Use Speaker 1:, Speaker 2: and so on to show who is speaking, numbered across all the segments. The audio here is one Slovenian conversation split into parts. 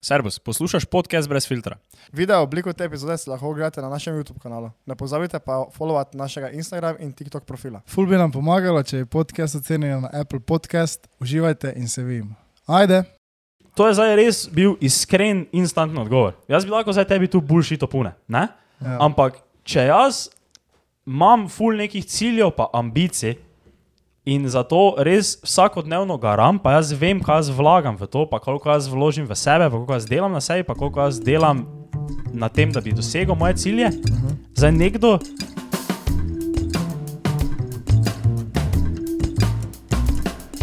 Speaker 1: Servus, poslušaš podcast brez filtra.
Speaker 2: Video obliko te epizode si lahko ogledate na našem YouTube kanalu. Ne pozabite pa followati našega Instagram in TikTok profila.
Speaker 3: Ful bi nam pomagalo, če je podcast ocenjen na Apple Podcast. Uživajte in se vidimo. Ajde!
Speaker 4: To je zdaj res bil iskren, instantni odgovor. Jaz bi lahko zdaj tebi tu bulšito pune. Ne?
Speaker 3: Ja.
Speaker 4: Ampak, če jaz imam ful nekih ciljev, pa ambicij in zato res vsakodnevno garam, pa jaz vem, kaj jaz vlagam v to, pa koliko jaz vložim v sebe, pa koliko jaz delam na sebi, pa koliko jaz delam na tem, da bi dosegel moje cilje. Uh
Speaker 5: Mhm.
Speaker 4: -huh. Zdaj nekdo,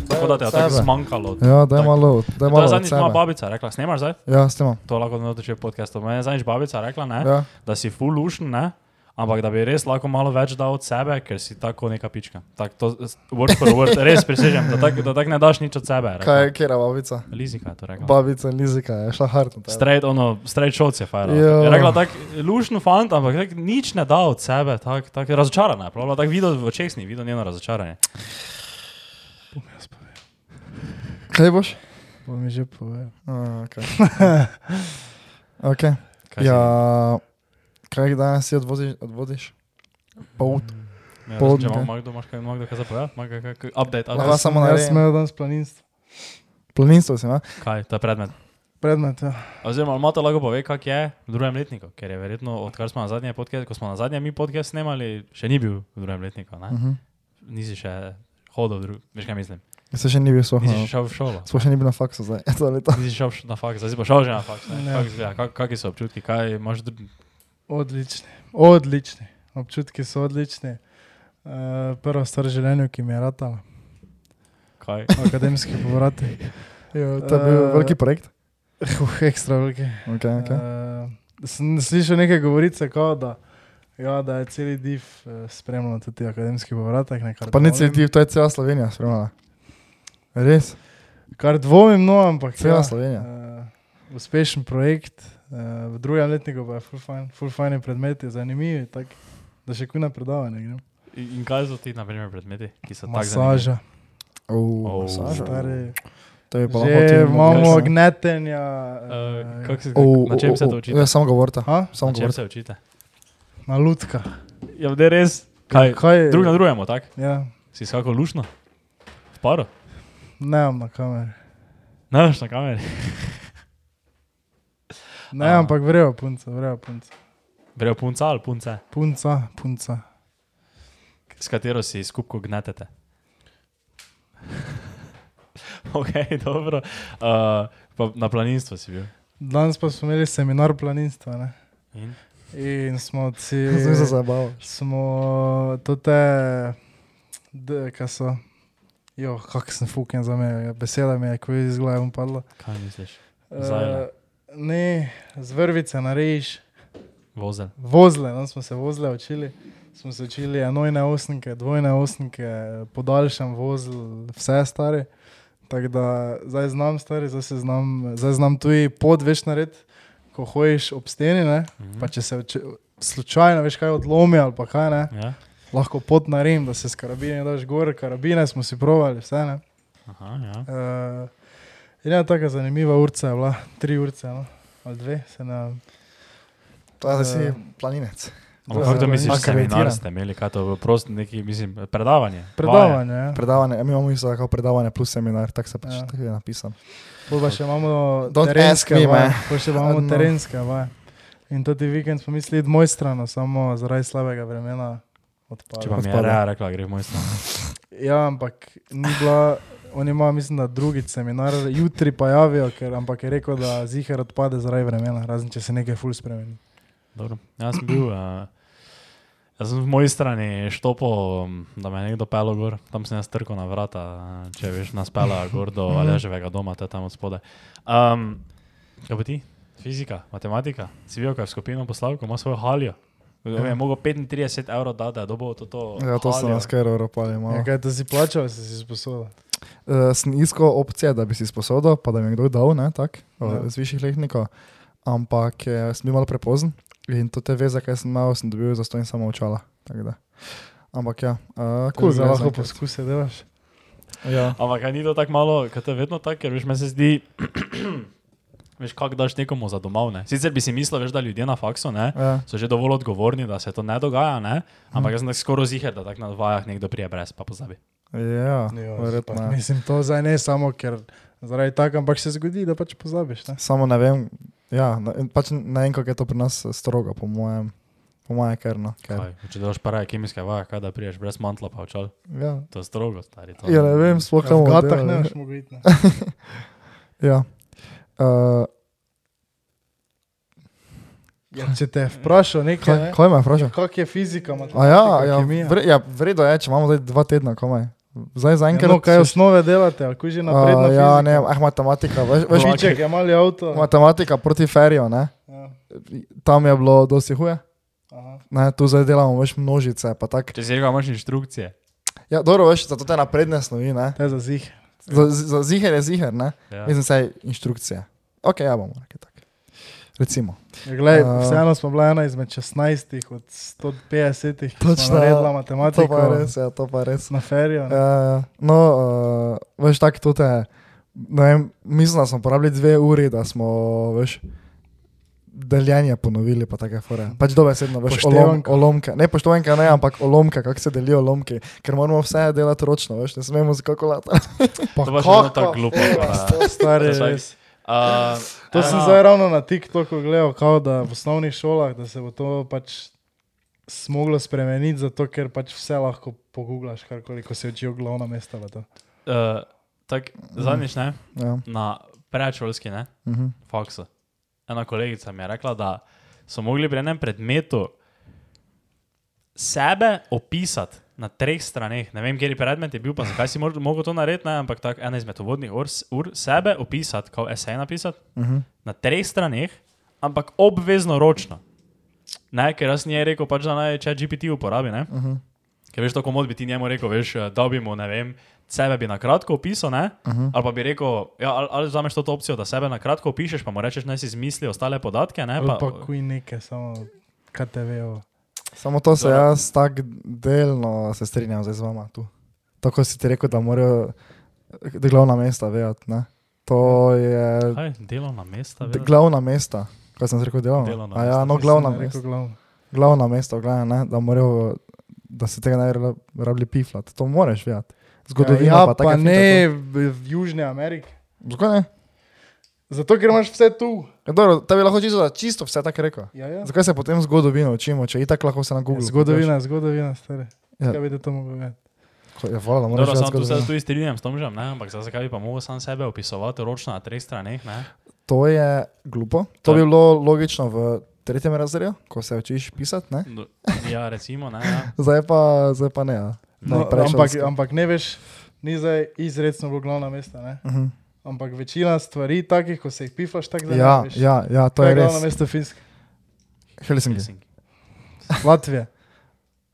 Speaker 4: tako da te je tako
Speaker 5: Sebe.
Speaker 4: zmanjkalo.
Speaker 5: Ja, da je malo, da je
Speaker 4: To je
Speaker 5: malo. od
Speaker 4: zadnjič Eh? moja
Speaker 5: sebe.
Speaker 4: babica rekla, snemaš zdaj?
Speaker 5: Ja, s tem.
Speaker 4: To lahko noče podcastov. Mene je zadnjič babica rekla, ne?
Speaker 5: Ja.
Speaker 4: da si full ušn, ne? ampak da bi res lahko malo več dal od sebe, ker si tako neka pička. Tak, to, s- word for word, res prisežem, da tako tak ne daš nič od sebe.
Speaker 5: Kaj je, kera babica?
Speaker 4: Lizika je to rekla.
Speaker 5: Babica in Lizika je šla hardno.
Speaker 4: Straight, ono, straight shots je fajn. Je
Speaker 5: Ja.
Speaker 4: rekla tako, lušno fant, ampak tak, nič ne da od sebe, tako tak, razočarana je. Pravila, tako videl v očeh, ni videl njeno razočaranje.
Speaker 5: Kaj boš?
Speaker 3: Bo mi že povedal.
Speaker 5: A, Okay. okay.
Speaker 4: Kaj si-
Speaker 5: Ja, kaj danes si odvoziš? odvoziš? Pot.
Speaker 4: ja,
Speaker 5: podne.
Speaker 4: če ima ima kdo, imaš kaj, ima kdo kaj zapovedati, ima kaj, kaj, kaj, update,
Speaker 5: Lahko
Speaker 4: update.
Speaker 5: sem- samo
Speaker 3: Jaz
Speaker 5: naredim.
Speaker 3: sem imel danes planinstvo.
Speaker 5: Planinstvo si, ne?
Speaker 4: Kaj, to je predmet.
Speaker 3: Predmet, ja.
Speaker 4: Oziroma, ali Mato lahko pove, kak je v drugem letniku, ker je verjetno, odkar smo na zadnje podkve, ko smo na zadnje mi podkve snemali, še ni bil v drugem letniku.
Speaker 5: Uh
Speaker 4: Ne?
Speaker 5: -huh.
Speaker 4: Nisi še hodil, v drug... veš kaj mislim.
Speaker 5: Se še ni bil sohno.
Speaker 4: Nisi še šel v šolo.
Speaker 5: Sploh še ni bil na faksu zdaj. To leto.
Speaker 4: Nisi šel v š- na faks, zdaj si pa šel že na faks. ne?
Speaker 3: Ne.
Speaker 4: Kako izgleda, kak, kaki so občutki, kaj imaš dr...
Speaker 3: Odlični, odlični. Občutki so odlični. Uh, prva stvar v življenju, ki mi je ratala,
Speaker 4: kaj?
Speaker 3: akademski povratek.
Speaker 5: Jo, to je bil
Speaker 3: Eh.
Speaker 5: veliki projekt.
Speaker 3: Uh, ekstra veliki.
Speaker 5: Okay, okay.
Speaker 3: Uh, sem slišal neke govorice, kao, da, ja, da je celi div uh, spremljal tudi akademski povratek. ne, kar
Speaker 5: Pa ne
Speaker 3: dvomim.
Speaker 5: cel ti, to je cela Slovenija spremljala. Res,
Speaker 3: Kar dvomim, no, ampak
Speaker 5: cela
Speaker 3: ja,
Speaker 5: Slovenija.
Speaker 3: Uh, uspešen projekt, uh, v drugem letniku pa je full fajn, full fajn predmeti, zanimivi, tak, da še kuna predavanja grem.
Speaker 4: In kaj so ti, na primer, predmeti, ki so tako zanimivi?
Speaker 3: Masaža,
Speaker 5: Uh,
Speaker 4: Oh.
Speaker 5: masaža.
Speaker 3: stari,
Speaker 5: To je pa lahko ti
Speaker 3: že imamo
Speaker 5: mogoče, ne?
Speaker 3: gnetenja.
Speaker 4: Uh,
Speaker 3: eh,
Speaker 4: kak si,
Speaker 5: Oh,
Speaker 4: na čem
Speaker 5: oh,
Speaker 4: se to
Speaker 5: oh,
Speaker 4: učite?
Speaker 5: Ja, samo govorite.
Speaker 3: Ha?
Speaker 5: Samo
Speaker 4: Na čem
Speaker 5: govorite.
Speaker 4: se učite?
Speaker 3: Na lutka.
Speaker 4: Ja, da je res. Kaj?
Speaker 3: Kaj?
Speaker 4: Drug na drugemu, tako?
Speaker 3: Ja,
Speaker 4: Si s kako lušno? V paru?
Speaker 3: ne imam na kameri.
Speaker 4: Ne veš na kameri.
Speaker 3: Ne,
Speaker 4: A.
Speaker 3: ampak vrejo punca, vrejo punca.
Speaker 4: Brejo punca ali punce?
Speaker 3: Punca, punca.
Speaker 4: s katero si skupko gnetete. ok, dobro. Uh, pa na planinstvu si bil.
Speaker 3: Danes pa smo imeli seminar planinstva ne?
Speaker 4: In?
Speaker 3: in smo od si...
Speaker 5: Zdaj se zabavaš.
Speaker 3: Smo to te, d- kaj so. Jo, kak sem fucking za me, beseda mi je, ko je iz glave upadla.
Speaker 4: Kaj misliš?
Speaker 3: Eh,
Speaker 4: Zajele.
Speaker 3: ne, z vrvice narejiš,
Speaker 4: Vozel.
Speaker 3: vozle, tam no, smo se vozle učili. Smo se učili enojne osnike, dvojne osnike, podaljšan vozl, vse stare. Tako da zdaj znam stare, zdaj, se znam, zdaj znam tudi pod več nared, ko hojiš ob steni, ne?
Speaker 4: Mhm.
Speaker 3: pa če se če, slučajno veš kaj odlomi ali pa kaj ne.
Speaker 4: Ja.
Speaker 3: lahko pot naredim, da se s karabine daš gor, karabine smo si provali, vse ne.
Speaker 4: Aha, ja.
Speaker 3: Uh, Ena taka zanimiva urca je bila, tri urce, no? ali dve, se ne.
Speaker 5: Ta si
Speaker 3: Eh.
Speaker 5: planinec.
Speaker 4: Ampak
Speaker 3: Ja,
Speaker 4: kako to
Speaker 3: ja,
Speaker 4: misliš,
Speaker 5: ja.
Speaker 4: seminar
Speaker 5: Akreditiran.
Speaker 4: ste imeli, kaj to prosto neki, mislim, predavanje? Vaje.
Speaker 3: Predavanje, ja.
Speaker 5: Predavanje, mi imamo isto tako predavanje plus seminar, tako se pač
Speaker 3: Ja.
Speaker 5: ja. tako je napisano.
Speaker 3: Pol pa še imamo
Speaker 5: Don't ask
Speaker 3: terenske
Speaker 5: me,
Speaker 3: vaje,
Speaker 5: man.
Speaker 3: pol še pa imamo
Speaker 5: No.
Speaker 3: terenske vaje. In to ti vikend smo mislili od moj strano, samo zaradi slabega vremena
Speaker 4: Če pa mi
Speaker 3: odpadlo.
Speaker 4: je
Speaker 5: Odpada.
Speaker 4: Rea rekla, gre v moj stan.
Speaker 3: Ja, ampak ni bila, on ima, mislim, da drugi seminar, jutri pa javijo, ker, ampak je rekel, da zihar odpade zaradi vremena, razen če se nekaj ful spremeni.
Speaker 4: Dobro. Jaz sem bil, uh, jaz sem v moji strani štopo, m, da me je nekdo pelo gor, tam sem jaz trkal na vrata, eh, če veš, nas pela gor do
Speaker 5: Mhm.
Speaker 4: Aleževega doma, to je tam od spode. Um, kaj pa ti? Fizika, matematika, si videl, kaj je v skupino poslal, ko ima svojo haljo. Ja. Je mogel 35 evrov dati, da je dobil to. to
Speaker 5: Ja, to sem
Speaker 4: haljo.
Speaker 5: nas kar evropali malo.
Speaker 3: Ja, kaj to si plačal, si si sposodil?
Speaker 5: Uh, sem iskal opcije, da bi si sposodil, pa da mi je kdo dal, ne, tak,
Speaker 3: Ja.
Speaker 5: ja. z višjih letnikov, ampak eh, sem bil malo prepozen in to te veze, kaj sem imel, sem dobil za to in samo očala. Ampak ja, uh,
Speaker 3: Tako
Speaker 5: kul,
Speaker 3: da
Speaker 5: cool,
Speaker 3: lahko poskuse delaš.
Speaker 5: Ja.
Speaker 4: Ampak a ni to tako malo, kot je vedno tako, ker veš, meni se zdi, Veš, kako daš nekomu za domov. Ne? Sicer bi si mislil, veš, da ljudje na faksu ne,
Speaker 5: Ja.
Speaker 4: so že dovolj odgovorni, da se to ne dogaja, ne? ampak jaz sem tako skoraj ziger, da tako na vajah nekdo prije brez, pa pozabi.
Speaker 5: Ja,
Speaker 3: Jo,
Speaker 5: verjetno.
Speaker 3: ampak
Speaker 5: ja.
Speaker 3: Mislim, to zdaj ne samo, ker zaradi tega, ampak se zgodi, da pač pozabiš. Ne?
Speaker 5: Samo ne vem, ja, na- in pač ne vem, kako je to pri nas eh, strogo, po mojem, po mojem kerno.
Speaker 4: Kaj,
Speaker 5: Ker,
Speaker 4: če daš para kemijske vaje, kaj da priješ brez mantla, pa očal.
Speaker 5: ja.
Speaker 4: To je strogo, stari. To,
Speaker 5: ja, ne vem, sploh kam
Speaker 3: V gatah ne
Speaker 5: oddelali.
Speaker 3: boš mogel iti. ne.
Speaker 5: Ja. Uh,
Speaker 3: Ja, če te je vprašal nekaj,
Speaker 5: kaj,
Speaker 3: ne?
Speaker 5: kaj me je vprašal?
Speaker 3: kak je fizika,
Speaker 5: A ja, ja,
Speaker 3: kemija.
Speaker 5: vre, ja, vredno je, če imamo zdaj dva tedna, komaj. Zdaj za enkrat.
Speaker 3: Eno, no, Ja, kaj
Speaker 5: se-
Speaker 3: osnove delate, ali kuži napredno.
Speaker 5: A, ja, ne, ah, matematika, veš, veš
Speaker 3: Vešiček je mali avto.
Speaker 5: matematika proti ferijo, ne?
Speaker 3: Ja,
Speaker 5: Tam je bilo dosti huje.
Speaker 3: aha.
Speaker 5: Ne, tu zdaj delamo več množice. pa tak-
Speaker 4: Če si rekel, imaš inštrukcije.
Speaker 5: Ja, dobro, veš, zato te napredne snovi, ne?
Speaker 3: To je za zih.
Speaker 5: Za, za ziher je ziher, ne?
Speaker 4: Ja.
Speaker 5: Mislim, saj inštrukcije. Ok, ja bomo rekli tako. Recimo.
Speaker 3: Ja, glej,
Speaker 5: A.
Speaker 3: Vseeno smo bila ena izmed 16 od 150, ki
Speaker 5: Točno,
Speaker 3: smo naredila
Speaker 5: ja.
Speaker 3: matematiko.
Speaker 5: To pa je res, ja, to pa je res.
Speaker 3: Na ferijo.
Speaker 5: Ja, ja. no, uh, veš, tako tudi, ne vem, mislim, da smo porabili dve uri, da smo, veš, deljenje ponovili, pa take fore. Pač dobesedno, veš, olom,
Speaker 3: Poštevanka.
Speaker 5: olomke. Ne poštevanka, ne, ampak olomke, kako se delijo olomki, ker moramo vse delati ročno, veš, ne smemo z kalkulatorjem.
Speaker 4: Pa to pa še vedno tako glupo. pa-
Speaker 3: Stari,
Speaker 4: Veš,
Speaker 3: res.
Speaker 4: a,
Speaker 3: To
Speaker 4: ena-
Speaker 3: sem zdaj ravno na TikToku gledal, kao, da v osnovnih šolah da se bo to pač smoglo spremeniti, zato ker pač vse lahko pogublaš, karkoli, ko se učijo glavna mesta. v to.
Speaker 4: eh, Tako, zadnjič ne,
Speaker 5: Ja.
Speaker 4: na predšolski ne,
Speaker 5: Uh -huh.
Speaker 4: faksu. Ena kolegica mi je rekla, da so mogli pri enem predmetu sebe opisati na treh straneh. Ne vem, kje je predmet je bil, pa zakaj si mor- mogel to narediti, ne? ampak tako ena izmed vodnih ur, ur sebe opisati, kot esej napisati uh -huh. na treh straneh, ampak obvezno ročno. Ne, ker jaz nje rekel, pač, da naj če GPT uporabi. Uh -huh. Ker veš, tako mod bi ti njemu rekel, veš, da bi mu, ne vem, sebe bi na kratko opisal, ne? Uh -huh. Ali pa bi rekel, ja, ali, ali vzameš to opcijo, da sebe na kratko opišeš, pa mu rečeš, naj si izmisli ostale podatke, ne?
Speaker 3: Ali pa kuj neke, samo KTV-o.
Speaker 5: Samo to se
Speaker 4: Dobro.
Speaker 5: jaz tako delno se strinjam zdaj z vama tu. Tako si ti rekel, da morajo da glavna mesta vedeti. Ne? To je
Speaker 4: Kaj, delovna mesta?
Speaker 5: d-
Speaker 4: vedeti?
Speaker 5: glavna mesta. Kaj sem rekel, delovno?
Speaker 4: Delovna
Speaker 5: A
Speaker 4: mesta,
Speaker 5: Ja, no,
Speaker 3: Mislim,
Speaker 5: glavna
Speaker 3: da je rekel
Speaker 5: mesta.
Speaker 3: glavno.
Speaker 5: Glavna mesta, v glavnem, ne, da morajo, da se tega ne bi rab- rabili piflat. To moraš vedeti. Zgodovina
Speaker 3: ja,
Speaker 5: pa
Speaker 3: pa,
Speaker 5: take
Speaker 3: pa
Speaker 5: finte
Speaker 3: ne v, v Južni Ameriki.
Speaker 5: to- Zakaj ne?
Speaker 3: Zato, ker imaš vse tu.
Speaker 5: Ja, dobro, te bi lahko čisto, za čisto vse tako rekel.
Speaker 3: Ja, ja.
Speaker 5: Zakaj se potem zgodovino učimo, če itak lahko se na Google?
Speaker 3: Zgodovina, zgodovina, stare.
Speaker 5: Ja.
Speaker 3: Ja. Kaj bi te to mogel vedeti?
Speaker 5: pokažeš? Ja, hvala, da moraš
Speaker 4: Dobro,
Speaker 5: vedeti
Speaker 4: sam tu se
Speaker 5: zgodovino.
Speaker 4: jaz tudi strinjam s Tomžem, ne? ampak zdaj zakaj bi pa mogel sam sebe opisovati ročno na treh straneh? Ne?
Speaker 5: To je glupo. To
Speaker 4: Ja.
Speaker 5: bi bilo logično v tretjem razredu, ko se učiš pisati. Ne?
Speaker 4: Do- Ja, recimo, ne. Ja.
Speaker 5: Zdaj pa, zdaj pa ne. ja.
Speaker 3: No,
Speaker 5: Naj prečem
Speaker 3: ampak,
Speaker 5: skozi.
Speaker 3: ampak ne veš, ni zdaj izredno bilo glavna mesta. Ne?
Speaker 5: Mhm.
Speaker 3: Ampak večina stvari, takih, ko se jih pifaš, tako da
Speaker 5: Ja,
Speaker 3: ne veš.
Speaker 5: ja, ja, to
Speaker 3: Kaj
Speaker 5: je
Speaker 3: glavno
Speaker 5: res.
Speaker 3: mesto Finske,
Speaker 5: Helsinki.
Speaker 4: Helsinki,
Speaker 3: Latvije.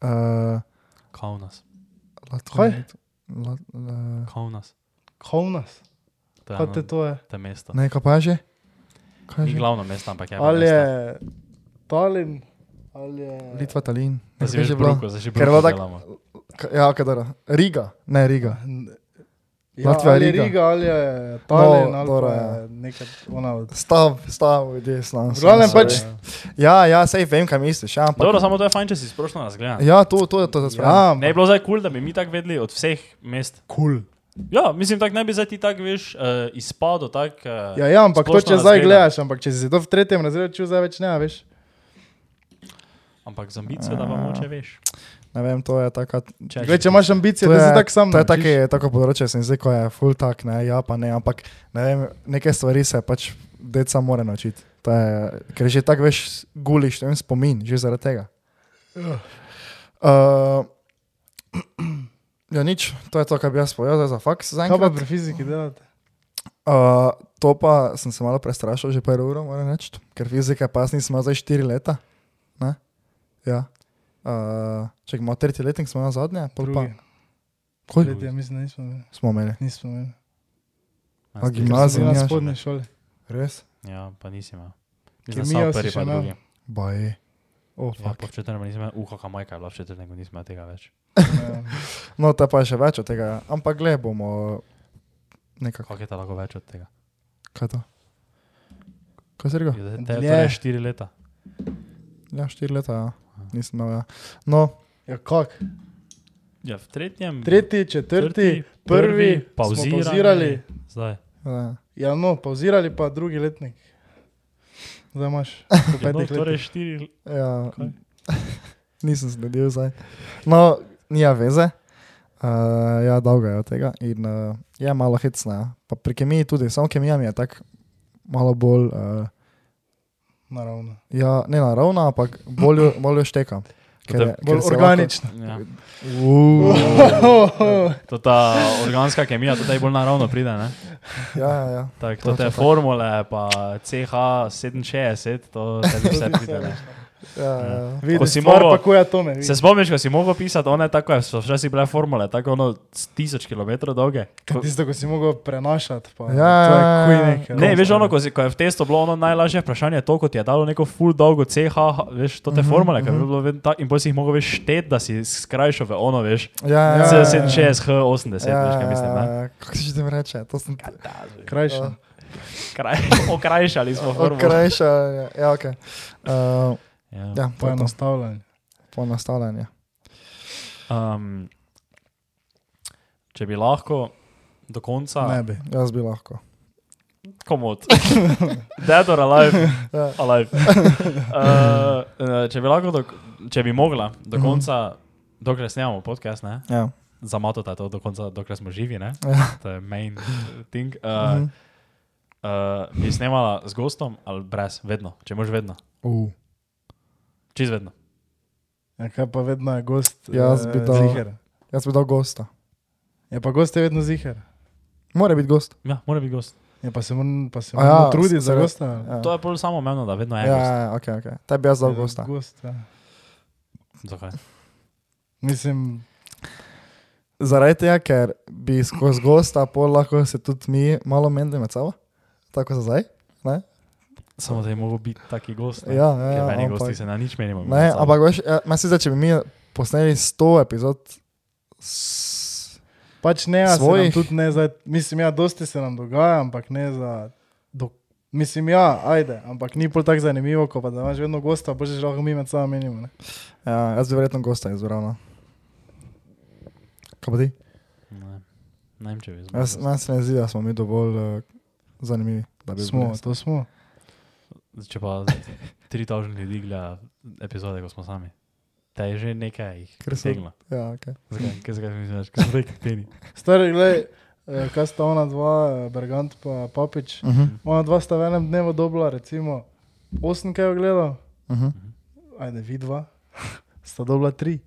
Speaker 5: Uh,
Speaker 4: Kaunas,
Speaker 3: Kaj?
Speaker 5: Latvija. Lat, uh,
Speaker 4: Kaunas.
Speaker 3: Kovnas,
Speaker 4: To je
Speaker 3: kaj te
Speaker 4: eno
Speaker 3: to je?
Speaker 4: te mesto.
Speaker 5: ne, kaj pa je že? Kaj je
Speaker 4: Ni
Speaker 5: že?
Speaker 4: glavno mesto, ampak je.
Speaker 3: Ali
Speaker 4: mesto.
Speaker 3: je Talin, ali je
Speaker 5: Litva, Talin.
Speaker 4: Da
Speaker 5: Ne,
Speaker 4: si
Speaker 5: kaj
Speaker 4: že
Speaker 5: bilo?
Speaker 4: bruko, zdaj že
Speaker 5: Ker bilo
Speaker 4: bruko
Speaker 5: tako-
Speaker 4: delamo.
Speaker 5: K- Ja, kaj dobro. Riga, ne Riga.
Speaker 3: Ja,
Speaker 5: Latvija,
Speaker 3: ali je
Speaker 5: Riga.
Speaker 3: Riga, ali je Talin,
Speaker 5: No,
Speaker 3: ali
Speaker 5: dobro,
Speaker 3: pa
Speaker 5: ja.
Speaker 3: je nekaj ona od.
Speaker 5: Stav, stav, ljudje, slav.
Speaker 3: V glavnem pač-
Speaker 5: Ja, ja, sej vem, kaj misliš. Ja, ampak,
Speaker 4: Dobro, samo to je fajn, če si sprošno razgledan.
Speaker 5: ja to, to je to, da smo.
Speaker 3: Ja,
Speaker 4: Ne bi bilo zdaj kul, cool, da bi mi tako vedeli od vseh mest.
Speaker 3: kul.
Speaker 4: Ja, mislim, tako ne bi zdaj ti tako, veš, uh, izpadel. Tak, uh,
Speaker 3: Ja, ja, ampak to
Speaker 4: Splošno
Speaker 3: če zdaj
Speaker 4: razgledan.
Speaker 3: gledaš, ampak če si se to v tretjem razredu čutil, zdaj več ne veš.
Speaker 4: Ampak z ambicijo, da pa moče veš.
Speaker 5: Ne vem, to je taka
Speaker 4: Ja, Če,
Speaker 3: Glej, če imaš ambicije,
Speaker 5: To
Speaker 3: da si
Speaker 5: je-
Speaker 3: tak sam.
Speaker 5: To je
Speaker 3: naučiš.
Speaker 5: taki, tako področje, sem zdaj, ko je full tak, ne, ja pa ne, ampak ne vem, neke stvari se pač deca mora naučiti. To Je, ker že tako veš, guliš, ne vem, spomin, že zaradi tega.
Speaker 3: Ja.
Speaker 5: Uh, ja, nič, to je to, kar bi jaz povedal zdaj za faks.
Speaker 3: Kaj pa
Speaker 5: zaenkrat.
Speaker 3: pri fiziki delate?
Speaker 5: Uh, to pa sem se malo prestrašil, že prvo uro moram reči, ker fizika pa jaz nisem imel zdaj štiri leta. Ne? Ja. Uh, če imamo tretji letnik, smo na zadnje, pol pa.
Speaker 3: Drugi.
Speaker 5: Kaj?
Speaker 3: Tretje, mislim, da nismo imeli.
Speaker 5: Smo imeli.
Speaker 3: Nismo imeli.
Speaker 5: A gimnazija? ja.
Speaker 3: Sem bil na
Speaker 5: Zanimivo.
Speaker 3: spodnji šoli.
Speaker 5: Res?
Speaker 4: Ja, pa nisem. imel. Mislim, da
Speaker 3: Kemijo
Speaker 4: samo
Speaker 3: si
Speaker 4: prvi,
Speaker 3: še
Speaker 4: pa
Speaker 3: imel?
Speaker 4: drugi.
Speaker 5: Baje. Oh,
Speaker 4: Ja, po četrtem nisem imel, uha, kam je bila v četrtem, nisem imel tega več.
Speaker 3: Ja.
Speaker 5: No, ta pa je še več od tega, ampak le bomo nekako.
Speaker 4: Kako je ta lahko več od tega?
Speaker 5: Kaj to? Kaj si rekel?
Speaker 4: Je, te,
Speaker 3: Ja. Dlje.
Speaker 4: torej štiri leta.
Speaker 5: Ja, štiri leta, ja. nisem imel. Ja. No,
Speaker 3: Ja, kak?
Speaker 4: Ja, v tretjem,
Speaker 3: Tretji, četrti, prvi, smo
Speaker 4: pauzirani,
Speaker 3: pauzirali.
Speaker 4: Zdaj.
Speaker 5: ja.
Speaker 3: Ja, no, pauzirali pa drugi letnik. Zdaj imaš po
Speaker 4: Ja, no,
Speaker 3: petih
Speaker 4: torej
Speaker 3: letih. No,
Speaker 4: štiri
Speaker 5: Ja,
Speaker 4: Kaj?
Speaker 5: nisem sledil zdaj. No, nija veze. Uh, ja, dolgo je od tega in uh, je malo hecna. ja. Pa pri kemiji tudi, samo kemija mi je tako malo bolj, uh,
Speaker 3: Naravno.
Speaker 5: ja, ne naravna, ampak bolj, jo- bolj jo šteka. Ker
Speaker 4: Potem
Speaker 5: je-
Speaker 3: Bolj
Speaker 5: ker se
Speaker 3: organično.
Speaker 4: Ja.
Speaker 3: Ohoho.
Speaker 4: To ta organska kemija, to je bolj naravno pride. Ne?
Speaker 5: Lahko, ja, ja, ja.
Speaker 4: Tak, to te formule, pa CH67, to te vse pride. Ne?
Speaker 5: ja, ja, ja.
Speaker 3: Vidiš,
Speaker 4: si
Speaker 3: stvar
Speaker 4: mogel-
Speaker 3: pa koja tome. vidiš.
Speaker 4: Se spomniš, ko si mogel pisati, one tako je, so včasih bile formule, tako ono s tisoč km dolge. Ko,
Speaker 3: Tisto, ko si mogel prenašati, pa
Speaker 5: Ja,
Speaker 3: to je
Speaker 5: ja,
Speaker 3: kuj
Speaker 5: ja.
Speaker 3: nekaj.
Speaker 4: ne, veš, ono, ko, si, ko je v testu bilo ono najlažje vprašanje, to kot je dalo neko full dolgo CH, veš, to te
Speaker 5: Mhm,
Speaker 4: formule, ki je
Speaker 5: mhm.
Speaker 4: bilo vedno tako, in bolj si jih mogel veš šteti, da si skrajšal v ono, veš,
Speaker 5: Ja, ja, ja.
Speaker 4: 67, H80,
Speaker 5: Ja,
Speaker 4: veš, kaj mislim. Ne?
Speaker 5: ja, ja. Kako si že tem reče? To sem
Speaker 3: Krajše.
Speaker 5: Ja.
Speaker 4: Kraj, okrajšali smo formulo.
Speaker 5: krajša. ja, Ja, okay. uh,
Speaker 4: Ja.
Speaker 5: ja, to je to.
Speaker 3: Poenostavljanje.
Speaker 5: Poenostavljanje.
Speaker 4: Um, če bi lahko do konca,
Speaker 3: Ne bi.
Speaker 5: Jaz bi lahko.
Speaker 4: komod, dead or alive,
Speaker 5: Ja.
Speaker 4: alive. Uh, če bi lahko, do, če bi mogla do
Speaker 5: Mhm.
Speaker 4: konca, dokler snemamo podcast, ne?
Speaker 5: Ja.
Speaker 4: za mato ta to do konca, dokler smo živi, ne?
Speaker 5: Ja.
Speaker 4: to je main thing.
Speaker 5: Uh,
Speaker 4: Uh, uh, bi snemala z gostom ali brez, vedno, če moš vedno,
Speaker 5: uh.
Speaker 4: čez vedno.
Speaker 3: Ja, kaj pa vedno je gost?
Speaker 5: Jaz bi
Speaker 3: eh,
Speaker 5: dal-
Speaker 3: Ziher.
Speaker 5: Jaz bi dal gosta.
Speaker 3: Ja, pa gost je vedno ziger.
Speaker 5: Mora biti gost.
Speaker 4: Ja, mora biti gost.
Speaker 3: Ja, pa se moram, pa se
Speaker 5: A
Speaker 3: moram
Speaker 5: ja,
Speaker 3: ja, truditi
Speaker 5: se
Speaker 3: za
Speaker 5: re-
Speaker 3: gosta.
Speaker 5: Ja.
Speaker 4: To je bolj samo meni, da vedno je
Speaker 5: ja,
Speaker 4: gost.
Speaker 5: ja, ok, ok. Tebi jaz dal gosta.
Speaker 3: Gost, ja.
Speaker 4: Zakaj?
Speaker 3: Mislim,
Speaker 5: Zaradi tega, ker bi skozi gosta pol lahko se tudi mi malo menili med sabo. Tako za zdaj.
Speaker 4: Samo da je mogel biti taki gost.
Speaker 5: Ja,
Speaker 4: ne?
Speaker 5: ja,
Speaker 4: Ker
Speaker 5: ja,
Speaker 4: meni
Speaker 5: ampak-
Speaker 4: gosti se na nič menimo.
Speaker 5: Ne, ampak veš, ja, meni se zdi, če bi mi posneli 100 epizod, s...
Speaker 3: pač ne, a se nam
Speaker 5: Svojih?
Speaker 3: tudi ne zdaj. Mislim, ja, dosti se nam dogaja, ampak ne za. Do... Mislim, ja, ajde, ampak ni pol tako zanimivo, ko pa da imaš vedno gosta, boš že lahko mi med sabo menimo. Ne?
Speaker 5: ja, jaz bi verjetno gosta izbral. no. Kaj pa ti?
Speaker 4: Ne, ne vem, če bi zmagal.
Speaker 5: Jaz- Meni se ne zdi, da smo mi dovolj uh, zanimivi. Da bi
Speaker 3: Smo,
Speaker 5: bili.
Speaker 3: to smo.
Speaker 4: Če pa 3000 ljudi gleda epizode, ko smo sami. Te je že nekaj jih
Speaker 5: Ker so-
Speaker 4: preseglo.
Speaker 5: Ja, okay.
Speaker 4: Zakaj, Kaj- zakaj misliš, da smo rekli?
Speaker 3: Stari, gledaj, eh, kaj sta ona dva, eh, Bergant pa Papič.
Speaker 5: uh -huh.
Speaker 3: Ona dva sta v enem dnevu dobila, recimo, osem, kaj je gledal,
Speaker 5: Uh -huh.
Speaker 3: ajde, vidva, sta dobila tri.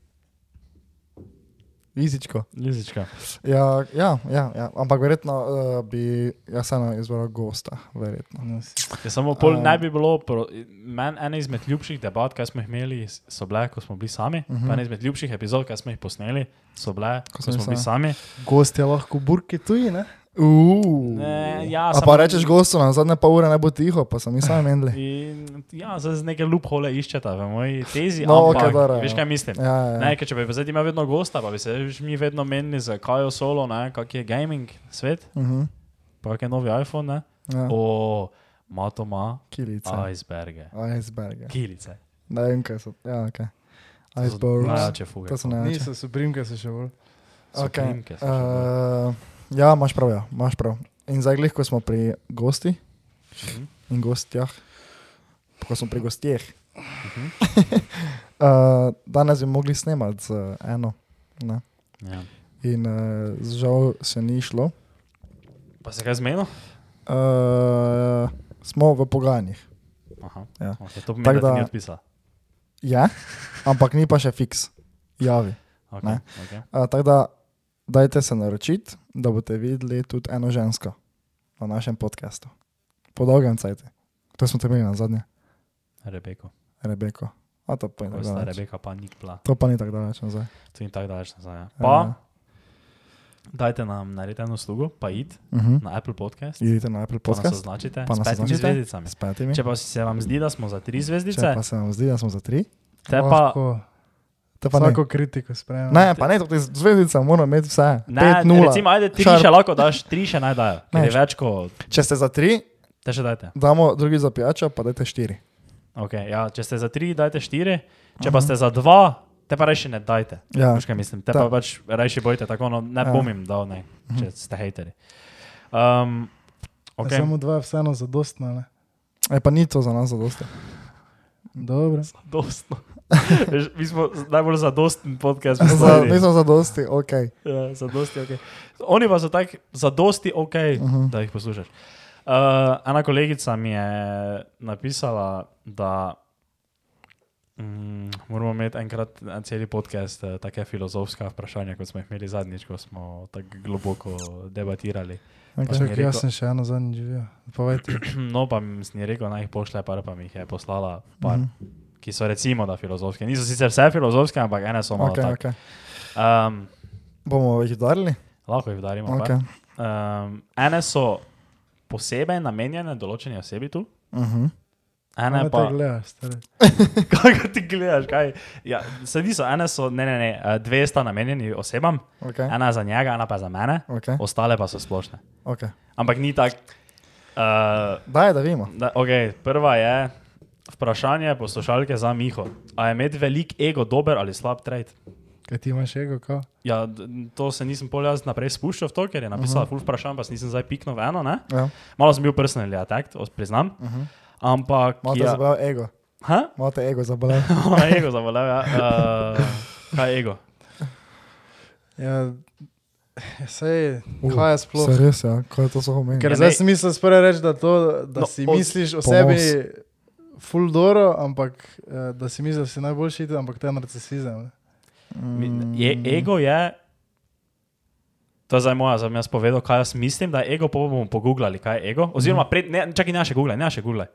Speaker 5: Izičko.
Speaker 4: Lizička.
Speaker 5: Ja, ja, ja, ja, ampak verjetno uh, bi jaz samo izbral gosta. Verjetno.
Speaker 3: No, si-
Speaker 4: Je samo pol
Speaker 5: Um,
Speaker 4: um, naj bi bilo, pro- meni ena izmed ljubših debat, kaj smo jih imeli, s- so bile, ko smo bili sami. Uh
Speaker 5: Mhm.
Speaker 4: -huh. Ena izmed ljubših epizod, kaj smo jih posneli, so bile, ko,
Speaker 5: smo
Speaker 4: ko
Speaker 5: bili
Speaker 4: smo bili sami.
Speaker 3: Gost je lahko burki tuji, ne?
Speaker 5: Uh.
Speaker 4: Ne, ja,
Speaker 5: A pa
Speaker 4: samo-
Speaker 5: rečeš gostu, na zadnje pol ure ne bo tiho, pa sem jih sam menili.
Speaker 4: In, ja, zdaj z neke loophole iščeta v moji tezi,
Speaker 5: No,
Speaker 4: no,
Speaker 5: okej,
Speaker 4: ampak
Speaker 5: dobro,
Speaker 4: okay, veš,
Speaker 5: ja.
Speaker 4: kaj mislim.
Speaker 5: Ja, ja,
Speaker 4: Ne,
Speaker 5: ja.
Speaker 4: ker če bi pa zdaj imel vedno gosta, pa bi se veš, mi vedno menili za Kajo Solo, ne, kak je gaming svet,
Speaker 5: Uh -huh.
Speaker 4: pa kak je novi iPhone, ne.
Speaker 5: ja.
Speaker 4: O, Mato ima
Speaker 5: Kilice.
Speaker 4: iceberge,
Speaker 5: Iceberg. Ja.
Speaker 4: kilice.
Speaker 5: Ne vem, kaj so. Ja, ok.
Speaker 4: To so
Speaker 5: Iceberg.
Speaker 4: Najjače fuge.
Speaker 5: To so največje.
Speaker 3: Niso suprimke se še bolj.
Speaker 5: Okay.
Speaker 4: Soprimke so še bolj.
Speaker 5: Uh, ja, imaš prav, ja, imaš prav. In zdaj, glih, ko smo pri gosti
Speaker 4: Mhm.
Speaker 5: in gostjah, ko smo pri gostjeh,
Speaker 4: Mhm.
Speaker 5: uh, danes bi mogli snemati z eh, eno. Ne?
Speaker 4: Ja.
Speaker 5: In uh, žal se ni šlo.
Speaker 4: Pa se kaj zmenil?
Speaker 5: Uh, smo v pogajanjih.
Speaker 4: Aha.
Speaker 5: Ja.
Speaker 4: Okay, to
Speaker 5: Tako
Speaker 4: pomeni, da ti
Speaker 5: da-
Speaker 4: ni odpisala.
Speaker 5: Ja, ampak ni pa še fiks, javi.
Speaker 4: Okay,
Speaker 5: Ne.
Speaker 4: okay.
Speaker 5: Uh, Tako da, dajte se naročiti, da boste videli tudi eno žensko na našem podkastu. Po dolgem cajtu. To smo te imeli na zadnje,
Speaker 4: Rebeko.
Speaker 5: Rebeko. A to pa ni tako
Speaker 4: Osta,
Speaker 5: daleč.
Speaker 4: Rebeka pa nik pla.
Speaker 5: To pa ni tako daleč nazaj.
Speaker 4: To ni tako daleč nazaj. ja. Pa, dajte nam narediti eno slugo, pa id
Speaker 5: Uh -huh.
Speaker 4: na Apple podcast.
Speaker 5: Idite na Apple
Speaker 4: Pa nas
Speaker 5: podcast
Speaker 4: označite
Speaker 5: Pa
Speaker 4: s
Speaker 5: nas
Speaker 4: petimi
Speaker 5: označite.
Speaker 4: zvezdicami.
Speaker 5: s petimi.
Speaker 4: Če pa se vam zdi, da smo za tri
Speaker 5: Če
Speaker 4: zvezdice,
Speaker 5: pa se nam zdi, da smo za tri,
Speaker 4: te pa
Speaker 3: Lahko
Speaker 5: te pa ne.
Speaker 3: Vsako kritiko sprejemam.
Speaker 5: Ne, pa ne, to je zvezdica, moramo imeti vse.
Speaker 4: ne,
Speaker 5: Pet, nula.
Speaker 4: recimo, ajde, tri
Speaker 5: Šarp.
Speaker 4: še lahko daš, tri še naj dajo, ker
Speaker 5: Ne,
Speaker 4: je več kot
Speaker 5: Če ste za tri,
Speaker 4: Te še dajte.
Speaker 5: Damo drugi za pijačo, pa dajte štiri.
Speaker 4: Okay, ja, če ste za tri, dajte štiri, če pa ste za dva, te pa rajši ne dajte.
Speaker 5: Ja.
Speaker 4: Veš, kaj mislim, te
Speaker 5: Da.
Speaker 4: pa pač rajši bojte, tako no, ne
Speaker 5: Ja.
Speaker 4: bom jim dal, ne, če ste hejteri. Um,
Speaker 3: Okay.
Speaker 4: okay.
Speaker 3: Samo dva je vseeno zadostna. Ne?
Speaker 5: E, pa ni to za nas zadosti.
Speaker 3: Dobro.
Speaker 4: Dostno. Veš, Mi smo z- najbolj zadosten podcast.
Speaker 5: Za,
Speaker 4: poslali.
Speaker 5: nisem zadosti, ok.
Speaker 4: Ja, zadosti, ok. Oni pa so tako zadosti, ok, uh
Speaker 5: Mhm.
Speaker 4: -huh. da jih poslušaš. Uh, ena kolegica mi je napisala, da mm, moramo imeti enkrat en cel podcast, eh, take filozofska vprašanja, kot smo jih imeli zadnjič, ko smo tako globoko debatirali.
Speaker 3: Okay.
Speaker 4: sem
Speaker 3: Čak,
Speaker 4: ji
Speaker 3: jaz
Speaker 4: rekel-
Speaker 3: sem še eno zadnji živel. Povejte.
Speaker 4: No, pa mi je rekel, naj jih pošle, par pa mi jih je poslala,
Speaker 5: Mhm.
Speaker 4: par, uh -huh. ki so recimo da filozofske. Niso sicer vse filozofske, ampak ene so malo.
Speaker 5: okay,
Speaker 4: Okay,
Speaker 5: okay.
Speaker 4: okay. um,
Speaker 5: Bomo jih udarili?
Speaker 4: lahko jih darimo. par.
Speaker 5: Okay.
Speaker 4: Um, ene so posebej namenjene določeni osebi tu,
Speaker 5: Uh -huh.
Speaker 4: ene
Speaker 3: Ne,
Speaker 4: pa.
Speaker 3: te gledaš, stari.
Speaker 4: Kako ti gledaš? Kaj? Ja, se niso, ene so, ne, ne, ne, eh, dve sta namenjeni osebam,
Speaker 5: okay.
Speaker 4: ena za njega, ena pa za mene,
Speaker 5: okay.
Speaker 4: ostale pa so splošne.
Speaker 5: okay.
Speaker 4: Ampak ni tako. Uh,
Speaker 5: Daj, da vidimo.
Speaker 4: da- okay, prva je vprašanje poslušalke za Miho. A je imeti velik ego dober ali slab trade?
Speaker 3: Kaj ti imaš ego, kao?
Speaker 4: Ja, d- to se nisem pol jaz naprej spuščal v to, ker je napisala uh
Speaker 5: Mhm.
Speaker 4: -huh. full vprašanj, pa se nisem zdaj piknil v eno. Ne?
Speaker 5: Ja.
Speaker 4: Malo sem bil personalni attack, to priznam. Uh -huh. Ampak.
Speaker 5: Malo te
Speaker 4: ja-
Speaker 5: ja. zabral ego.
Speaker 4: Ha?
Speaker 5: Malo te ego zabral.
Speaker 4: Moje ego zavolel, ja. Uh, kaj je ego?
Speaker 3: Ja, sej,
Speaker 5: Uh,
Speaker 3: Ja, kaj je sploh?
Speaker 5: Se res, ja, ko je to so omenili.
Speaker 4: Ker-
Speaker 5: Ker...
Speaker 3: Ker zdaj si misliš sprve reči, da, to, da
Speaker 4: No,
Speaker 3: no, si
Speaker 4: od-
Speaker 3: misliš o
Speaker 5: ponos.
Speaker 3: sebi full doro, ampak eh, da si misliš, da si najboljši, itak, ampak to je narcisizem. ne.
Speaker 5: Mm.
Speaker 4: Mi- Je, ego je. To je zdaj moja, zdaj bom jaz povedal, kaj jaz mislim, da je ego, pa bomo pogooglali, kaj je ego. Oziroma, pred, ne, čakaj, ne še googlaj, ne še googlaj.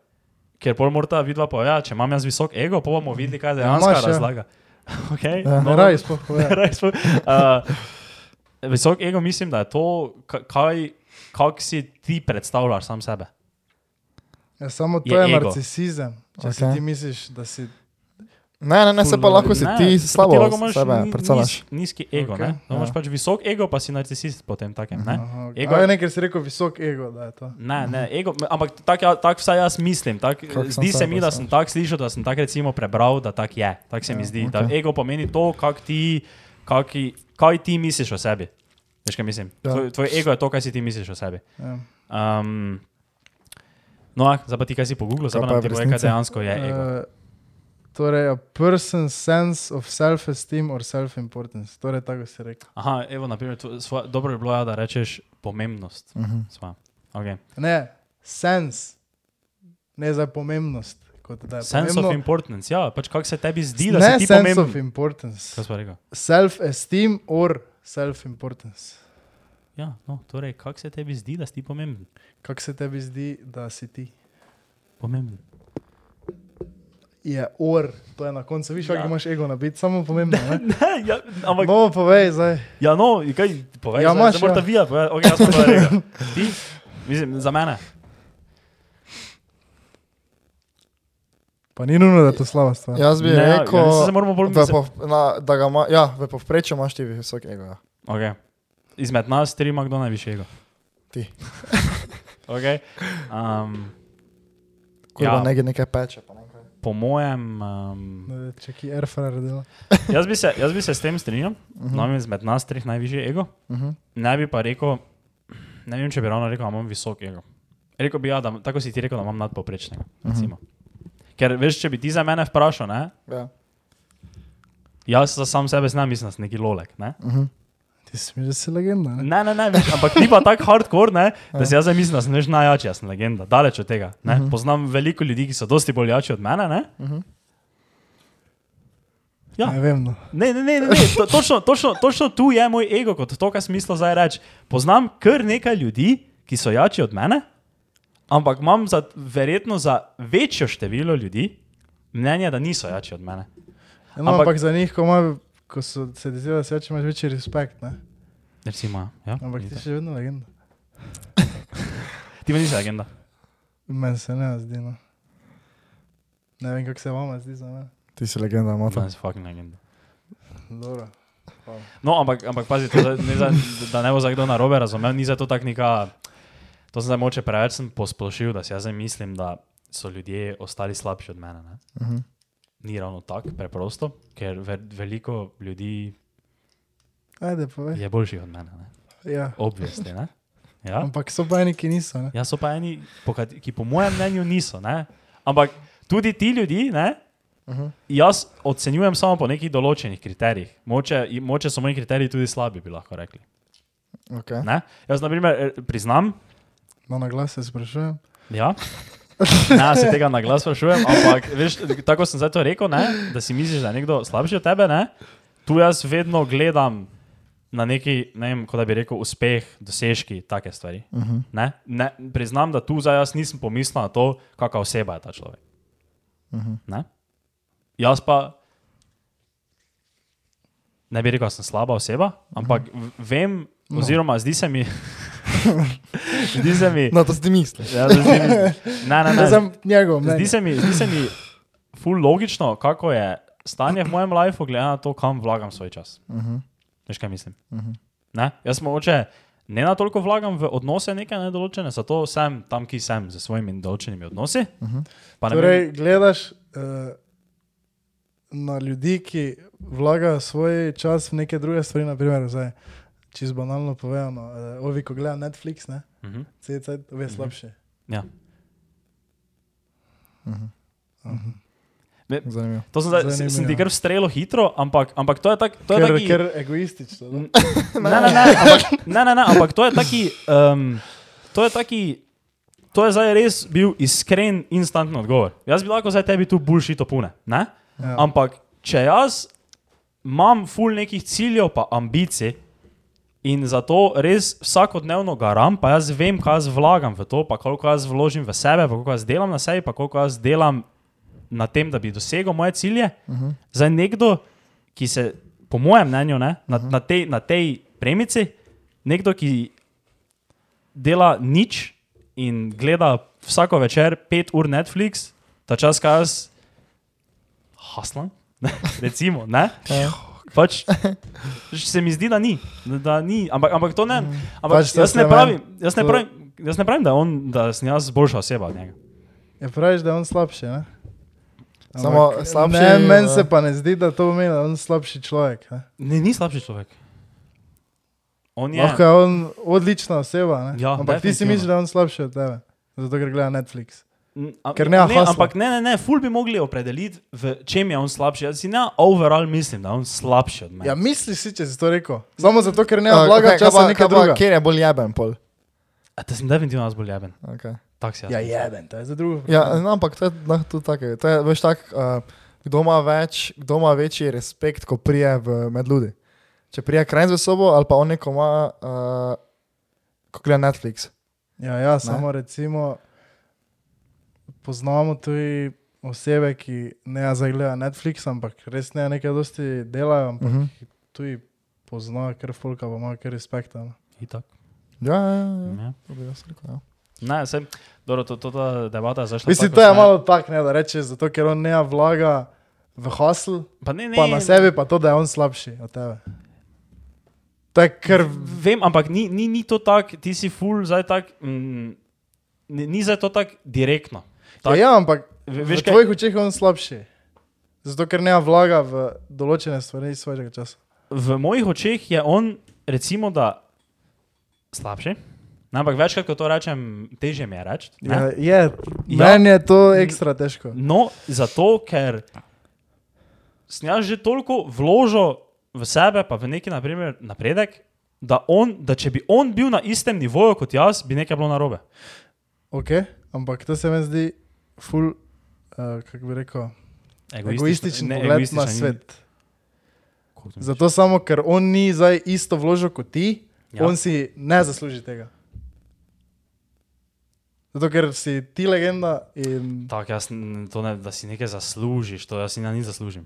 Speaker 4: Ker pol morata vidva povedati, "Ja, če imam jaz visok ego, pa bomo videli, kaj je
Speaker 3: Ja,
Speaker 4: dejansko
Speaker 3: imaš, ja.
Speaker 4: razlaga. no, Okay?
Speaker 5: Ja,
Speaker 3: Ne rabi sploh povedati.
Speaker 4: Raje smo- Uh, visok ego mislim, da je to, ka- kaj, kako si ti predstavljaš sam sebe.
Speaker 3: Ja, samo to
Speaker 4: Je
Speaker 3: je,
Speaker 4: ego.
Speaker 3: je narcisizem. Če okay. si
Speaker 5: Okej.
Speaker 3: ti misliš, da si
Speaker 5: Ne, ne, ne, se pa
Speaker 3: Ful,
Speaker 5: lahko si
Speaker 4: Ne,
Speaker 5: ti
Speaker 4: pa
Speaker 5: slabo
Speaker 4: ti lahko imaš
Speaker 5: sebe
Speaker 4: ni-
Speaker 5: predstavljaš.
Speaker 4: niz- Nizki ego, okay, ne?
Speaker 5: Okej,
Speaker 4: Ja. Imaš
Speaker 5: ja.
Speaker 4: pač visok ego, pa si narcisist potem takem, ne?
Speaker 3: Aha, okay.
Speaker 4: Ego-
Speaker 3: Ego... Nekaj si rekel, visok ego. da je to.
Speaker 4: Ne, ne, ego, ampak tako ja, tak vsaj jaz mislim. Tak,
Speaker 5: Kako
Speaker 4: zdi
Speaker 5: sem
Speaker 4: se
Speaker 5: sebe
Speaker 4: mi, da sem tako slišal, da sem tako recimo prebral, da tako je. Tako se mi zdi. Da
Speaker 5: okej.
Speaker 4: ego pomeni to, kak ti, kak, kaj ti misliš o sebi. Veš, kaj mislim?
Speaker 5: Ja.
Speaker 4: Tvoj, tvoj ego je to, kaj si ti misliš o sebi.
Speaker 3: Ja.
Speaker 4: Um, no, ah, zdaj pa ti, kaj si pogooglil, zdaj
Speaker 5: Kaj
Speaker 4: pa
Speaker 5: pa
Speaker 4: nam
Speaker 5: je
Speaker 4: ti
Speaker 5: v
Speaker 4: povej, kaj
Speaker 5: resnici?
Speaker 4: dejansko je Ja, ego.
Speaker 3: Eh, Torej, a person's sense of self-esteem or self-importance. Torej, tako si rekel.
Speaker 4: Aha, evo, naprimer, tvo- svoja, dobro bi bilo, ja, da rečeš pomembnost.
Speaker 5: Uh -huh.
Speaker 4: Svoja. Okay.
Speaker 3: Ne, sense, ne za pomembnost. Kot da je
Speaker 4: Sense of
Speaker 3: Ja, pomembno.
Speaker 4: importance, ja, pač kako se tebi zdi, da
Speaker 3: Ne
Speaker 4: si ti
Speaker 3: sense pomembno. of
Speaker 4: pomemben.
Speaker 3: importance.
Speaker 4: Kaj smo rekel?
Speaker 3: Self-esteem or self-importance.
Speaker 4: Ja, no, torej, kako se tebi zdi, da si ti pomemben?
Speaker 3: Kako se tebi zdi, da si ti?
Speaker 4: pomemben.
Speaker 3: Je or, to je na koncu, viš, kako
Speaker 4: Ja.
Speaker 3: ja. imaš ego nabit, samo pomembno. Ne?
Speaker 4: Ne, ja, ampak, no.
Speaker 3: No, povej zdaj.
Speaker 4: ja, no, in kaj poveš? Ja,
Speaker 3: Ja, imaš,
Speaker 4: imaš. Morda
Speaker 3: ja.
Speaker 4: vi, ok, jaz sem pa rekel. Ti, mislim, za mene.
Speaker 3: Pa ni nujno, da je to slaba stvar.
Speaker 5: Jaz bi
Speaker 4: Ne,
Speaker 5: ne,
Speaker 4: ja,
Speaker 5: rekel,
Speaker 4: ja, mislim, se moramo bolj-
Speaker 5: v
Speaker 4: se-
Speaker 5: pov, na, da ga ima, ja, v povprečju imaš ti visok ego. Ja.
Speaker 4: Okay. Izmed nas tri ima kdo najvišjega.
Speaker 5: Ti.
Speaker 4: okay. um,
Speaker 5: Kurva,
Speaker 4: Ja.
Speaker 5: ja. nekaj, nekaj peče. pa nekaj.
Speaker 4: po mojem, um,
Speaker 3: Ne, Če ki airfryer dela.
Speaker 4: jaz, bi se, jaz bi se s tem strinjal, uh
Speaker 5: Mhm.
Speaker 4: -huh. no, izmed nas treh najvišji ego.
Speaker 5: Uh -huh.
Speaker 4: Ne bi pa rekel, ne vem, če bi ravno rekel, da imam visok ego. Rekel bi, ja, da, tako si ti rekel, da imam nadpoprečnega. recimo. Ker veš, če bi ti za mene vprašal, ne,
Speaker 5: Ja.
Speaker 4: jaz za sam sebe znam, mislim, da sem neki lolek. Ne?
Speaker 3: Ti si mi že si legenda. Ne?
Speaker 4: Ne, ne, ne, veš, ampak ti pa tako hardcore, ne, da si jaz zdaj mislim, da sem neš najjači, jaz sem legenda, daleč od tega. Ne? Poznam veliko ljudi, ki so dosti bolj jači od mene. Ne, Ja.
Speaker 3: ne vem. No.
Speaker 4: ne, ne, ne, ne, ne. To, točno, točno, točno tu je moj ego, kot to, kar smisel zdaj reči. Poznam kar nekaj ljudi, ki so jači od mene, ampak imam za, verjetno za večjo število ljudi mnenje, da niso jači od mene.
Speaker 3: No,
Speaker 4: Ampak-
Speaker 3: ampak, ampak za njih, ko, ima, ko so se ti zdi, da se imaš večji respekt. Ne?
Speaker 4: Recimo, ja.
Speaker 3: Ampak ti si še vedno legenda.
Speaker 4: ti pa nisi legenda.
Speaker 3: Meni se ne zdi. No. Ne vem, kako se vama zdi za me.
Speaker 5: Ti si legenda,
Speaker 4: Ti
Speaker 5: motor.
Speaker 4: si fucking legenda.
Speaker 3: Dobro.
Speaker 4: No, ampak, ampak pazi, to, zdaj- ne za, da ne bo zdaj kdo narobe razumel, ni zato tako neka To sem zdaj moče preveč sem posplošil, da si jaz zdaj mislim, da so ljudje ostali slabši od mene. Ne?
Speaker 5: Uh -huh.
Speaker 4: Ni ravno tako, preprosto, ker ve veliko ljudi
Speaker 3: Ajde, povej.
Speaker 4: je boljših od mene, ne?
Speaker 3: Ja.
Speaker 4: obvesti. Ne? Ja?
Speaker 3: Ampak so pa eni, ki niso. Ne?
Speaker 4: ja, so pa eni, po kat- ki po mojem mnenju niso. Ne? Ampak tudi ti ljudje, ne?
Speaker 5: Uh -huh.
Speaker 4: jaz ocenjujem samo po nekih določenih kriterijih. Moče, moče so moji kriteriji tudi slabi, bi lahko rekli.
Speaker 5: okay.
Speaker 4: Ne? Jaz, na primer, eh, priznam,
Speaker 3: No, na glas se sprašujem.
Speaker 4: Ja. Ne, se tega na glas sprašujem, ampak veš, tako sem zdaj to rekel, ne? da si misliš, da je nekdo slabši od tebe. Ne? Tu jaz vedno gledam na neki, ne vem, kako da bi rekel, uspeh, dosežki, take stvari.
Speaker 5: Uh -huh.
Speaker 4: Ne? Ne, priznam, da tu zdaj jaz nisem pomislil na to, kakšna oseba je ta človek.
Speaker 5: Uh -huh.
Speaker 4: Ne? Jaz pa ne bi rekel, da sem slaba oseba, ampak v- vem, oziroma zdi se mi, zdi se mi,
Speaker 5: No, to si ti misliš.
Speaker 4: Ja, to zdi mi- ne, ne,
Speaker 3: Ne,
Speaker 4: ne.
Speaker 3: sem njegov, ne.
Speaker 4: Zdi se mi, zdi se mi ful logično, kako je stanje v mojem lifeu, glede na to, kam vlagam svoj čas.
Speaker 5: Uh -huh.
Speaker 4: Veš, kaj mislim?
Speaker 5: Uh
Speaker 3: Mhm.
Speaker 5: -huh.
Speaker 4: Ne? Jaz mogoče ne na toliko vlagam v odnose neke nedoločene, zato sem tam, ki sem, z svojimi določenimi odnosi.
Speaker 5: Mhm.
Speaker 4: Pa ne
Speaker 3: Torej,
Speaker 4: vem-
Speaker 3: gledaš uh, na ljudi, ki vlagajo svoj čas v neke druge stvari, naprimer, zdaj, čez banalno povedano, uh, ovi, ko gledajo Netflix, ne,
Speaker 4: Mhm.
Speaker 3: vse je ovi je slabše.
Speaker 4: Ja.
Speaker 5: Zanimivo.
Speaker 4: To sem, zdaj, se- sem ti kar strelo hitro, ampak, ampak to je tako.
Speaker 3: Ker je ker egoistično. da.
Speaker 4: Ne, ne, ne, ampak, ne, ne, ne, ampak to je taki. Um, to je taki. To je zdaj res bil iskren, instantni odgovor. Jaz bi lahko zdaj tebi tu bulši to pune. Ne?
Speaker 3: Ja.
Speaker 4: Ampak, če jaz imam ful nekih ciljev, pa ambicij in zato res vsakodnevno garam, pa jaz vem, kaj jaz vlagam v to, pa koliko jaz vložim v sebe, pa koliko jaz delam na sebi, pa koliko jaz delam na tem, da bi dosegel moje cilje. Uh -huh. Za nekdo, ki se, po mojem mnenju, ne, na, uh -huh. na, tej, na tej premici, nekdo, ki dela nič in gleda vsako večer pet ur Netflix, ta čas, kaj jaz haslam, ne, recimo. Ne? Pač, se mi zdi, da ni. Da, da ni. Ampak, ampak to ne. Ampak
Speaker 3: Pač
Speaker 4: pač
Speaker 3: to
Speaker 4: jaz, ne
Speaker 3: se
Speaker 4: pravim, jaz, ne
Speaker 3: to-
Speaker 4: pravim, jaz ne pravim, da, je on, da sem jaz boljša oseba od njega.
Speaker 3: Ja, praviš, da je on slabši. Ne?
Speaker 5: Samo
Speaker 3: Ampak,
Speaker 5: slabši,
Speaker 3: Ne, meni
Speaker 5: eh,
Speaker 3: se pa ne zdi, da to pomeni, da je on slabši človek. Ne?
Speaker 4: Ne, ni slabši človek. On je.
Speaker 3: Lahko je on odlična oseba, ne?
Speaker 4: Ja,
Speaker 3: ampak ti si
Speaker 4: definitivno.
Speaker 3: misliš, da je on slabši od tebe, zato ker gleda Netflix.
Speaker 4: N- a-
Speaker 3: Ker nema
Speaker 4: ne,
Speaker 3: hasla.
Speaker 4: ampak ne, ne, ne, ful bi mogli opredeliti, v čem je on slabši. Jaz si ne overall mislim, da je on slabši od mene.
Speaker 3: Ja, misliš si, če si to rekel. Samo zato, ker ne
Speaker 5: A,
Speaker 3: vlaga
Speaker 5: kaj-
Speaker 3: okay,
Speaker 5: kaj
Speaker 3: časa
Speaker 5: pa-
Speaker 3: v nekaj
Speaker 5: kaj pa,
Speaker 3: drugega.
Speaker 5: Kjer je bolj jeben pol?
Speaker 4: A te sem definitivno jaz bolj jeben.
Speaker 5: Okay.
Speaker 4: Tak si jaz.
Speaker 3: Ja, jeben, to je za drugo.
Speaker 5: Ja, no, ampak to je no, tudi tako. To je veš tako, uh, kdo ima več, kdo ima večji respekt, ko prije v, med ljudi. Če prije kraj za sobo ali pa on neko ima, uh, ko gleda Netflix.
Speaker 3: Ja, ja samo recimo poznamo tudi osebe, ki ne zagledajo Netflix, ampak res ne nekaj dosti delajo, ampak
Speaker 5: Uh -huh.
Speaker 3: tudi poznajo, ker folka pa ima, ker respekta. ne.
Speaker 4: Itak.
Speaker 5: Ja, ja, ja. ja.
Speaker 4: Ja.
Speaker 5: to bi jaz rekel, ja.
Speaker 4: Ne, sem, dobro, to, to, to debata je zašla.
Speaker 3: Mislim,
Speaker 4: tako,
Speaker 3: to je
Speaker 4: ne.
Speaker 3: malo tak, ne, da rečeš, zato ker on ne vlaga v hustle,
Speaker 4: Pa ne, ne,
Speaker 3: pa na sebi pa to, da je on slabši od tebe. To je
Speaker 4: Ker
Speaker 3: kar
Speaker 4: vem, ampak ni, ni, ni to tako, ti si full zdaj tak, mm, ni, ni zdaj to tako direktno.
Speaker 3: Ja,
Speaker 4: Tak.
Speaker 3: ja, ampak
Speaker 4: Ve-
Speaker 3: v
Speaker 4: veš kaj-
Speaker 3: tvojih očeh je on slabši. Zato, ker ne vlaga v določene stvari iz svojega časa.
Speaker 4: V mojih očeh je on, recimo, da slabši. Ne, ampak večkrat, ko to rečem, težje mi je reči. ne.
Speaker 3: Ja, je,
Speaker 4: Ja.
Speaker 3: meni je to ekstra težko.
Speaker 4: No, zato, ker sem jaz že toliko vložil v sebe, pa v neki naprimer, napredek, da, on, da če bi on bil na istem nivoju kot jaz, bi nekaj bilo narobe.
Speaker 3: Okay, ampak to se mi zdi ful, uh, kako bi rekel, egoističen
Speaker 4: ne,
Speaker 3: pogled na
Speaker 4: egoističen in-
Speaker 3: svet.
Speaker 4: Kako to misliš?
Speaker 3: Zato samo, ker on ni zdaj isto vložil kot ti,
Speaker 4: Ja.
Speaker 3: ja. on si ne zasluži tega. Zato, ker si ti legenda in
Speaker 4: Tako, jaz, n- to ne, da si nekaj zaslužiš, to jaz si na nič zaslužim.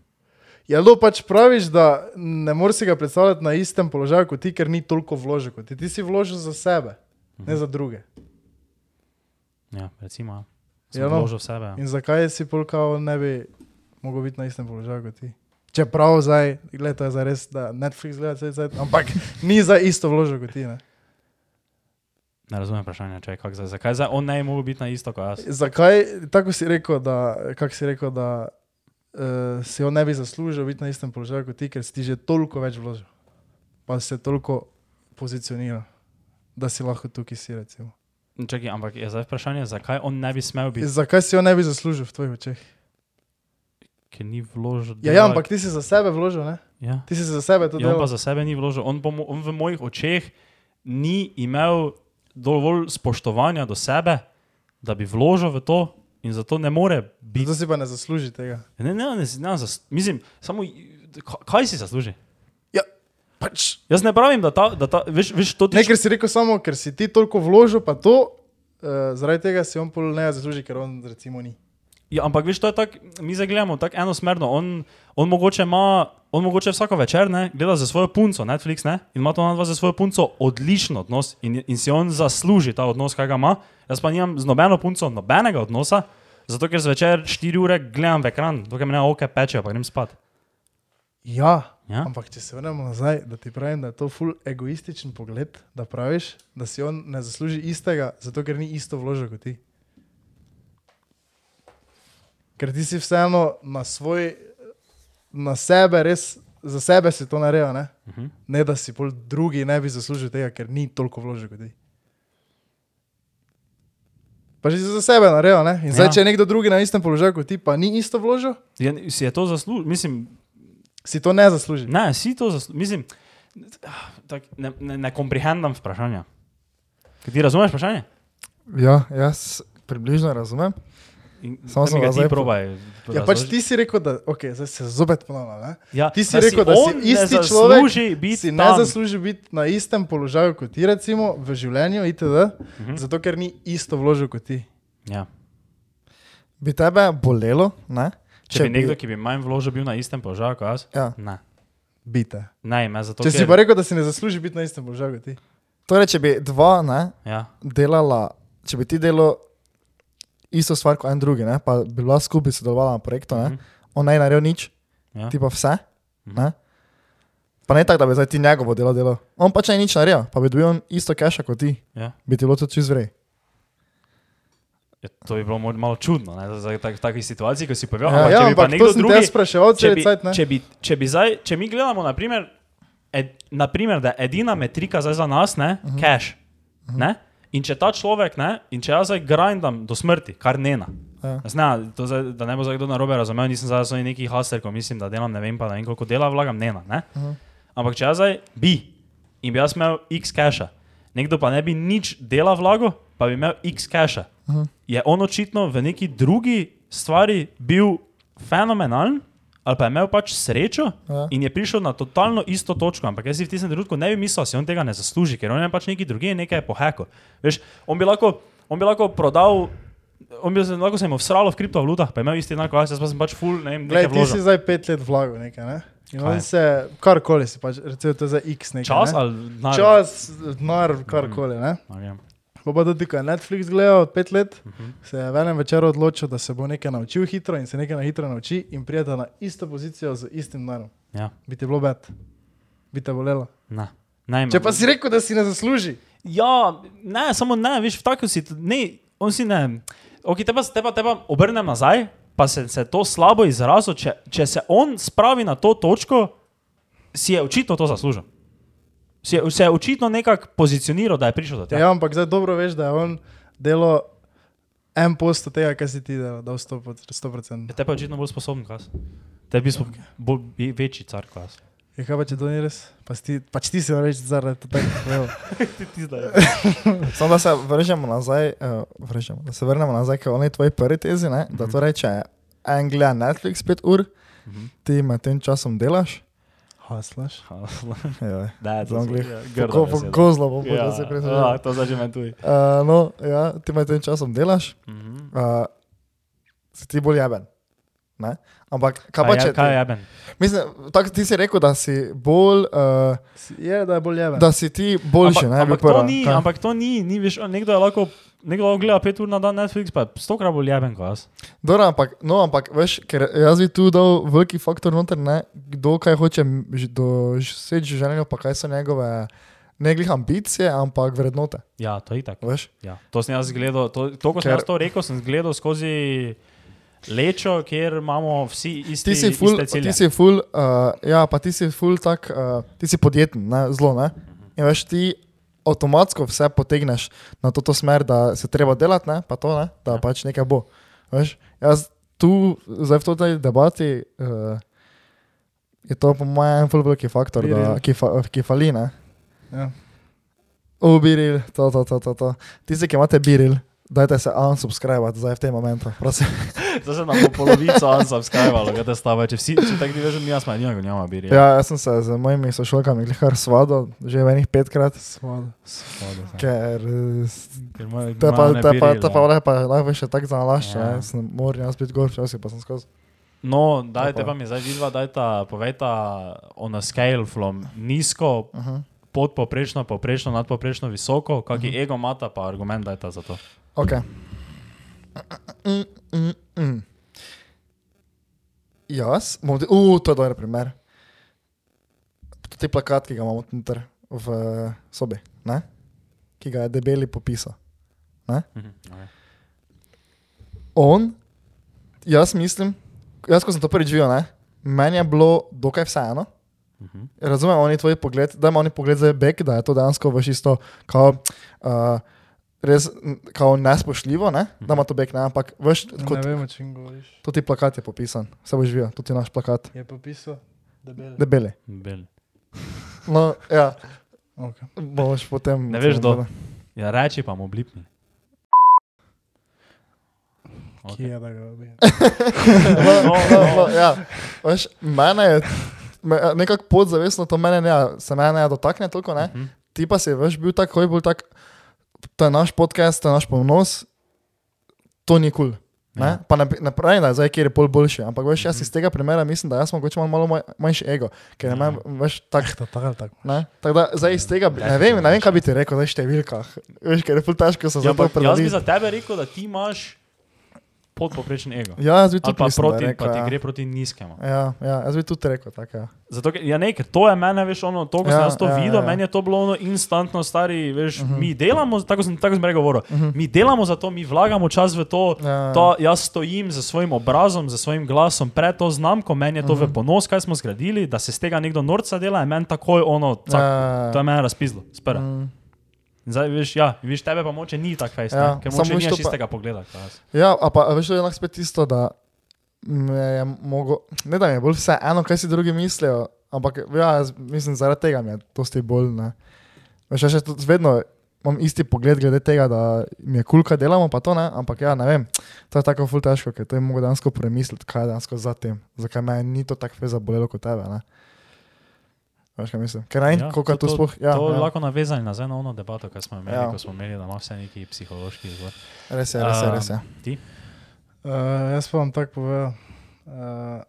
Speaker 3: jelo pač praviš, da ne moreš si ga predstavljati na istem položaju kot ti, ker ni toliko vložil kot ti. Ti si vložil za sebe, ne za druge.
Speaker 4: Ja, recimo, ja. sem
Speaker 3: Ja, no.
Speaker 4: vložil v sebe. ja.
Speaker 3: In zakaj si polkal ne bi mogel biti na istem položaju kot ti? Čeprav zdaj, gledaj, to je za res, da Netflix gleda vse zdaj, ampak ni za isto vložil kot ti. Ne?
Speaker 4: Ne razumem vprašanja, če je kako zdaj. Zakaj zdaj on ne bi mogel biti na isto kot jaz?
Speaker 3: Zakaj, tako si rekel, da, kako si rekel, da uh, si on ne bi zaslužil biti na istem položaju kot ti, ker si ti že toliko več vložil, pa se toliko pozicioniral, da si lahko tukaj si. Recimo.
Speaker 4: Čakaj, ampak je zdaj vprašanje, zakaj on ne bi smel biti,
Speaker 3: Zakaj si on ne bi zaslužil v tvojih očeh?
Speaker 4: ker ni vložil.
Speaker 3: Ja, ja, ampak ti si za sebe vložil, ne?
Speaker 4: Ja.
Speaker 3: Ti si za sebe to
Speaker 4: no, Ja, on
Speaker 3: delal.
Speaker 4: pa za sebe ni vložil. On, po, mo- on v mojih očeh ni imel dovolj spoštovanja do sebe, da bi vložil v to in zato ne more biti.
Speaker 3: Zato si pa ne zasluži tega.
Speaker 4: Ne, ne, ne, ne, ne zas, mislim, samo j- ka- kaj si zasluži?
Speaker 3: Ja, Pač.
Speaker 4: Jaz ne pravim, da ta, da ta veš, veš to ti
Speaker 3: Ne, ker si rekel samo, ker si ti toliko vložil, pa to, uh, zaradi tega si on pol ne zasluži, ker on recimo ni.
Speaker 4: Ja, ampak veš, to je tako, mi zdaj gledamo tako enosmerno. On, on, mogoče ima, on mogoče vsako večer ne, gleda za svojo punco, Netflix, ne, in ima to na dva za svojo punco odličen odnos in, in si on zasluži ta odnos, kaj ga ima. Jaz pa nimam z nobeno punco nobenega odnosa, zato ker zvečer 4 ure gledam v ekran, dokaj me ne oke peče, pa grem spat.
Speaker 3: Ja,
Speaker 4: Ja?
Speaker 3: Ampak, če se vrnemo nazaj, da ti pravim, da je to ful egoističen pogled, da praviš, da si on ne zasluži istega, zato ker ni isto vložil kot ti. Ker ti si vseeno na svoj, na sebe, res za sebe si to naredil, ne? Uh
Speaker 4: Mhm.
Speaker 3: -huh. ne da si pol drugi ne bi zaslužil tega, ker ni toliko vložil kot ti. Pa že si za sebe naredil, ne? In
Speaker 4: Ja.
Speaker 3: zdaj, ja. če je nekdo drugi na istem položaju kot ti, pa ni isto vložil,
Speaker 4: Ja, Si je to zaslužil, mislim,
Speaker 3: si to ne zasluži.
Speaker 4: ne, si to zaslužil, mislim, tak, ne, ne, ne komprehendam vprašanja. Kaj ti razumeš vprašanje?
Speaker 5: Ja, jaz približno razumem.
Speaker 4: In,
Speaker 5: Samo
Speaker 4: daj
Speaker 5: sem
Speaker 4: mi ga
Speaker 5: ga
Speaker 4: ti
Speaker 5: zdaj po-
Speaker 4: probaj.
Speaker 3: Ja, pač
Speaker 4: razložiti.
Speaker 3: ti si rekel, da okay, zdaj se zopet ponavlja. Ne?
Speaker 4: Ja,
Speaker 3: Ti si rekel, da si
Speaker 4: on ne
Speaker 3: isti
Speaker 4: zasluži
Speaker 3: človek,
Speaker 4: biti
Speaker 3: Si ne
Speaker 4: tam.
Speaker 3: zasluži biti na istem položaju kot ti, recimo v življenju, itd., uh
Speaker 4: Mhm.
Speaker 3: -huh. zato ker ni isto vložil kot ti.
Speaker 4: Ja.
Speaker 5: Bi tebe bolelo, ne?
Speaker 4: Če, če bi nekdo, ki bi manj vložil, bil na istem položaju kot jaz,
Speaker 5: Ja.
Speaker 4: ne.
Speaker 3: Bite.
Speaker 4: Ne, ima zato.
Speaker 3: Če si
Speaker 4: ker-
Speaker 3: pa rekel, da si ne zasluži biti na istem položaju kot ti.
Speaker 5: Torej, če bi dva ne,
Speaker 4: Ja.
Speaker 5: delala, če bi ti delo isto stvar kot en drugi, ne, pa bi bila skupaj sodelovala na projektu, ne,
Speaker 4: Mhm.
Speaker 5: on naj naredil nič,
Speaker 4: Ja.
Speaker 5: ti pa vse.
Speaker 4: Mhm.
Speaker 5: Ne? Pa ne tako, da bi zdaj ti njegovo delo delal. On pa če ni nič naredil, pa bi dobil on isto keša kot ti,
Speaker 4: Ja.
Speaker 5: bi ti bilo to čez vrej.
Speaker 4: Ja, to bi bilo moj- malo čudno, ne, za- za tak, v taki situaciji, ko si povedal,
Speaker 5: Ja,
Speaker 4: ampak
Speaker 3: ja,
Speaker 4: če bi pa
Speaker 3: ampak
Speaker 4: nekdo
Speaker 3: to sem
Speaker 4: drugi.
Speaker 3: te spraševal, če
Speaker 4: Če
Speaker 3: bi
Speaker 4: bi,
Speaker 3: cajt ne.
Speaker 4: če, bi, če, bi zdaj, če mi gledamo, naprimer, ed, naprimer, da je edina metrika zdaj za nas, ne, uh -huh. cash. Uh -huh. ne? In če ta človek, ne, in če jaz zdaj grindam do smrti, kar nena.
Speaker 5: Ja.
Speaker 4: Jaz Ne, to zdaj, da ne bo zdaj kdo narobe razumel, nisem zdaj samo neki haser, ko mislim, da delam ne vem, pa ne vem koliko dela vlagam, nena. Ne? Uh -huh. Ampak če jaz zdaj bi in bi jaz imel x cache, nekdo pa ne bi nič dela vlago, pa bi imel x cache, uh -huh. je on očitno v neki drugi stvari bil fenomenalen. Ali pa je imel pač srečo ja.
Speaker 5: Ja.
Speaker 4: in je prišel na totalno isto točko, ampak jaz si v tistem trenutku ne bi mislil, da si on tega ne zasluži, ker on je pač neki drugi nekaj poheko. Veš, on bi lahko, on bi lahko prodal, on bi se- lahko se jim vsralo v kriptovalutah, pa je imel isti enako, jaz jaz pa sem pač full, ne vem,
Speaker 3: Glej,
Speaker 4: nekaj
Speaker 3: ti si
Speaker 4: vložil.
Speaker 3: zdaj pet let vlagal nekaj. Ne? In
Speaker 4: Kaj?
Speaker 3: on se, karkoli si pač, recimo to je za x nekaj.
Speaker 4: Čas
Speaker 3: ne?
Speaker 4: ali denar? Mhm.
Speaker 3: Čas, denar, karkoli. Ne?
Speaker 4: Ne vem.
Speaker 3: Pa pa tudi, ko je Netflix gledal od pet let, uh
Speaker 4: Mhm.
Speaker 3: -huh. se je v enem večeru odločil, da se bo nekaj naučil hitro in se nekaj na hitro nauči in prijeta na isto pozicijo z istim denom.
Speaker 4: Ja,
Speaker 3: Bi ti bilo bed, bi te bolelo.
Speaker 4: ne. Najmanj.
Speaker 3: Če pa si rekel, da si ne zasluži,
Speaker 4: Ja, ne, samo ne, veš, v takem si, ne, on si ne. Ok, te pa, te pa, te pa obrnem nazaj, pa se, se to slabo izrazil, če, če se on spravi na to točko, si je očitno to zaslužil. Si je, se je očitno nekako pozicioniral, da je prišel do
Speaker 3: ja.
Speaker 4: tega.
Speaker 3: ja, ampak zdaj dobro veš, da je on delo en posto tega, kar si ti delal, da je 100%.
Speaker 4: Ja, te pa je očitno bolj sposoben, kaj si. Te bi smo bolj bi- večji car, kaj si.
Speaker 3: Je Ja, kaj pa če to ni res? Pa si ti, pač ti si reč zaradi tega, tako
Speaker 5: Samo da se vržemo nazaj, uh, vržemo, da se vrnemo nazaj, ker oni tvoji prvi tezi, ne,
Speaker 4: Mhm.
Speaker 5: da torej, če je en gleda Netflix 5 ur, ti med tem časom delaš.
Speaker 3: haslaš.
Speaker 5: Joj,
Speaker 4: Da, to
Speaker 5: Zdaj
Speaker 4: so-
Speaker 5: glih
Speaker 4: ja, grda
Speaker 5: Tako v
Speaker 4: beseda.
Speaker 5: gozlo bo bilo,
Speaker 4: Ja,
Speaker 5: da se
Speaker 4: ja,
Speaker 5: prezračuje.
Speaker 4: to zdaj že meni tuji.
Speaker 5: Uh, no, ja, ti med tem časom delaš,
Speaker 4: Mhm.
Speaker 5: uh, si ti bolj jeben. Ne? Ampak, kaj pa
Speaker 4: je?
Speaker 5: če?
Speaker 4: ja, Kaj je
Speaker 5: ti-
Speaker 4: jeben?
Speaker 5: Mislim, tako ti si rekel, da si bolj, uh,
Speaker 3: Je, da je bolj jeven.
Speaker 5: da si ti boljši,
Speaker 4: ampak,
Speaker 5: ne bi
Speaker 4: ampak
Speaker 5: prva.
Speaker 4: to ni,
Speaker 5: Kaj?
Speaker 4: ampak to ni, ni veš, nekdo je lahko, nekdo lahko gleda pet ur na dan Netflix, pa je stokrat bolj jeben kot jaz.
Speaker 5: Dobro, ampak, no, ampak veš, ker jaz bi tu dal veliki faktor noter, ne, kdo kaj hoče m- ž- doseči v življenju, pa kaj so njegove Ne glih ambicije, ampak vrednote.
Speaker 4: Ja, to je itak.
Speaker 5: Veš?
Speaker 4: Ja. To sem jaz gledal, to, to ko sem
Speaker 5: Ker-
Speaker 4: jaz to rekel, sem gledal skozi lečo, kjer imamo vsi isti,
Speaker 5: Ti si ful,
Speaker 4: iste cilje.
Speaker 5: ti si ful, uh, ja, pa ti si ful tak, uh, ti si podjeten, ne, zelo, ne. In veš, ti avtomatsko vse potegneš na to, to smer, da se treba delati, ne, pa to, ne, da
Speaker 4: Ja.
Speaker 5: ja. pač nekaj bo. Veš, jaz tu, zdaj v tej debati, uh, je to po mojem en ful veliki faktor, da,
Speaker 3: Viril.
Speaker 5: ki, fa, ki fali, ne.
Speaker 3: Ja.
Speaker 5: Ubiril, to, to, to, to, to. Tisti, ki imate biril, dajte se unsubscribe zdaj v tem momentu, prosim.
Speaker 4: Zdaj se nam bo polovico unsubscribalo, kaj te stava, če vsi, če tako ti veš, mi jaz manj, njima bi rekel.
Speaker 5: Ja, jaz sem se z mojimi sošolkami glihar svadil, že enih petkrat,
Speaker 3: Svada.
Speaker 5: ker eh, s-
Speaker 4: Ker moja-
Speaker 5: te pa,
Speaker 4: moja
Speaker 5: te
Speaker 4: No, ne
Speaker 5: pa,
Speaker 4: bi
Speaker 5: te pa
Speaker 4: rila.
Speaker 5: lepa, lahko še tako zanalašče,
Speaker 4: Ja.
Speaker 5: ja. sem moral jaz biti gor, včasih pa sem skozi.
Speaker 4: No, dajte
Speaker 5: Tako.
Speaker 4: pa mi zdaj vidva, dajta, povejta on a scale from nizko,
Speaker 5: Uh -huh.
Speaker 4: podpoprečno, poprečno, nadpoprečno, visoko, kaki ego imata, pa argument dajta za to.
Speaker 5: Ok. Mm, mm, mm. Jaz, bom ti- uh, to je dober primer. To je plakat, ki ga imamo noter v eh, sobi, ne? ki ga je debeli popisal.
Speaker 4: Mhm.
Speaker 5: on, jaz mislim, jaz ko sem to prvič videl, ne, meni je bilo dokaj vseeno.
Speaker 4: Mhm.
Speaker 5: Razumem, oni tvoj pogled, da ima oni pogled za bek, da je to dejansko veš isto, kao, uh, res n- kao nespošljivo, ne? da ima to bek, ne, ampak veš,
Speaker 3: Ja, Ne
Speaker 5: kot,
Speaker 3: vem, o čem govoriš.
Speaker 5: tudi plakat je popisan, se boš videl, tudi naš plakat,
Speaker 3: Je popisal, debeli.
Speaker 5: debeli.
Speaker 4: Bil.
Speaker 5: No, ja,
Speaker 3: Okay.
Speaker 5: boš potem. No,
Speaker 4: Ne veš, kdo. Ja, reči pa mu oblipni.
Speaker 3: Ki je, da ga dobi.
Speaker 5: no, no, no, ja. Veš, mene je me, nekako podzavestno, to mene ne, se mene ne dotakne toliko, ne?
Speaker 4: Mhm.
Speaker 5: ti pa si veš bil tako, bolj tak, to je naš podcast, to je naš ponos, to ni kul. Cool,
Speaker 4: Ja.
Speaker 5: ja. Pa ne, bi- ne pravim, da je zdaj kjer je pol boljši, ampak veš, jaz
Speaker 4: Mhm.
Speaker 5: iz tega primera mislim, da jaz mogoče imam malo manj, manjši ego, ker
Speaker 4: Ja.
Speaker 5: ja. imam več tak.
Speaker 3: Tako, tako ali tako.
Speaker 5: Ne? Tako da zdaj iz tega, bi-
Speaker 4: Ja.
Speaker 5: ne vem, ne vem, kaj bi ti rekel, zdaj v številkah. Veš, ker je pol težko se
Speaker 4: Ja,
Speaker 5: ja,
Speaker 4: ampak
Speaker 5: zato
Speaker 4: jaz bi
Speaker 5: predati.
Speaker 4: za tebe rekel, da ti imaš podpoprečen ego.
Speaker 5: Ja, jaz bi
Speaker 4: Ali
Speaker 5: tudi
Speaker 4: pa
Speaker 5: mislim, da
Speaker 4: proti,
Speaker 5: rekel,
Speaker 4: pa ti
Speaker 5: ja.
Speaker 4: gre proti nizkemu.
Speaker 5: Ja, ja, jaz bi tudi rekel tako. Ja.
Speaker 4: Zato, ker- ja, ne, ker to je meni, veš, ono, to, ko sem
Speaker 5: Ja,
Speaker 4: jaz to
Speaker 5: ja,
Speaker 4: videl,
Speaker 5: ja. Mhm.
Speaker 4: meni je to bilo ono instantno, stari, veš, mi delamo, tako sem, tako sem rekel, govoril, mi delamo za to, mi vlagamo čas v to,
Speaker 5: Ja, ja.
Speaker 4: to, jaz stojim za svojim obrazom, za svojim glasom, pred to znamko, meni je to v
Speaker 5: Mhm.
Speaker 4: ponos, kaj smo zgradili, da se z tega nekdo norca dela, je meni takoj ono, cak,
Speaker 5: Ja.
Speaker 4: to je meni razpizlo, spera.
Speaker 5: Mm.
Speaker 4: Zdaj, veš, ja, viš, tebe pa moče ni tako fejst,
Speaker 5: Ja,
Speaker 4: ja, ker
Speaker 5: samo
Speaker 4: moče
Speaker 5: veš
Speaker 4: nimaš
Speaker 5: to pa-
Speaker 4: istega pogleda. kot jaz.
Speaker 5: Ja, a pa a veš, da je lahko spet tisto, da me je mogo, ne da mi je bolj vse eno, kaj si drugi mislijo, ampak ja, jaz mislim, zaradi tega mi je to sti bolj. Ne. Veš, jaz še tudi vedno imam isti pogled glede tega, da mi je kul, kaj delamo, pa to ne, ampak ja, ne vem, to je tako ful težko, ker to je mogo dejansko premisliti, kaj je dejansko za tem, zakaj me ni to tako fez zabolelo kot tebe. Ne. Veš, kaj mislim? Ker ne vem,
Speaker 4: Ja,
Speaker 5: koliko je to sploh. Ja,
Speaker 4: to
Speaker 5: ja,
Speaker 4: lahko navezali nazaj na ono debato, ki smo imeli,
Speaker 5: Ja.
Speaker 4: ko smo imeli, da ima vse neki psihološki izvor.
Speaker 5: res je, res je,
Speaker 4: Um,
Speaker 5: res je.
Speaker 3: Uh, jaz pa vam tako povem. Uh,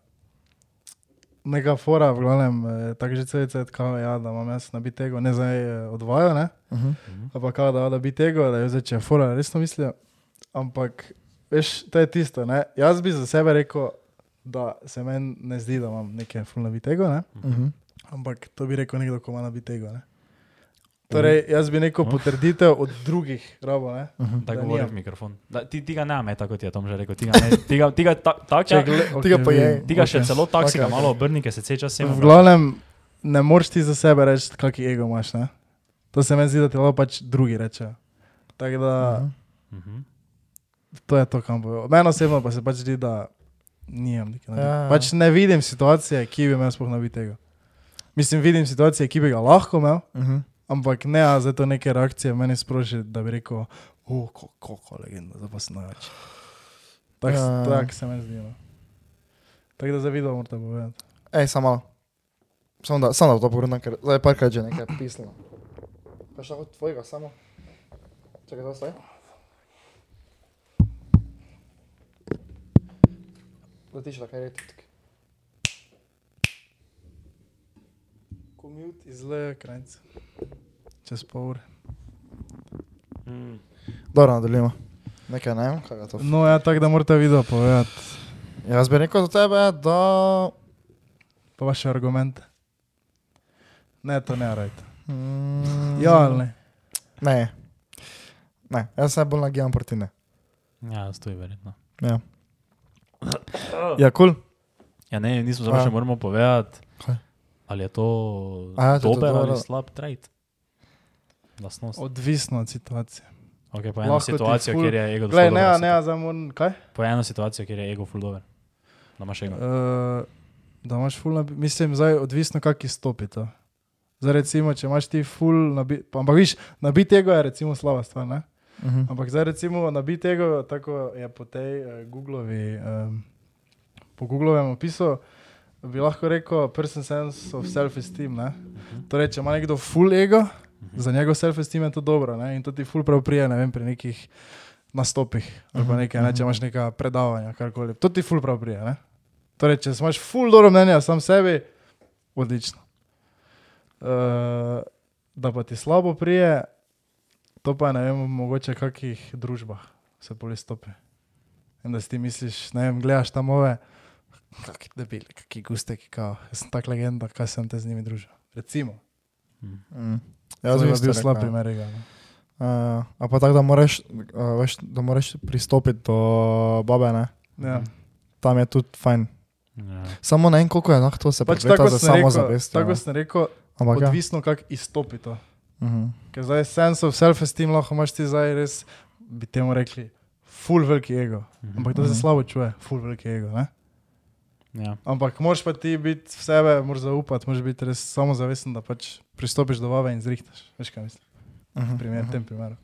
Speaker 3: Neka fora, v glavnem, eh, tako že cel cel kao, ja, da imam jaz na bitego, ne zdaj eh, odvajo, ne,
Speaker 5: Uh -huh.
Speaker 3: ampak kao, da, da bitego, da jo zdaj če fora resno mislijo. Ampak, veš, to je tisto, ne, jaz bi za sebe rekel, da se meni ne zdi, da imam neke ful na bitego, ne,
Speaker 4: Ehm.
Speaker 5: Uh -huh.
Speaker 3: ampak to bi rekel nekdo, ko ima na bitego, ne. Torej,
Speaker 4: Mhm.
Speaker 3: jaz bi neko potrditev od drugih rabo, ne.
Speaker 4: Da
Speaker 3: Da
Speaker 4: govori
Speaker 3: nimam.
Speaker 4: v mikrofon. Da, ti, ti ga ne ame, tako ti je Tom že rekel. Ti ga, ne, ti ga, ti ga, ta, tak, ja,
Speaker 5: Tega
Speaker 3: okej,
Speaker 5: pa je.
Speaker 3: vem.
Speaker 4: ti ga še
Speaker 3: Okej.
Speaker 4: celo tako si ga
Speaker 5: okej,
Speaker 4: malo obrni, ker se cel čas sem.
Speaker 3: V glavnem, ne moreš ti za sebe reči, kakšen ego imaš. Ne? To se meni zdi, da ti lahko pač drugi rečejo. Tako da
Speaker 5: Mhm.
Speaker 4: Mhm.
Speaker 3: to je to, kam bojo. Meni osebno pa se pač zdi, da nimam nekaj.
Speaker 5: Ja,
Speaker 3: Ja.
Speaker 5: ja.
Speaker 3: Pač ne vidim situacije, ki bi imel sploh nabi tega. Mislim, vidim situacije, ki bi ga lahko imel,
Speaker 5: Uh -huh.
Speaker 3: ampak ne, a zato neke reakcije meni sproži, da bi rekel, oh, kako legenda, zdaj pa sem največ. Tako
Speaker 5: Ja.
Speaker 3: ja. tak se meni zdi. No. Tako da zavidam, morate povedati.
Speaker 5: Ej, samo malo. Samo da, samo da to pogledam, ker zdaj je parkrat že nekaj pisno. Pa še od tvojega samo. Čakaj, da staj. Letiš, da kaj je tudi.
Speaker 3: Komut iz Leja Krajca. Čez pol ure.
Speaker 5: Dobro, nadaljujemo. Nekaj ne vem, kaj je to.
Speaker 3: No, ja, tako da morate video povedati,
Speaker 5: Jaz bi rekel za tebe, da...
Speaker 3: pa vaše argumente. Ne, to ne rajte.
Speaker 5: Mm,
Speaker 3: Ja, ali ne?
Speaker 5: Ne. ne. Jaz se bolj nagijam proti ne.
Speaker 4: Ja, stoji verjetno.
Speaker 5: Ja, ja kul. Cool.
Speaker 4: Ja, ne, nismo
Speaker 5: Ja.
Speaker 4: samo še moramo povedati,
Speaker 5: Kaj?
Speaker 4: ali je to
Speaker 5: A ja, to je to
Speaker 4: dober ali
Speaker 5: dobro.
Speaker 4: slab trade. Lastnost.
Speaker 3: Odvisno od situacije.
Speaker 4: Okay, po eno
Speaker 3: lahko ti
Speaker 4: situacijo,
Speaker 3: ful-
Speaker 4: kjer je ego
Speaker 3: Glej,
Speaker 4: dober.
Speaker 3: ne, a ne,
Speaker 5: ja.
Speaker 3: a zdaj moram. Kaj?
Speaker 4: Po eno situacijo, kjer je ego full dober. Da imaš
Speaker 5: Ja.
Speaker 4: ego.
Speaker 3: Eh, da imaš ful, nabi- mislim, zdaj odvisno, kak izstopi to. Zdaj, recimo, če imaš ti ful, nabi, pa- ampak viš, nabit ego je recimo slaba stvar, ne?
Speaker 5: Uh
Speaker 2: Mhm.
Speaker 5: -huh.
Speaker 3: Ampak zdaj, recimo, nabit ego, tako je po tej uh, Googlovi, um, po Googlovem opisu, bi lahko rekel person sense of self-esteem, ne? Torej, če ima nekdo full ego, za njegov self-esteem je to dobro, ne? In to ti ful prav prije, ne vem, pri nekih nastopih ali pa nekaj, ne? Če imaš neka predavanja, karkoli. To ti ful prav prije, ne? Torej, če imaš ful dobro mnenje o sam sebi, odlično. Uh, da pa ti slabo prije, to pa je, ne vem, mogoče v kakih družbah se bolj stopi. In da si ti misliš, ne vem, gledaš tam ove, kakšni debeli, kakšni gusteki, kao, jaz sem tak legenda, kaj sem te z njimi družil. Recimo,
Speaker 4: Mhm.
Speaker 5: mm.
Speaker 3: jaz
Speaker 5: Jaz
Speaker 3: bi
Speaker 5: bi
Speaker 3: bil slab primer. no. Ega, ne.
Speaker 5: Uh, a pa tako, da moraš, uh, veš, da moraš pristopiti do babe, ne?
Speaker 3: ja.
Speaker 5: Mhm. tam je tudi fajn.
Speaker 4: Ja.
Speaker 5: Samo ne vem, koliko je lahko to se
Speaker 3: pač
Speaker 5: prepleta
Speaker 3: tako
Speaker 5: za ja.
Speaker 3: sem
Speaker 5: samo
Speaker 3: rekel,
Speaker 5: zavest.
Speaker 3: tako sem rekel
Speaker 5: Ampak ja.
Speaker 3: odvisno, kako izstopi to.
Speaker 5: Uh -huh.
Speaker 3: Ker zdaj sense of self-esteem lahko imaš ti zdaj res, bi temu rekli, full veliki ego. Ampak to se
Speaker 5: Mhm.
Speaker 3: slabo čuje, full veliki ego. Ne?
Speaker 4: Ja.
Speaker 3: Ampak moraš pa ti biti v sebe, moraš zaupati, moraš biti res samozavesten, da pač pristopiš do vave in zrihtaš. Veš kaj mislim?
Speaker 5: Uh
Speaker 3: V primer, v tem primeru.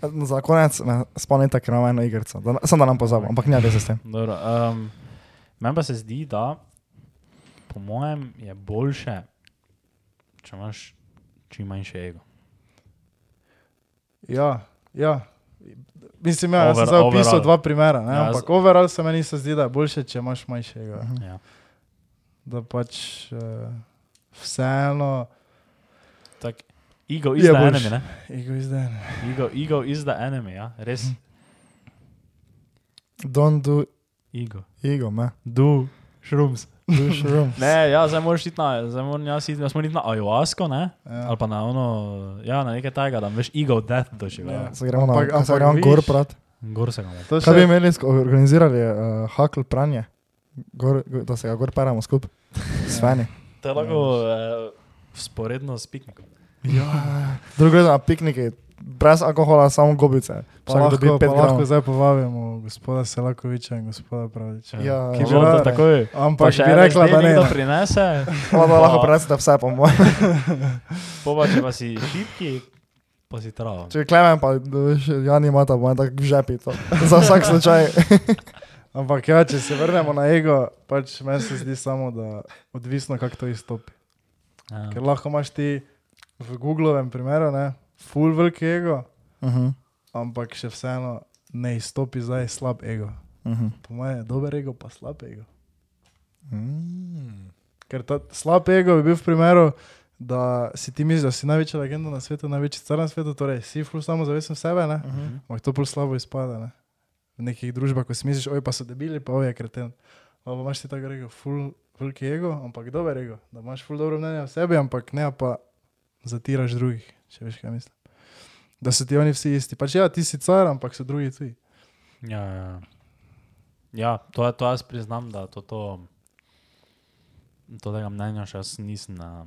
Speaker 5: -huh. Eh, Za konec, ne, spomnite, ker imamo eno igrico. Da, sem da nam pozabo, ampak ne veze s tem.
Speaker 4: Dobro, um, meni pa se zdi, da po mojem je boljše, če imaš čim manjše ego.
Speaker 3: Ja, ja. Mislim, ja, jaz sem
Speaker 4: Over-
Speaker 3: zdaj opisal
Speaker 4: overall.
Speaker 3: dva primera, ne?
Speaker 4: Ja,
Speaker 3: ampak
Speaker 4: z-
Speaker 3: overall se meni se zdi, da je boljše, če imaš manjšega.
Speaker 4: Ja.
Speaker 3: Da pač uh, vseeno,
Speaker 4: Tak, ego
Speaker 3: Je
Speaker 4: is the
Speaker 3: boljše.
Speaker 4: enemy, ne?
Speaker 3: egoizden.
Speaker 4: Ego, ego is the enemy, ja, res.
Speaker 3: Hm.
Speaker 5: Don't do
Speaker 4: Ego.
Speaker 5: ego, me.
Speaker 4: Do shrooms.
Speaker 5: Do shroom.
Speaker 4: Ne, ja, zdaj moraš iti na, zdaj moram jaz iti, jaz moram iti na ajuasko, ne?
Speaker 3: Ja.
Speaker 4: Ali pa na ono, ja, na nekaj tega, da veš ego death doživel.
Speaker 3: Ja.
Speaker 4: Ja.
Speaker 5: Se gremo
Speaker 3: Ampak-
Speaker 5: na se
Speaker 3: ampak
Speaker 5: gremo
Speaker 3: vidiš-
Speaker 5: gor, brat.
Speaker 4: Gor se ga mora.
Speaker 3: To
Speaker 5: Kaj bi
Speaker 3: še,
Speaker 5: imeli, sk- organizirali uh, hakl pranje, gor, go- da se ga gor paramo skupaj. Sveni.
Speaker 4: To je lahko
Speaker 3: Ja.
Speaker 4: eh, sporedno s piknikom.
Speaker 5: Ja. Drugo je na pikniki, brez alkohola, samo gobice.
Speaker 3: pa
Speaker 5: Vsak dobi
Speaker 3: lahko, pa
Speaker 5: pet
Speaker 3: lahko
Speaker 5: gramov.
Speaker 3: zdaj povabimo gospoda Selakoviča in gospoda Pravdiča.
Speaker 5: Ja,
Speaker 4: ki
Speaker 5: ja.
Speaker 4: bi lahko takoj.
Speaker 3: Ampak bi rekla, da ne.
Speaker 4: To prinese.
Speaker 5: Hvala, da lahko
Speaker 4: Pa-
Speaker 5: prenesete vse, po mojem.
Speaker 4: Poba, če pa si šipki, pa si trava.
Speaker 5: Če klemem, pa da veš, Jan ima ta, ima tako v žepi. To. Za vsak slučaj.
Speaker 3: Ampak ja, če se vrnemo na ego, pač meni se zdi samo, da odvisno, kako to izstopi.
Speaker 4: Ja.
Speaker 3: Ker lahko imaš ti v Googlovem primeru, ne, full veliki ego,
Speaker 5: Uh -huh.
Speaker 3: ampak še vseeno ne izstopi zdaj slab ego.
Speaker 5: Uh -huh.
Speaker 3: Po mojem je dober ego, pa slab ego.
Speaker 5: Mm.
Speaker 3: Ker ta slab ego bi bil v primeru, da si ti misliš, da si največja legenda na svetu, največji car na svetu, torej si full samozavesten sebe, ne?
Speaker 4: Mhm.
Speaker 3: Ampak to bolj slabo izpada, ne? V nekih družbah, ko si misliš, oj pa so debili, pa oj je kreten. Ali pa imaš ti tako rekel, full veliki ego, ampak dober ego, da imaš full dobro mnenje o sebi, ampak ne pa zatiraš drugih, če veš kaj mislim. Da so ti oni vsi isti. Pač ja, ti si car, ampak so drugi tuji.
Speaker 4: Ja, ja, ja. ja to, je- to jaz priznam, da to, to, to tega Torej, mnenja še jaz nisem na,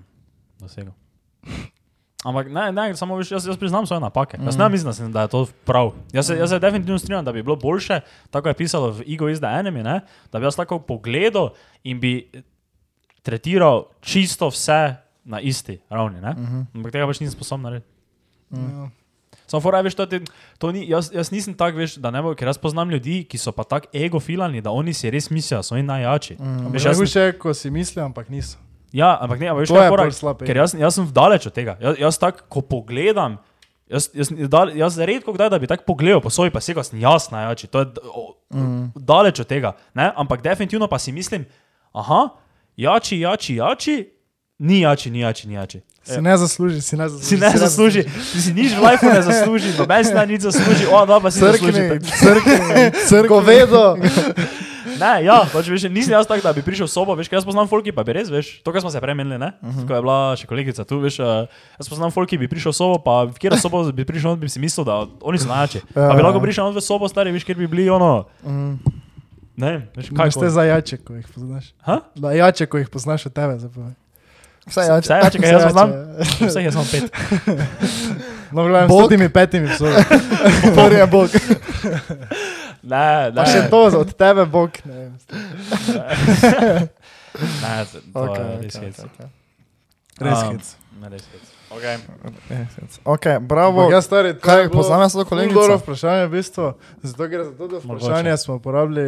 Speaker 4: dosegel. Ampak ne, ne, samo veš, jaz, jaz priznam svoje napake. Jaz ne mislim, da, sem, da je to prav. Jaz se, jaz se definitivno strinjam, da bi bilo boljše, tako je pisalo v Ego is the Enemy, ne? da bi jaz tako pogledal in bi tretiral čisto vse na isti ravni. ne. Ampak tega pač nisem sposoben narediti. Ja.
Speaker 3: Mm.
Speaker 4: Samo fora, je, veš, to, ti, to ni, jaz, jaz nisem tak, veš, da ne bo, ker jaz poznam ljudi, ki so pa tako egofilani, da oni si res mislijo, da so oni najjači. Mm.
Speaker 3: Ampak
Speaker 4: Veš, jaz,
Speaker 3: še
Speaker 4: sem-
Speaker 3: še, ko si mislijo, ampak niso.
Speaker 4: ja, ampak ne, ampak veš,
Speaker 3: To
Speaker 4: kaj
Speaker 3: je
Speaker 4: fora,
Speaker 3: bolj slab ja. ego.
Speaker 4: ker jaz, jaz sem daleč od tega. Ja, Jaz, jaz tako, ko pogledam, jaz, jaz, jaz, jaz redko kdaj, da bi tako pogledal po sobi, pa si ga sem jaz najjači. To je d- o, mm. daleč od tega. Ne? Ampak definitivno pa si mislim, aha, jači, jači, jači, ni jači, ni jači, ni jači.
Speaker 3: Si ne zasluži, si ne zasluži.
Speaker 4: Si ne zasluži, ti si nič v lifeu ne zasluži, noben si ne nič zasluži, o, da pa si zasluži.
Speaker 5: Crkni, crkni, crkni.
Speaker 3: Ko vedo,
Speaker 1: Ne, ja, pač veš, nisem jaz tak, da bi prišel v sobo, veš, ker jaz poznam folki, pa bi res, veš, to, kar smo se prej menili, ne, uh
Speaker 3: Mhm.
Speaker 1: -huh. ko je bila še kolegica tu, veš, eh, jaz poznam folki, bi prišel v sobo, pa v kjer sobo bi prišel, bi si mislil, da oni so najjači.
Speaker 3: Ja,
Speaker 1: Pa bi lahko prišel v sobo, stari, veš, kjer bi bili, ono,
Speaker 3: Mm.
Speaker 1: ne, veš, kaj
Speaker 3: Kaj ste
Speaker 1: kot-
Speaker 3: za jače, ko jih poznaš?
Speaker 1: Ha?
Speaker 3: Da, jače, ko jih poznaš od tebe, zapovaj.
Speaker 5: Vse je jače.
Speaker 1: Vse, ja, čekaj, jaz poznam, vseh je samo pet.
Speaker 3: No, gledam,
Speaker 5: Bog.
Speaker 3: s temi petimi psovi.
Speaker 5: Prvi je bog.
Speaker 1: Ne, ne,
Speaker 3: Pa še to, za- od tebe, bog. Ne, vem.
Speaker 1: ne, to okay, je
Speaker 5: Okay,
Speaker 1: res
Speaker 5: okay,
Speaker 1: hec.
Speaker 5: okay.
Speaker 3: res
Speaker 1: Um,
Speaker 3: hec.
Speaker 1: Ne, res hec. Okay.
Speaker 5: ok,
Speaker 3: Ampak
Speaker 5: bravo.
Speaker 3: Jaz stari, to je
Speaker 5: Kaj,
Speaker 3: bilo
Speaker 5: poznam jaz to
Speaker 3: ful Dobro
Speaker 5: kolegico.
Speaker 3: vprašanje, v bistvu. Zato gre za to, da
Speaker 4: Mogoče.
Speaker 3: vprašanje smo uporabili.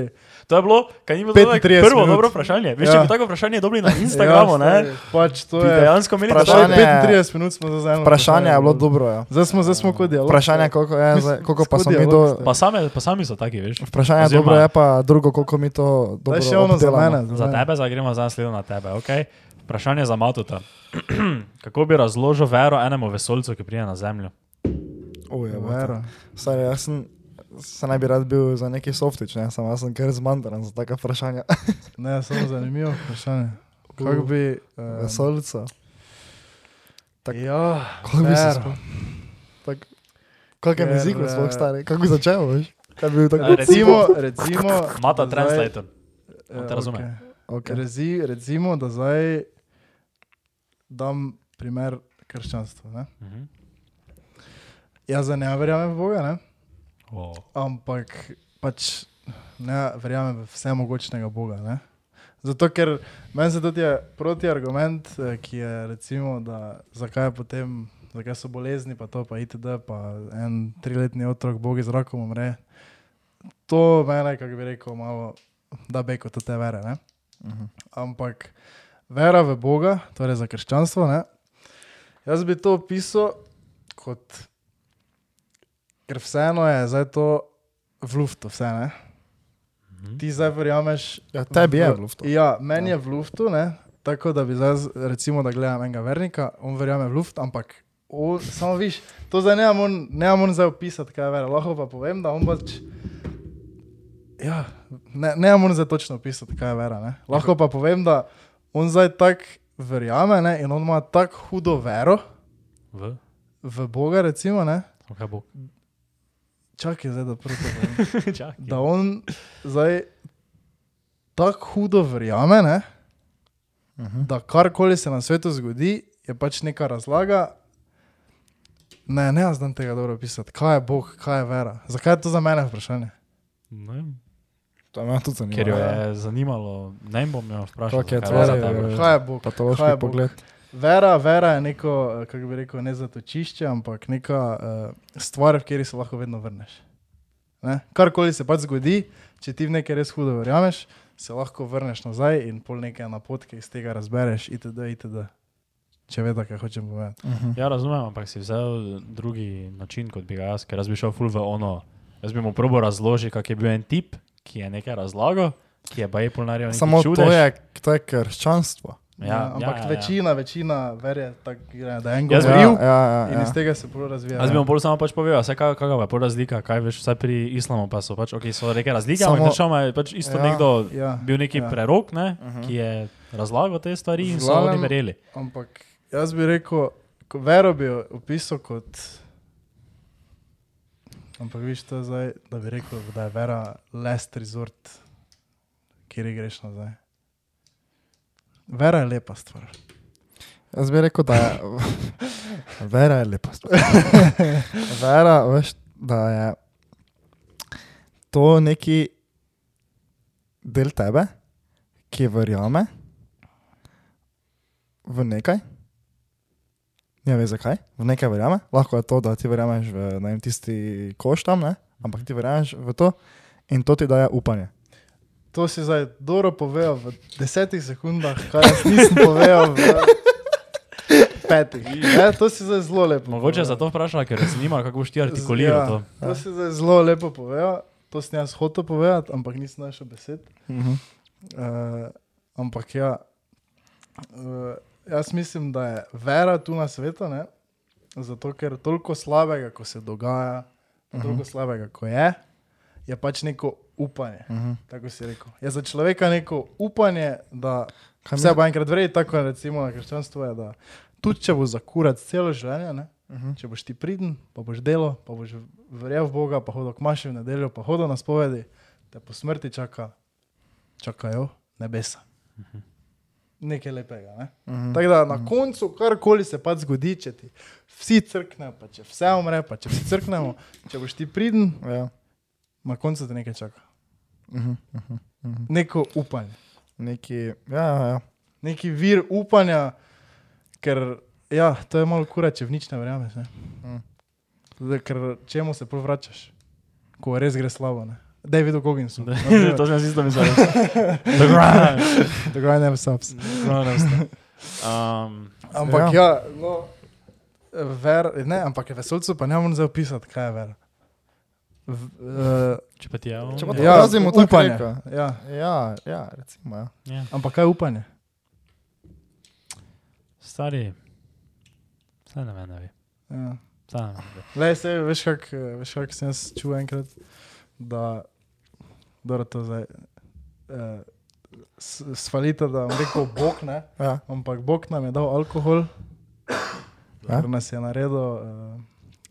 Speaker 1: To je bilo, kaj ni bilo tako
Speaker 3: 35
Speaker 1: prvo
Speaker 3: minut.
Speaker 1: dobro vprašanje. Veš, ja. če
Speaker 3: Ja.
Speaker 1: bi tako vprašanje dobili na Instagramu,
Speaker 3: Ja,
Speaker 1: ne,
Speaker 3: stari, Pač to
Speaker 1: bi
Speaker 3: je.
Speaker 1: dejansko imeli
Speaker 5: Vprašanje-
Speaker 1: vprašanje.
Speaker 3: Stari, 35 minut smo za eno.
Speaker 5: Vprašanje je bilo dobro. Ja.
Speaker 3: Zdaj smo, zdaj smo kot dialog.
Speaker 5: Vprašanje, koliko, je, zdaj, koliko pa smo mi
Speaker 3: Skudi
Speaker 5: do...
Speaker 3: dialog ste.
Speaker 4: Pa, same, pa sami so taki, veš.
Speaker 5: Vprašanje je
Speaker 4: Oziroma-
Speaker 5: dobro, je pa drugo, koliko mi to dobro no.
Speaker 3: Zdaj še ono za
Speaker 5: obdelamo.
Speaker 3: mene.
Speaker 4: Za tebe, zdaj gremo zdaj sledo na tebe. Okay? Vprašanje za Matuta. Kako bi razložil vero enemu vesolcu, ki pride na Zemljo?
Speaker 5: Ujej,
Speaker 3: Vero.
Speaker 5: Stari, jaz sem, se naj bi rad bil za neki softič, ne? samo jaz sem kar zmandaran za taka vprašanja.
Speaker 3: Ne, samo zanimivo vprašanje. Kako bi... eh,
Speaker 5: Vesolca. Tak-
Speaker 3: Ja,
Speaker 5: Kako bi se
Speaker 3: vero.
Speaker 5: spomnil? Kakšen
Speaker 3: Ker,
Speaker 5: jezik
Speaker 3: eh,
Speaker 5: sploh stari? Kako bi začel, veš? Kaj bi bil tako?
Speaker 1: Eh,
Speaker 3: Recimo, recimo...
Speaker 4: Mata
Speaker 3: da zdaj-
Speaker 4: translator.
Speaker 3: eh,
Speaker 4: on te razume.
Speaker 3: okej.
Speaker 5: Okay.
Speaker 3: Rezi, recimo, da zdaj dam primer krščanstva. Ne?
Speaker 4: Mhm.
Speaker 3: Jaz zdaj ne verjamem v Boga, ne?
Speaker 4: Wow.
Speaker 3: ampak pač ne verjamem v vse mogočnega Boga. Ne? Zato, ker meni se tudi je protiargument, eh, ki je recimo, da zakaj je potem. Zakaj so bolezni, pa to, pa itd., pa en triletni otrok, bogi z rakom umre. To mene, kako bi rekel, malo da beko, to te vere. Ne? ampak vera v Boga, torej za krščanstvo. Ne? Jaz bi to opisal kot, ker vseeno je zdaj to v luftu, vse ne. Ti zdaj verjameš.
Speaker 5: Ja, tebi je
Speaker 3: v-
Speaker 5: v luftu.
Speaker 3: Ja, meni je v luftu, ne? tako da bi zdaj, z- recimo, da gledam enega vernika, on verjame v luft, ampak. O, samo viš, to zdaj ne morem- ne morem zdaj opisati, kaj je vera. Lahko pa povem, da on pač. Ja, ne, ne morem zdaj točno opisati, kaj je vera. Ne? Lahko pa povem, da on zdaj tako verjame ne? in on ima tako hudo vero
Speaker 4: V?
Speaker 3: v Boga, recimo, ne?
Speaker 4: Kaj bo?
Speaker 3: čakaj zdaj, da prvo povem.
Speaker 4: Čakaj.
Speaker 3: Da on zdaj tako hudo verjame, ne?
Speaker 5: Mhm.
Speaker 3: da karkoli se na svetu zgodi, je pač neka razlaga. Ne, ne znam tega dobro opisati. Kaj je Bog, kaj je vera? Zakaj je to za mene vprašanje?
Speaker 4: Ne vem.
Speaker 5: To me tudi ja. zanima.
Speaker 4: Ker jo je zanimalo, ne vem, bom jo vprašal.
Speaker 5: Kako je
Speaker 4: zakaj
Speaker 5: tvoje-
Speaker 4: je za tebe.
Speaker 5: Ja.
Speaker 3: Kaj je Bog?
Speaker 5: Patološki
Speaker 3: Kaj je Bog?
Speaker 5: pogled.
Speaker 3: Vera, vera je neko, eh, kako bi rekel, ne zatočišče, ampak neka uh, stvar, v kateri se lahko vedno vrneš. Ne? Karkoli se pač zgodi, če ti v nekaj res hudo verjameš, se lahko vrneš nazaj in pol neke napotke iz tega razbereš, itd. itd. Če veš, kaj hočem povedati.
Speaker 4: Ja, razumem, ampak si vzel drugi način, kot bi ga jaz, ker jaz bi šel ful v ono. Jaz bi mu probo razložil, kak je bil en tip, ki je nekaj razlagal, ki je baje polnarijo.
Speaker 5: Samo to je, to je krščanstvo.
Speaker 4: Ja,
Speaker 3: ampak
Speaker 4: ja,
Speaker 3: ja,
Speaker 4: ja.
Speaker 3: večina, ja. večina verje, tak, gre, da je en
Speaker 4: Jaz
Speaker 3: govoril
Speaker 4: bi-
Speaker 3: ja, ja,
Speaker 5: ja,
Speaker 3: ja. in
Speaker 5: ja,
Speaker 3: iz
Speaker 5: ja.
Speaker 3: tega se prav razvija.
Speaker 4: Jaz bi mu bolj samo pač povedal, vse kaj, kakava je pol razlika, kaj veš, vse pri islamu pa so pač, ok, so neke razlike,
Speaker 5: Samo-
Speaker 4: ampak načeloma je pač isto ja,
Speaker 5: Ja,
Speaker 4: nekdo,
Speaker 3: ja,
Speaker 4: bil neki
Speaker 3: ja.
Speaker 4: ja. prerok, ne,
Speaker 2: Mhm.
Speaker 5: Mhm.
Speaker 4: uh -huh. ki je razlagal te stvari in so
Speaker 3: Zglavnem-
Speaker 4: oni verjeli.
Speaker 3: Ampak jaz bi rekel, ko- vero bi jo opisal kot. Ampak viš to je zdaj, da bi rekel, da je vera last resort, kjer greš nazaj. Vera je lepa stvar.
Speaker 5: Jaz bi rekel, da je vera je lepa stvar. vera, veš, da je to neki del tebe, ki verjame v nekaj. Ne veš zakaj, v nekaj verjame. Lahko je to, da ti verjameš v ne vem, tisti koš tam, ne? ampak ti verjameš v to in to ti daje upanje.
Speaker 3: To si zdaj dobro povedal v desetih sekundah, kar jaz nisem povedal v petih. Ne, to si zdaj zelo lepo.
Speaker 4: Mogoče je
Speaker 3: povedal.
Speaker 4: zato vprašala, ker se nima, kako boš ti artikuliral ja. to.
Speaker 3: To si zdaj zelo lepo povedal, to sem jaz hotel povedati, ampak nisem našel besed.
Speaker 5: Mhm.
Speaker 3: Uh, ampak ja, uh, jaz mislim, da je vera tu na svetu, ne? zato ker toliko slabega, ko se dogaja, pa toliko slabega, ko je, je pač neko upanje.
Speaker 5: Uh -huh.
Speaker 3: Tako si rekel. Je za človeka neko upanje, da
Speaker 5: Kaj
Speaker 3: vse bo enkrat vredno, tako recimo na krščanstvu je, da tudi če boš zakurat celo življenje, ne,
Speaker 5: Uh -huh.
Speaker 3: če boš ti pridn, pa boš delo, pa boš verjel v Boga, pa hodil k maši v nedeljo, pa hodil na spovedi, te po smrti čaka, čakajo nebesa. Nekaj lepega. Ne?
Speaker 5: Mhm.
Speaker 3: Tako da na koncu, karkoli se pač zgodi, če ti vsi crknejo, pa če vse umre, pa če vsi crknemo, če boš ti pridn,
Speaker 5: Ja.
Speaker 3: na koncu te nekaj čaka.
Speaker 5: Uh -huh.
Speaker 3: Neko upanje.
Speaker 5: Neki, ja, ja, ja.
Speaker 3: neki vir upanja, ker ja, to je malo kurače, v nič ne verjameš. Ne?
Speaker 5: Mm.
Speaker 3: Zdaj, ker čemu se prav vračaš, ko res gre slabo. Ne? David Goggins,
Speaker 4: to sem si isto mislil.
Speaker 5: The grind never stops.
Speaker 4: Um,
Speaker 3: Ampak ja, ja no, ver, ne, ampak je vesolcu pa ne morem zdaj opisati, kaj je ver. V, uh,
Speaker 4: če pa ti je ja. on.
Speaker 5: Če pa
Speaker 4: je-
Speaker 5: ti- razimo tako
Speaker 3: upanje.
Speaker 5: reka.
Speaker 3: Ja.
Speaker 5: Ja, ja, recimo. Ja.
Speaker 3: Ampak kaj je upanje?
Speaker 4: Stari, saj ne vem, ne ve.
Speaker 3: Ja.
Speaker 4: Saj ne vem, ne ve.
Speaker 3: Lej, se, veš, kako kak sem jaz čutil enkrat, da dobro, to zdaj eh, s- svalita, da vam rekel Bog, ne?
Speaker 5: Ja.
Speaker 3: ampak Bog nam je dal alkohol,
Speaker 5: Ja.
Speaker 3: ker nas je naredil eh,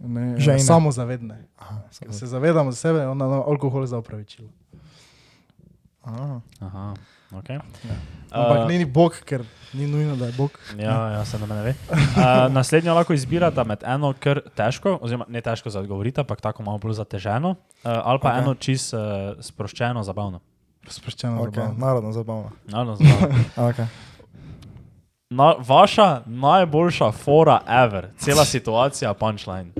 Speaker 3: ne,
Speaker 5: Žejne.
Speaker 3: samozavedne.
Speaker 5: Aha,
Speaker 3: Ker se zavedamo sebe, je on nam je alkohol za upravičilo.
Speaker 5: Aha.
Speaker 4: Aha, ok.
Speaker 3: Ampak
Speaker 4: Uh,
Speaker 3: uh, ni ni Bog, ker ni nujno, da je Bog.
Speaker 4: Ja, ja se nam ne ve. Uh, naslednjo lahko izbirate med eno, kar težko, oziroma ne težko za odgovoriti, ampak tako malo bolj zateženo, uh, ali pa
Speaker 5: Ok.
Speaker 4: okay. eno čist uh, sproščeno, zabavno.
Speaker 3: Razproščeno
Speaker 5: Okay.
Speaker 3: okay.
Speaker 5: Narodno zabavno.
Speaker 4: Naravno, zabavno.
Speaker 5: Okay.
Speaker 4: Na, vaša najboljša fora ever, cela situacija, punchline.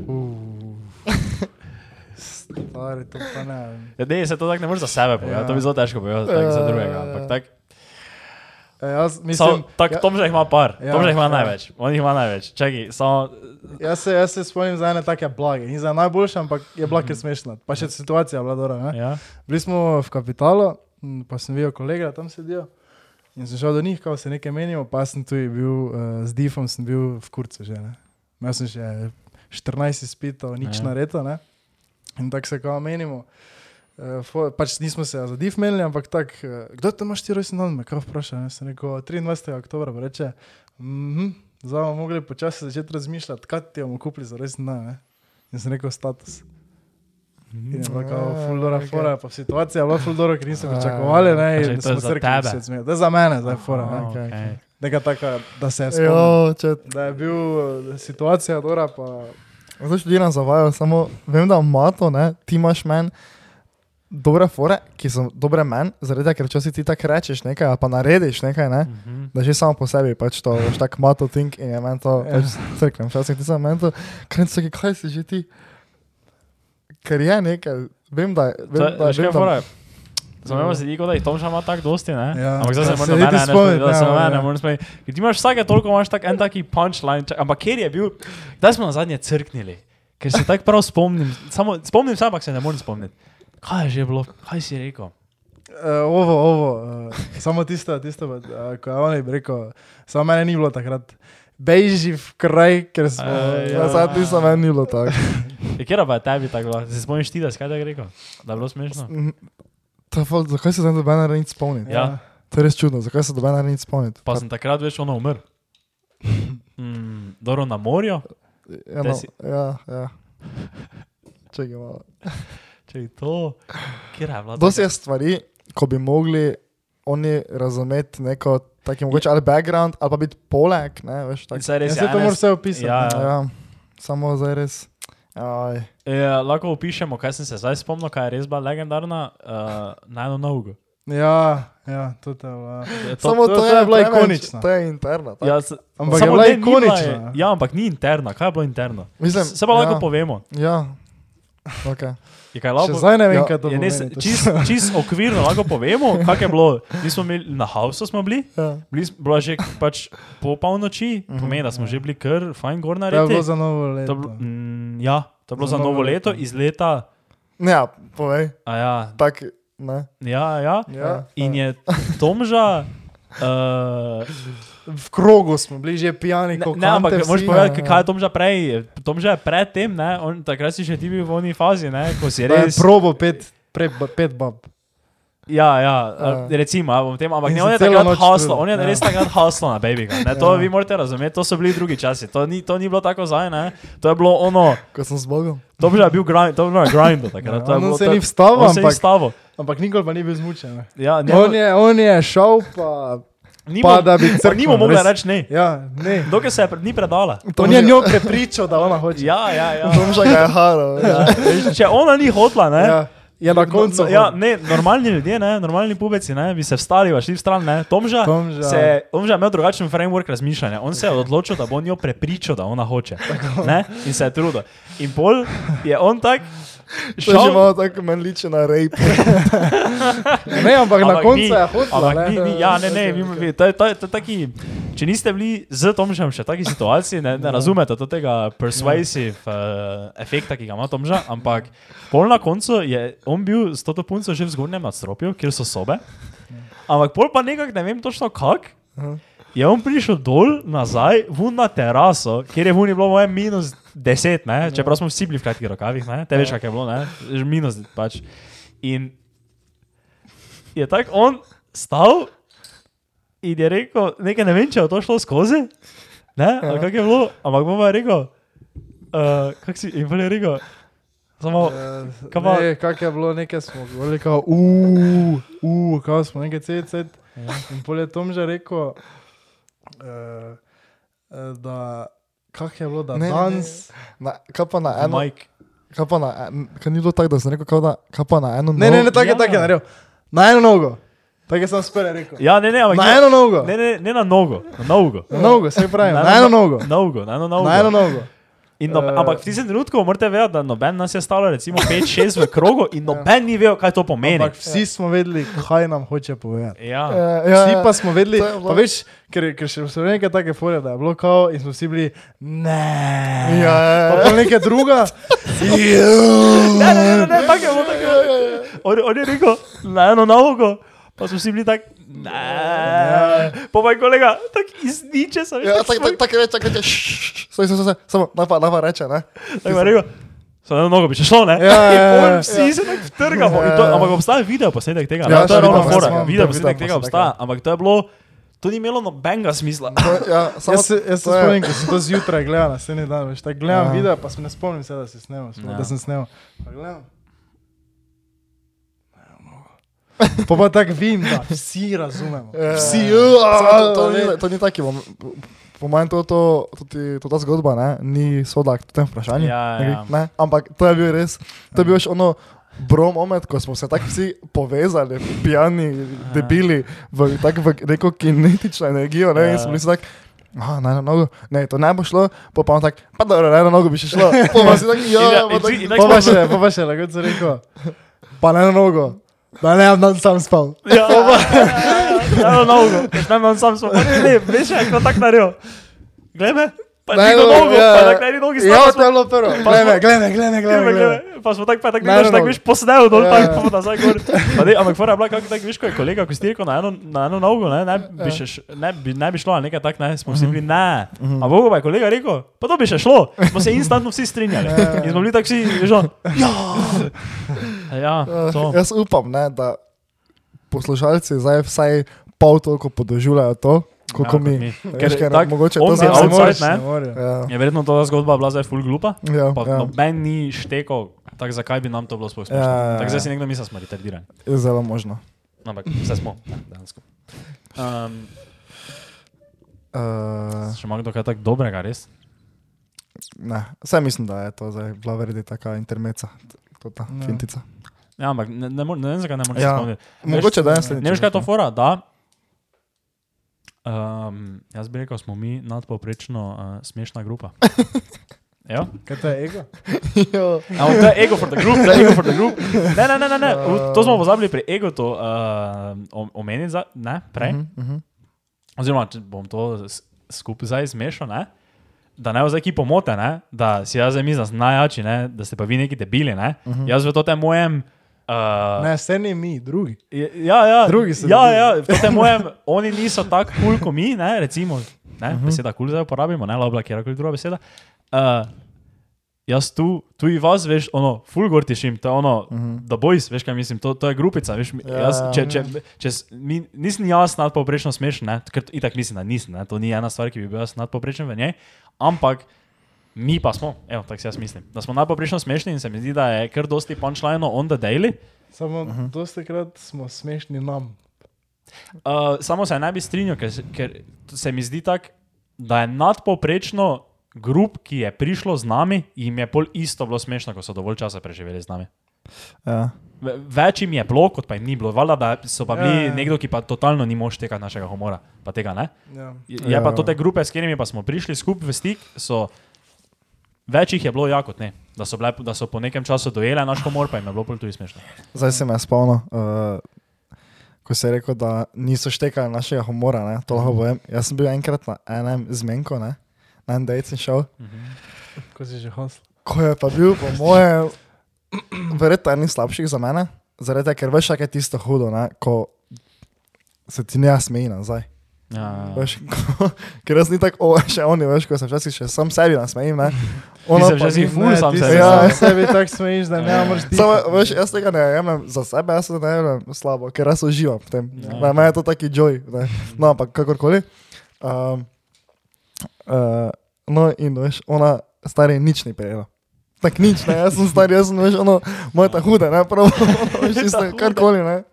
Speaker 3: stvari, to pa ne. vem.
Speaker 4: Ja, ne, se to tako ne moreš za sebe povedati, ja. to bi zelo težko povedati tak, za drugega. Ampak tak,
Speaker 3: E, jaz
Speaker 4: mislim,
Speaker 3: mislim,
Speaker 4: so, tak, ja. Tom že jih ima par,
Speaker 3: Ja,
Speaker 4: ja, Tom že jih ima
Speaker 3: ja.
Speaker 4: ja. največ, on jih ima največ. Čakaj, samo,
Speaker 3: Jaz se, jaz se spomnim za ene take blage, ni za najboljše, ampak je bila kar smešna. Pa še situacija je bila dobra. Ne?
Speaker 4: ja.
Speaker 3: Bili smo v kapitalu, m, pa sem videl kolega, tam sedijo. In sem šel do njih, kako se nekaj menimo, pa sem tu bil uh, z Difom, sem bil v kurcu že. Ne? Imel sem že 14 izpitov,
Speaker 4: Ja.
Speaker 3: nič ja. nareto. Ne? In tako se kao menimo. Uh, pač nismo se za div menili, ampak tako, uh, kdo te imaš ti rojsten dan, me kaj vpraša. Ne? Sem rekel 23. oktober, pa reče, mhm, zdaj bomo mogli počasi začeti razmišljati, kaj ti bomo kupili za rojsten dan. Ne? In sem rekel status. In je bila kao
Speaker 5: Ja,
Speaker 3: fuldora
Speaker 5: okej.
Speaker 3: fora, pa situacija je bila fuldora, ker nisem pričakovali, ne,
Speaker 4: Čakaj,
Speaker 3: in
Speaker 4: to je
Speaker 3: smo
Speaker 4: za
Speaker 3: crknili
Speaker 4: tebe.
Speaker 3: vsi od smeh. To je za mene, zdaj fora,
Speaker 4: Aha,
Speaker 3: ne.
Speaker 5: okej,
Speaker 4: okej.
Speaker 3: Neka taka, da
Speaker 5: Ja,
Speaker 3: se je spomnil.
Speaker 5: Jo, če,
Speaker 3: Da je bil eh, situacija dobra, pa
Speaker 5: zdaj še delam zavajo, samo vem, da mato, ne, ti imaš meni dobre fore, ki so dobre meni, zaradi tega, ker če si ti tako rečeš nekaj, ali pa narediš nekaj, ne,
Speaker 4: Mhm.
Speaker 5: da že samo po sebi pač to, veš, tako mato think in je meni to,
Speaker 3: Ja.
Speaker 5: pač crknem, včasih nisem meni to, ker nisem rekel, kaj si že ti. Ker je nekaj, vem, da je.
Speaker 4: To je-
Speaker 5: Vem, da,
Speaker 4: veš, kaj je.
Speaker 5: vem, da
Speaker 4: fora? Zamemo se, da jih Tom že ima tako dosti, ne?
Speaker 3: Ja.
Speaker 4: Ampak zdaj se
Speaker 3: Ja,
Speaker 4: moram
Speaker 3: se
Speaker 4: na
Speaker 3: niti
Speaker 4: mene, ne
Speaker 3: spomniti
Speaker 4: spomnim, da se
Speaker 3: ne,
Speaker 4: na mene,
Speaker 3: ja.
Speaker 4: ne morem spomniti. Ker ti imaš vsake toliko, imaš tak en taki punchline, čak, ampak kjer je bil, kdaj smo nazadnje crknili? Ker se tako prav spomnim, samo, spomnim se, ampak se ne morem spomniti. Kaj je že bilo, kaj si rekel?
Speaker 3: eh, ovo, ovo, eh, samo tisto, tisto, eh, ko je on je rekel, samo mene ni bilo takrat. Bejži v kraj, ker smo.
Speaker 4: Ej,
Speaker 5: Ja, sad nisem meni bilo tako.
Speaker 4: Ja, Kjer pa je tebi tako bilo? Se spomniš ti, da si kaj tako rekel? Da je bilo smešno?
Speaker 5: To je fakt, Zakaj se zdaj dobena nič spomniti?
Speaker 4: Ja,
Speaker 5: To je res čudno, zakaj se dobena nič spomniti?
Speaker 4: pa sem takrat veš ono umrl. Mm, Dobro na morju?
Speaker 5: Eno,
Speaker 4: Te si-
Speaker 5: ja, ja. Čekaj malo.
Speaker 4: Če je to, kjer je bilo?
Speaker 5: Dosti je stvari, ko bi mogli oni razumeti neko taki mogoče ali background, ali pa biti poleg, ne, veš, tako.
Speaker 4: Saj res
Speaker 3: Jaz se
Speaker 4: je
Speaker 3: to
Speaker 4: ene
Speaker 3: moraš vse opisati.
Speaker 4: Ja,
Speaker 3: ne.
Speaker 5: Ja, samo zdaj res. Aj.
Speaker 4: Ja, lahko opišemo, kaj sem se zdaj spomnil, kaj je res bila legendarna, uh, na eno nogo.
Speaker 3: ja, ja, to je bilo.
Speaker 4: Je to-
Speaker 5: Samo
Speaker 3: to- to je bila
Speaker 5: preveč-
Speaker 3: ikonična.
Speaker 5: To je interna. tako.
Speaker 4: Ja, s-
Speaker 3: Ampak
Speaker 4: samo
Speaker 3: je bila
Speaker 4: ne, ni
Speaker 3: ikonična.
Speaker 4: je- Ja, ampak ni interna. Kaj je bilo interno?
Speaker 5: Mislim,
Speaker 4: Se pa lahko
Speaker 5: ja.
Speaker 4: povemo.
Speaker 5: Ja, ok.
Speaker 4: Je kaj
Speaker 3: Še
Speaker 4: lahko?
Speaker 3: zdaj ne vem,
Speaker 5: Ja,
Speaker 3: kaj to
Speaker 4: Je
Speaker 3: pomeni.
Speaker 4: ne, se-
Speaker 3: to
Speaker 4: čist, čist okvirno lahko povemo, kako je bilo. Mi smo bili na Hausu, smo bili,
Speaker 5: Ja.
Speaker 4: bili smo, bila že pač po polnoči, pomeni, da smo že bili kar fajn gor na
Speaker 3: Mhm, ja. To je bilo
Speaker 4: reju.
Speaker 3: za novo leto.
Speaker 4: Ja, to je bilo za novo leto, iz leta.
Speaker 5: Ne, ja, povej,
Speaker 4: a Ja,
Speaker 5: tak, ne.
Speaker 4: ja, ja.
Speaker 5: Ja.
Speaker 4: In je Tomža. Uh,
Speaker 3: V krogu smo bili že pijani,
Speaker 4: Ne,
Speaker 3: kot
Speaker 4: ne, ampak
Speaker 3: kante
Speaker 4: moraš
Speaker 3: vsi.
Speaker 4: povedati,
Speaker 5: ja.
Speaker 4: kaj je Tomža prej. Tomža je pred tem, ne, on, takrat si še ti bil v oni fazi, ne, ko si
Speaker 3: Da je
Speaker 4: res.
Speaker 3: probo pet Prej ba- pet bab.
Speaker 4: Ja, ja,
Speaker 3: Ja.
Speaker 4: recimo, a bom tem, ampak
Speaker 3: In
Speaker 4: ne,
Speaker 3: se
Speaker 4: on je
Speaker 3: celo
Speaker 4: takrat
Speaker 3: noč
Speaker 4: haslo,
Speaker 3: trudil,
Speaker 4: on je
Speaker 3: ja.
Speaker 4: res takrat haslo na babyga. Ne, to
Speaker 3: Ja.
Speaker 4: vi morate razumeti, to so bili drugi časi, to ni, to ni bilo tako zdaj, ne. To je bilo ono,
Speaker 5: Ko sem z Bogom.
Speaker 4: to bi že bil grind, to bi bilo grind takrat. to je bilo-
Speaker 3: Ja, On se
Speaker 4: to-
Speaker 3: ni vstavil,
Speaker 4: on se ni
Speaker 3: ampak,
Speaker 4: vstavil.
Speaker 3: ampak nikoli pa ni bil zmučen. ne.
Speaker 4: Ja, ne,
Speaker 3: On je, on je šel, pa,
Speaker 4: ni
Speaker 3: pa
Speaker 4: mu-
Speaker 3: da bi
Speaker 4: pa
Speaker 3: crknil.
Speaker 4: ni mu mogla reči ne.
Speaker 3: Ja, ne.
Speaker 4: Dokaj se je pre- ni predala.
Speaker 3: On je njo prepričal, da ona hoče.
Speaker 4: Ja, ja, ja.
Speaker 5: Tomža ga je haro. Ja.
Speaker 4: Če ona ni hodla, ne.
Speaker 3: Ja, je na koncu.
Speaker 4: No, ja, ne, normalni ljudje, ne, normalni pubeci, ne, bi se vstali, pa šli v stran. Ne. Tomža,
Speaker 3: Tomža.
Speaker 4: Se, Tomža je imel drugačen framework razmišljanja. On se je odločil, da bo on jo prepričal, da ona hoče. Ne, in se je trudil. In pol je on tak.
Speaker 5: To je že
Speaker 4: Šel,
Speaker 5: malo tako meni liče na rape.
Speaker 3: ne, ampak na
Speaker 4: Ampak ni,
Speaker 3: koncu je hodila.
Speaker 4: ampak ni, ni, ja, ne, ne, mi, mi, to, je- to, je- to je taki, če niste bili z Tomžem še v taki situaciji, ne,
Speaker 3: Ja.
Speaker 4: ne razumete to tega persuasive uh, efekta, ki ga ima Tomža, ampak pol na koncu je on bil s to punco že v zgornjem nadstropju, kjer so sobe, ampak pol pa nekako ne vem točno kak. Je on prišel dol nazaj, vun na teraso, kjer je vun je bilo moje minus 10, ne? čeprav smo vsi bili v kratkih rokavih, ne? te veš, kak je bilo, ne? Že minus pač. In je tako on stal in je rekel, nekaj ne vem, če je to šlo skozi, ne, ja. kako je bilo, ampak bom pa rekel, uh, kak si, in pa je rekel, samo,
Speaker 3: Eh,
Speaker 4: Kaj pa-
Speaker 3: Ja, Ne, kak je bilo, nekaj smo govorili, kao, uuu, uuu, kao smo nekaj cecet. In pol je Tom že rekel, eh, eh, da, kak je bilo, da
Speaker 5: Ne, ne, ne.
Speaker 3: danes.
Speaker 5: Na, kaj pa na
Speaker 4: uh,
Speaker 5: eno?
Speaker 4: Mike,
Speaker 5: Kaj pa na eno? Kaj ni bilo tako, da sem rekel, kao da, kaj pa na eno?
Speaker 3: Ne, ne, ne, tako
Speaker 4: ja.
Speaker 3: je, tako je naredil. Na eno nogo. Tako je sam spere rekel.
Speaker 4: ja, ne, ne, ampak
Speaker 3: Na
Speaker 4: ne-
Speaker 3: eno nogo.
Speaker 4: ne, ne, ne na nogo, na nogo.
Speaker 3: Na nogo, se pravi, na eno nogo.
Speaker 4: Na nogo, na eno nogo. Ja.
Speaker 3: Na eno nogo.
Speaker 4: In nobe,
Speaker 3: Eh.
Speaker 4: uh, ampak v tistem trenutku morate vedeti, da noben nas je stalo recimo 5-6 v krogu in noben ni vedel, kaj to pomeni.
Speaker 3: Ampak vsi smo vedeli, kaj nam hoče povedati.
Speaker 4: Ja,
Speaker 5: Ja, ja,
Speaker 3: Vsi
Speaker 5: ja.
Speaker 3: pa smo vedeli,
Speaker 5: To je bilo-
Speaker 3: pa veš, ker, ker še so bile neke take fore, da je bilo kao in smo vsi bili, ne.
Speaker 5: Ja, ja, ja.
Speaker 3: Pa pol neka druga.
Speaker 4: ne, ne, ne, ne, tako je bilo. tako je bilo. On, on je rekel, na eno nogo, pa smo vsi bili tak, ne, pa moj kolega, tak iz niče sem.
Speaker 5: Ja, tako tak, tak reče, tako reče, "Šš, stoj, stoj, stoj, stoj, samo, da pa, da pa reče, ne?
Speaker 4: Tako je rekel. Samo eno nogo bi še šlo, ne?
Speaker 3: Ja, ja,
Speaker 4: In pol
Speaker 3: ja.
Speaker 4: Vsi se tako trgamo. in to- Ampak obstaja video posnetek tega.
Speaker 5: Ja,
Speaker 4: Ja, to je
Speaker 5: še
Speaker 4: ravno
Speaker 5: video
Speaker 4: fora.
Speaker 5: posnetek,
Speaker 4: Video
Speaker 5: ja,
Speaker 4: posnetek
Speaker 5: video
Speaker 4: tega
Speaker 5: posnetek,
Speaker 4: obstaja, ampak to je bilo, to ni imelo nobenega smisla.
Speaker 5: To- Ja, samo,
Speaker 3: Jaz se, jaz se
Speaker 5: to je-
Speaker 3: spomnim, ko sem to zjutraj gledal, naslednji dan, veš, tako gledam
Speaker 5: Ja.
Speaker 3: video, pa se ne spomnim se, da, si snemal, sploh,
Speaker 4: Ja.
Speaker 3: da sem snemal. Pa gledam. Pa pa tako vem, da vsi razumemo.
Speaker 5: Ja.
Speaker 3: Vsi,
Speaker 5: Samo to- to
Speaker 3: ne.
Speaker 5: ni- To ni taki, bom- po mojem, to, to, tudi, to ta zgodba ne, ni sodak v tem vprašanju.
Speaker 4: Ja, ja.
Speaker 5: Ne, ampak to je bil res, to je bil še ono brom omet, ko smo se tako vsi povezali, pijani, debili, v, tako v neko kinetično energijo, ne,
Speaker 3: Ja.
Speaker 5: in smo bili tako. Ah, na eno nogo, ne, to ne bo šlo, pol pa on tako, pa dobro, na eno nogo bi še šlo, pa pa si tako,
Speaker 4: In ja,
Speaker 5: ja,
Speaker 4: in
Speaker 5: pa tako,
Speaker 4: ti- in
Speaker 3: Pa pa
Speaker 4: tako smo-
Speaker 3: še, pa pa še, lahko sem rekel, pa na eno nogo, da ne bom sam spal.
Speaker 4: Ja, na eno nogo, ne, ne, sam smo. Ne, ne, veš, kako tako naredil. Glej me, pa
Speaker 3: Na
Speaker 4: ni do
Speaker 3: eno
Speaker 4: nogo,
Speaker 3: nogo, ja.
Speaker 4: pa tako na eni nogi
Speaker 3: Ja,
Speaker 4: stala.
Speaker 3: to je bilo prvo. Glej me, glej me, glej me, glej me,
Speaker 4: Glej,
Speaker 3: glej
Speaker 4: glej,
Speaker 3: me.
Speaker 4: Pa smo tako, pa tako
Speaker 3: Na
Speaker 4: gledaš,
Speaker 3: eno
Speaker 4: tako
Speaker 3: nogo.
Speaker 4: veš, posnel dol,
Speaker 3: Ja,
Speaker 4: tako
Speaker 3: ja.
Speaker 4: pa nazaj gor. Pa ne, ampak fora je bila, kako tako veš, ko je kolega Kostirko na eno, na eno nogo, ne, ne, bi še, š- ne, bi, ne bi šlo, ali nekaj tak, ne, smo vsi bili, ne. A Bogu pa je kolega rekel, pa to bi še šlo. Smo se instantno vsi strinjali. In smo bili tako vsi, veš, on, ja. Ja, to.
Speaker 5: Jaz upam, ne, da poslušalci zdaj vsaj pol toliko podoživljajo to,
Speaker 4: Ja, kot
Speaker 5: koliko ja, mi.
Speaker 4: mi.
Speaker 5: Veš,
Speaker 4: Ker
Speaker 5: kaj,
Speaker 4: tak,
Speaker 5: tak, mogoče
Speaker 4: on
Speaker 5: to
Speaker 4: je
Speaker 5: zdaj
Speaker 4: outside,
Speaker 5: ne moreš.
Speaker 4: ne?
Speaker 5: Ja,
Speaker 4: Je verjetno ta zgodba bila zdaj full glupa.
Speaker 5: ja,
Speaker 4: Pa no.
Speaker 5: ja,
Speaker 4: noben ni štekal, tako zakaj bi nam to bilo sploh smešno.
Speaker 5: Ja, ja, ja.
Speaker 4: Tako zdaj si nekdo misli, da smo retardirani.
Speaker 5: je zelo možno.
Speaker 4: No, Ampak vse smo, ne, dejansko.
Speaker 5: Ja.
Speaker 4: Um,
Speaker 5: Uh,
Speaker 4: še ima kdo kaj tako dobrega, res?
Speaker 5: ne, vse mislim, da je to zdaj bila verjetno taka intermeca, to ta
Speaker 3: Ja.
Speaker 5: ja. fintica.
Speaker 4: Ja, ampak ne, ne, more, ne vem, zakaj ne moreš ja.
Speaker 5: Ja.
Speaker 4: spomniti.
Speaker 5: Mogoče da jaz
Speaker 4: Ne veš, kaj je to fora, da. Um, jaz bi rekel, smo mi nadpovprečno uh, smešna grupa. Ja,
Speaker 3: Kaj to je ego?
Speaker 4: ampak to je ego for the group, to je ego for the group. Ne, ne, ne, ne, ne. to smo pozabili pri ego to uh, omeniti, za- ne, prej. oziroma če bom to s- skupaj zdaj zmešal, ne? da ne bo zdaj ki pomote, ne? da si jaz zdaj mislim najjači, ne? da ste pa vi neki debili. Ne? Uh -huh. Jaz v tem mojem.
Speaker 5: Ja.
Speaker 4: Uh,
Speaker 3: Ne, se ne mi, drugi.
Speaker 4: ja, ja,
Speaker 3: Drugi so
Speaker 4: ja,
Speaker 3: debili.
Speaker 4: ja, v tem mojem, oni niso tako kul cool, kot mi, ne? recimo, ne? Uh -huh. beseda kul cool zdaj uporabimo, ne labla, kjerkoli druga beseda. Uh, jaz tu, tu in vas, veš, ono, full gor tišim, to je ono, uh -huh. da bojiš, veš, kaj mislim, to, to je grupica, veš, ja, jaz, če, če, če, s- mi, nisem jaz nadpovprečno smešen, ne, ker itak mislim, da nisem, ne, to ni ena stvar, ki bi bil jaz nadpovprečen v njej, ampak mi pa smo, evo, tako si jaz mislim, da smo nadpovprečno smešni in se mi zdi, da je kar dosti punchline on the daily,
Speaker 3: Samo uh
Speaker 5: Mhm.
Speaker 3: -huh. dosti krat smo smešni nam.
Speaker 4: Uh, samo se ne bi strinjal, ker, ker se mi zdi tako, da je nadpoprečno grup, ki je prišlo z nami, jim je pol isto bilo smešno, ko so dovolj časa preživeli z nami.
Speaker 5: Ja.
Speaker 4: Ve- Več jim je bilo, kot pa jim ni bilo. Valjda, da so pa bili
Speaker 3: Ja, ja.
Speaker 4: ja. nekdo, ki pa totalno ni mož tega našega humora, pa tega ne.
Speaker 3: Ja.
Speaker 4: Je, je pa
Speaker 5: Ja.
Speaker 4: to te grupe, s katerimi pa smo prišli skupaj v stik, so več jih je bilo, ja, kot ne. Da so, bile, da so po nekem času dojele naš humor, pa jim je bilo pol tudi smešno.
Speaker 5: Zdaj se me spomnim, uh, ko si rekel, da niso štekali našega humora. Ne? To lahko povem. Jaz sem bil enkrat na enem zmenku, ne? na enem dejcu šel,
Speaker 3: Mhm. Ko si že hasl.
Speaker 5: ko je pa bil, po mojem, verjetno eden slabših za mene, zaradi tega, ker veš, kaj je tisto hudo, ne? ko se ti ne smeji nazaj.
Speaker 4: Ja, ja.
Speaker 5: Veš, ko, ker jaz ni tako, o, še oni, veš, ko se včasih še sam sebi nasmejim. Ne? Ona
Speaker 4: Mislim,
Speaker 5: pa
Speaker 4: že si
Speaker 5: ni-
Speaker 4: ful
Speaker 3: Ne,
Speaker 4: sam
Speaker 3: ti
Speaker 4: se.
Speaker 3: se
Speaker 5: Ja.
Speaker 3: sam sebi tako smejiš, da ne moreš ti.
Speaker 5: Samo, veš, jaz tega ne jemljem za sebe, jaz se ne jemljem slabo, ker jaz uživam v tem.
Speaker 4: Ja.
Speaker 5: Ja. Mene je to taki joj. Ne. No, ampak kakorkoli. Um, uh, no, in veš, ona stari nič ni prejela. Tak nič, ne, jaz sem star, jaz sem veš, ono, moja ta huda, ne, prav, veš, isto, karkoli, ne.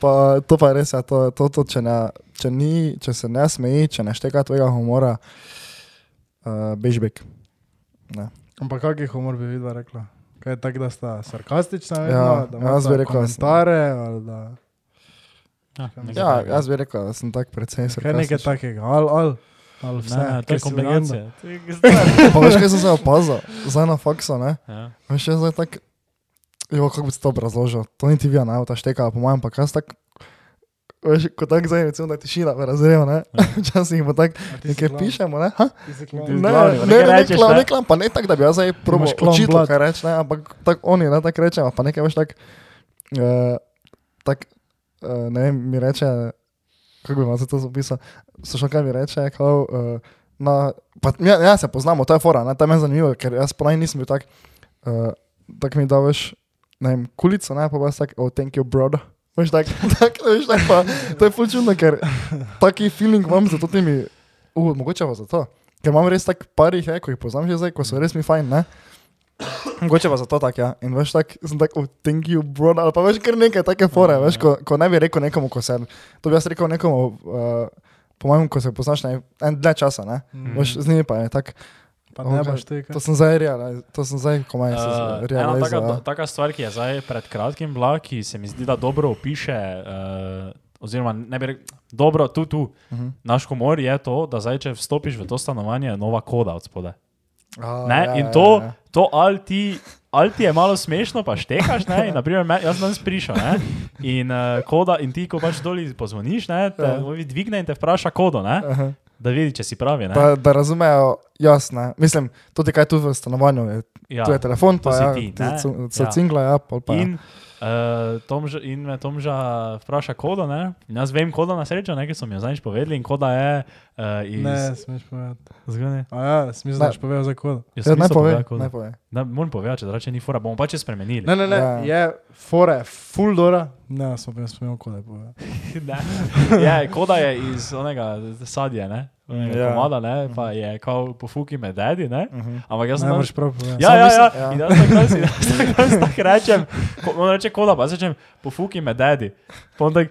Speaker 5: Pa to pa res je, to, to, to če, ne, če, ni, če se ne smeji, če ne šteka tvega humora, uh, bežbek.
Speaker 3: Ampak kakih humor bi videla rekla? Kaj je tako, da sta sarkastična, vedno,
Speaker 5: Ja,
Speaker 3: da
Speaker 5: jaz bi rekel,
Speaker 3: imata
Speaker 5: da sem-
Speaker 3: komentarje ali da...
Speaker 6: Ja, nekaj
Speaker 5: Ja,
Speaker 6: takega.
Speaker 5: jaz bi rekel, da sem tak precej
Speaker 3: Kaj nekaj
Speaker 5: sarkastičen.
Speaker 3: takega, ali al, al vse.
Speaker 6: Ne, ne, to
Speaker 3: ker
Speaker 6: je
Speaker 3: si legenda.
Speaker 6: kombinacija.
Speaker 5: Pa veš, kaj sem se opazil, zdaj na faksu, ne?
Speaker 6: Ja.
Speaker 5: Veš, jaz zdaj tako, jo, kako bi se to obrazložil, to niti vi, ne, ta šteka, po mojem, pa jaz tako, veš, kot tako zdaj, recimo, da je tišina, me razrejo, ne, včasih bo tako,
Speaker 3: A ti si
Speaker 5: nekaj
Speaker 3: klan?
Speaker 5: pišemo, ne, ha?
Speaker 3: Ti si
Speaker 5: ne,
Speaker 3: klan?
Speaker 5: ne,
Speaker 4: glavni, pa
Speaker 5: ne,
Speaker 4: nekaj
Speaker 5: ne,
Speaker 4: rečeš,
Speaker 5: klam,
Speaker 4: ne?
Speaker 5: ne, klam, pa ne tako, da bi jaz zdaj probo
Speaker 3: imaš klan
Speaker 5: učitelj,
Speaker 3: blad.
Speaker 5: kaj reč, ne, ampak tako oni, ne, tako rečejo, pa nekaj veš tako, uh, tak, uh, ne vem, mi reče, kako bi vam se to zapisal, sošel kaj mi reče, kao, uh, na, pa, ja, ja, se poznamo, to je fora, ne, to je meni zanimivo, ker jaz ponaj nisem bil tak, uh, tak mi daš, ne vem, kulico, ne, pa pa jaz tak, oh, thank you, brother. Veš, tak, tak, veš, tak, pa, to je ful čudno, ker taki feeling imam za to temi, uh, mogoče pa zato, ker imam res tak parih, je, ko jih poznam že zdaj, ko so res mi fajn, ne. Mogoče pa zato tak, ja. In veš, tak, sem tak, oh, thank you, brother, ali pa veš, kar nekaj take fore, veš, ko, ko ne bi rekel nekomu, ko sem, to bi jaz rekel nekomu, uh, po mojem, ko se poznaš, ne, en dlje časa, ne.
Speaker 3: Mm.
Speaker 5: Veš, z njimi pa je tak.
Speaker 3: Pa ne
Speaker 5: Okej,
Speaker 3: boš tega.
Speaker 5: To sem zdaj real, to sem zdaj
Speaker 4: Eh,
Speaker 5: komaj uh,
Speaker 4: ena taka,
Speaker 5: realiziral.
Speaker 4: do- taka stvar, ki je zdaj pred kratkim bila, ki se mi zdi, da dobro opiše, uh, oziroma ne bi rekel, dobro, tu, tu. Uh
Speaker 5: Mhm.
Speaker 4: -huh. Naš humor je to, da zdaj, če vstopiš v to stanovanje, je nova koda od spode.
Speaker 5: A, ja,
Speaker 4: Ne? In to, to ali ti. Ali ti je malo smešno, pa štekaš, ne? In, naprimer, me, jaz sem danes prišel ne? in, uh, koda, in ti, ko pač dol pozvoniš, ne, te ja. dvigne in te vpraša kodo, ne?
Speaker 5: Aha.
Speaker 4: da vidi, če si pravi. Ne?
Speaker 5: Da, da razumejo, jasno. Mislim, tudi kaj je tu v stanovanju, je,
Speaker 4: Ja.
Speaker 5: tu je telefon, pa
Speaker 4: to si
Speaker 5: ja,
Speaker 4: ti,
Speaker 5: tu
Speaker 4: ne?
Speaker 5: so- so
Speaker 4: Ja.
Speaker 5: cingla, ja, pol pa.
Speaker 4: In, uh, Tomž, in me Tomža vpraša kodo, ne? In jaz vem kodo na srečo, nekaj so mi jo zadnjič povedali in koda je uh,
Speaker 3: Ne,
Speaker 4: iz...
Speaker 3: smeš povedati.
Speaker 4: Zgane.
Speaker 3: A ja, smisel,
Speaker 5: Ne.
Speaker 3: da boš povedal za kodo.
Speaker 4: Jaz
Speaker 5: Ja,
Speaker 4: sem
Speaker 5: ne
Speaker 4: mislil, da
Speaker 5: pove,
Speaker 4: je koda.
Speaker 5: ne pove.
Speaker 4: Ne, moram povedati, če drugače ni fora, bomo pač spremenili.
Speaker 3: Ne, ne, ne,
Speaker 5: Ja.
Speaker 3: ja. je fore, full dora. Ne, smo pa spomnili, koda je povedal.
Speaker 4: Ne. ja, koda je iz onega sadja, ne? Onega
Speaker 5: Ja.
Speaker 4: ja. komada, ne? Pa je kao pofuki me dedi, ne? Ampak jaz sem
Speaker 3: Ne
Speaker 4: danes-
Speaker 3: moreš prav povedati.
Speaker 4: Ja, ja, ja.
Speaker 5: ja.
Speaker 4: In jaz tako danes- in jaz tako danes tako rečem, ko- on reče koda, pa jaz rečem, pofuki me dedi. Pa on tako,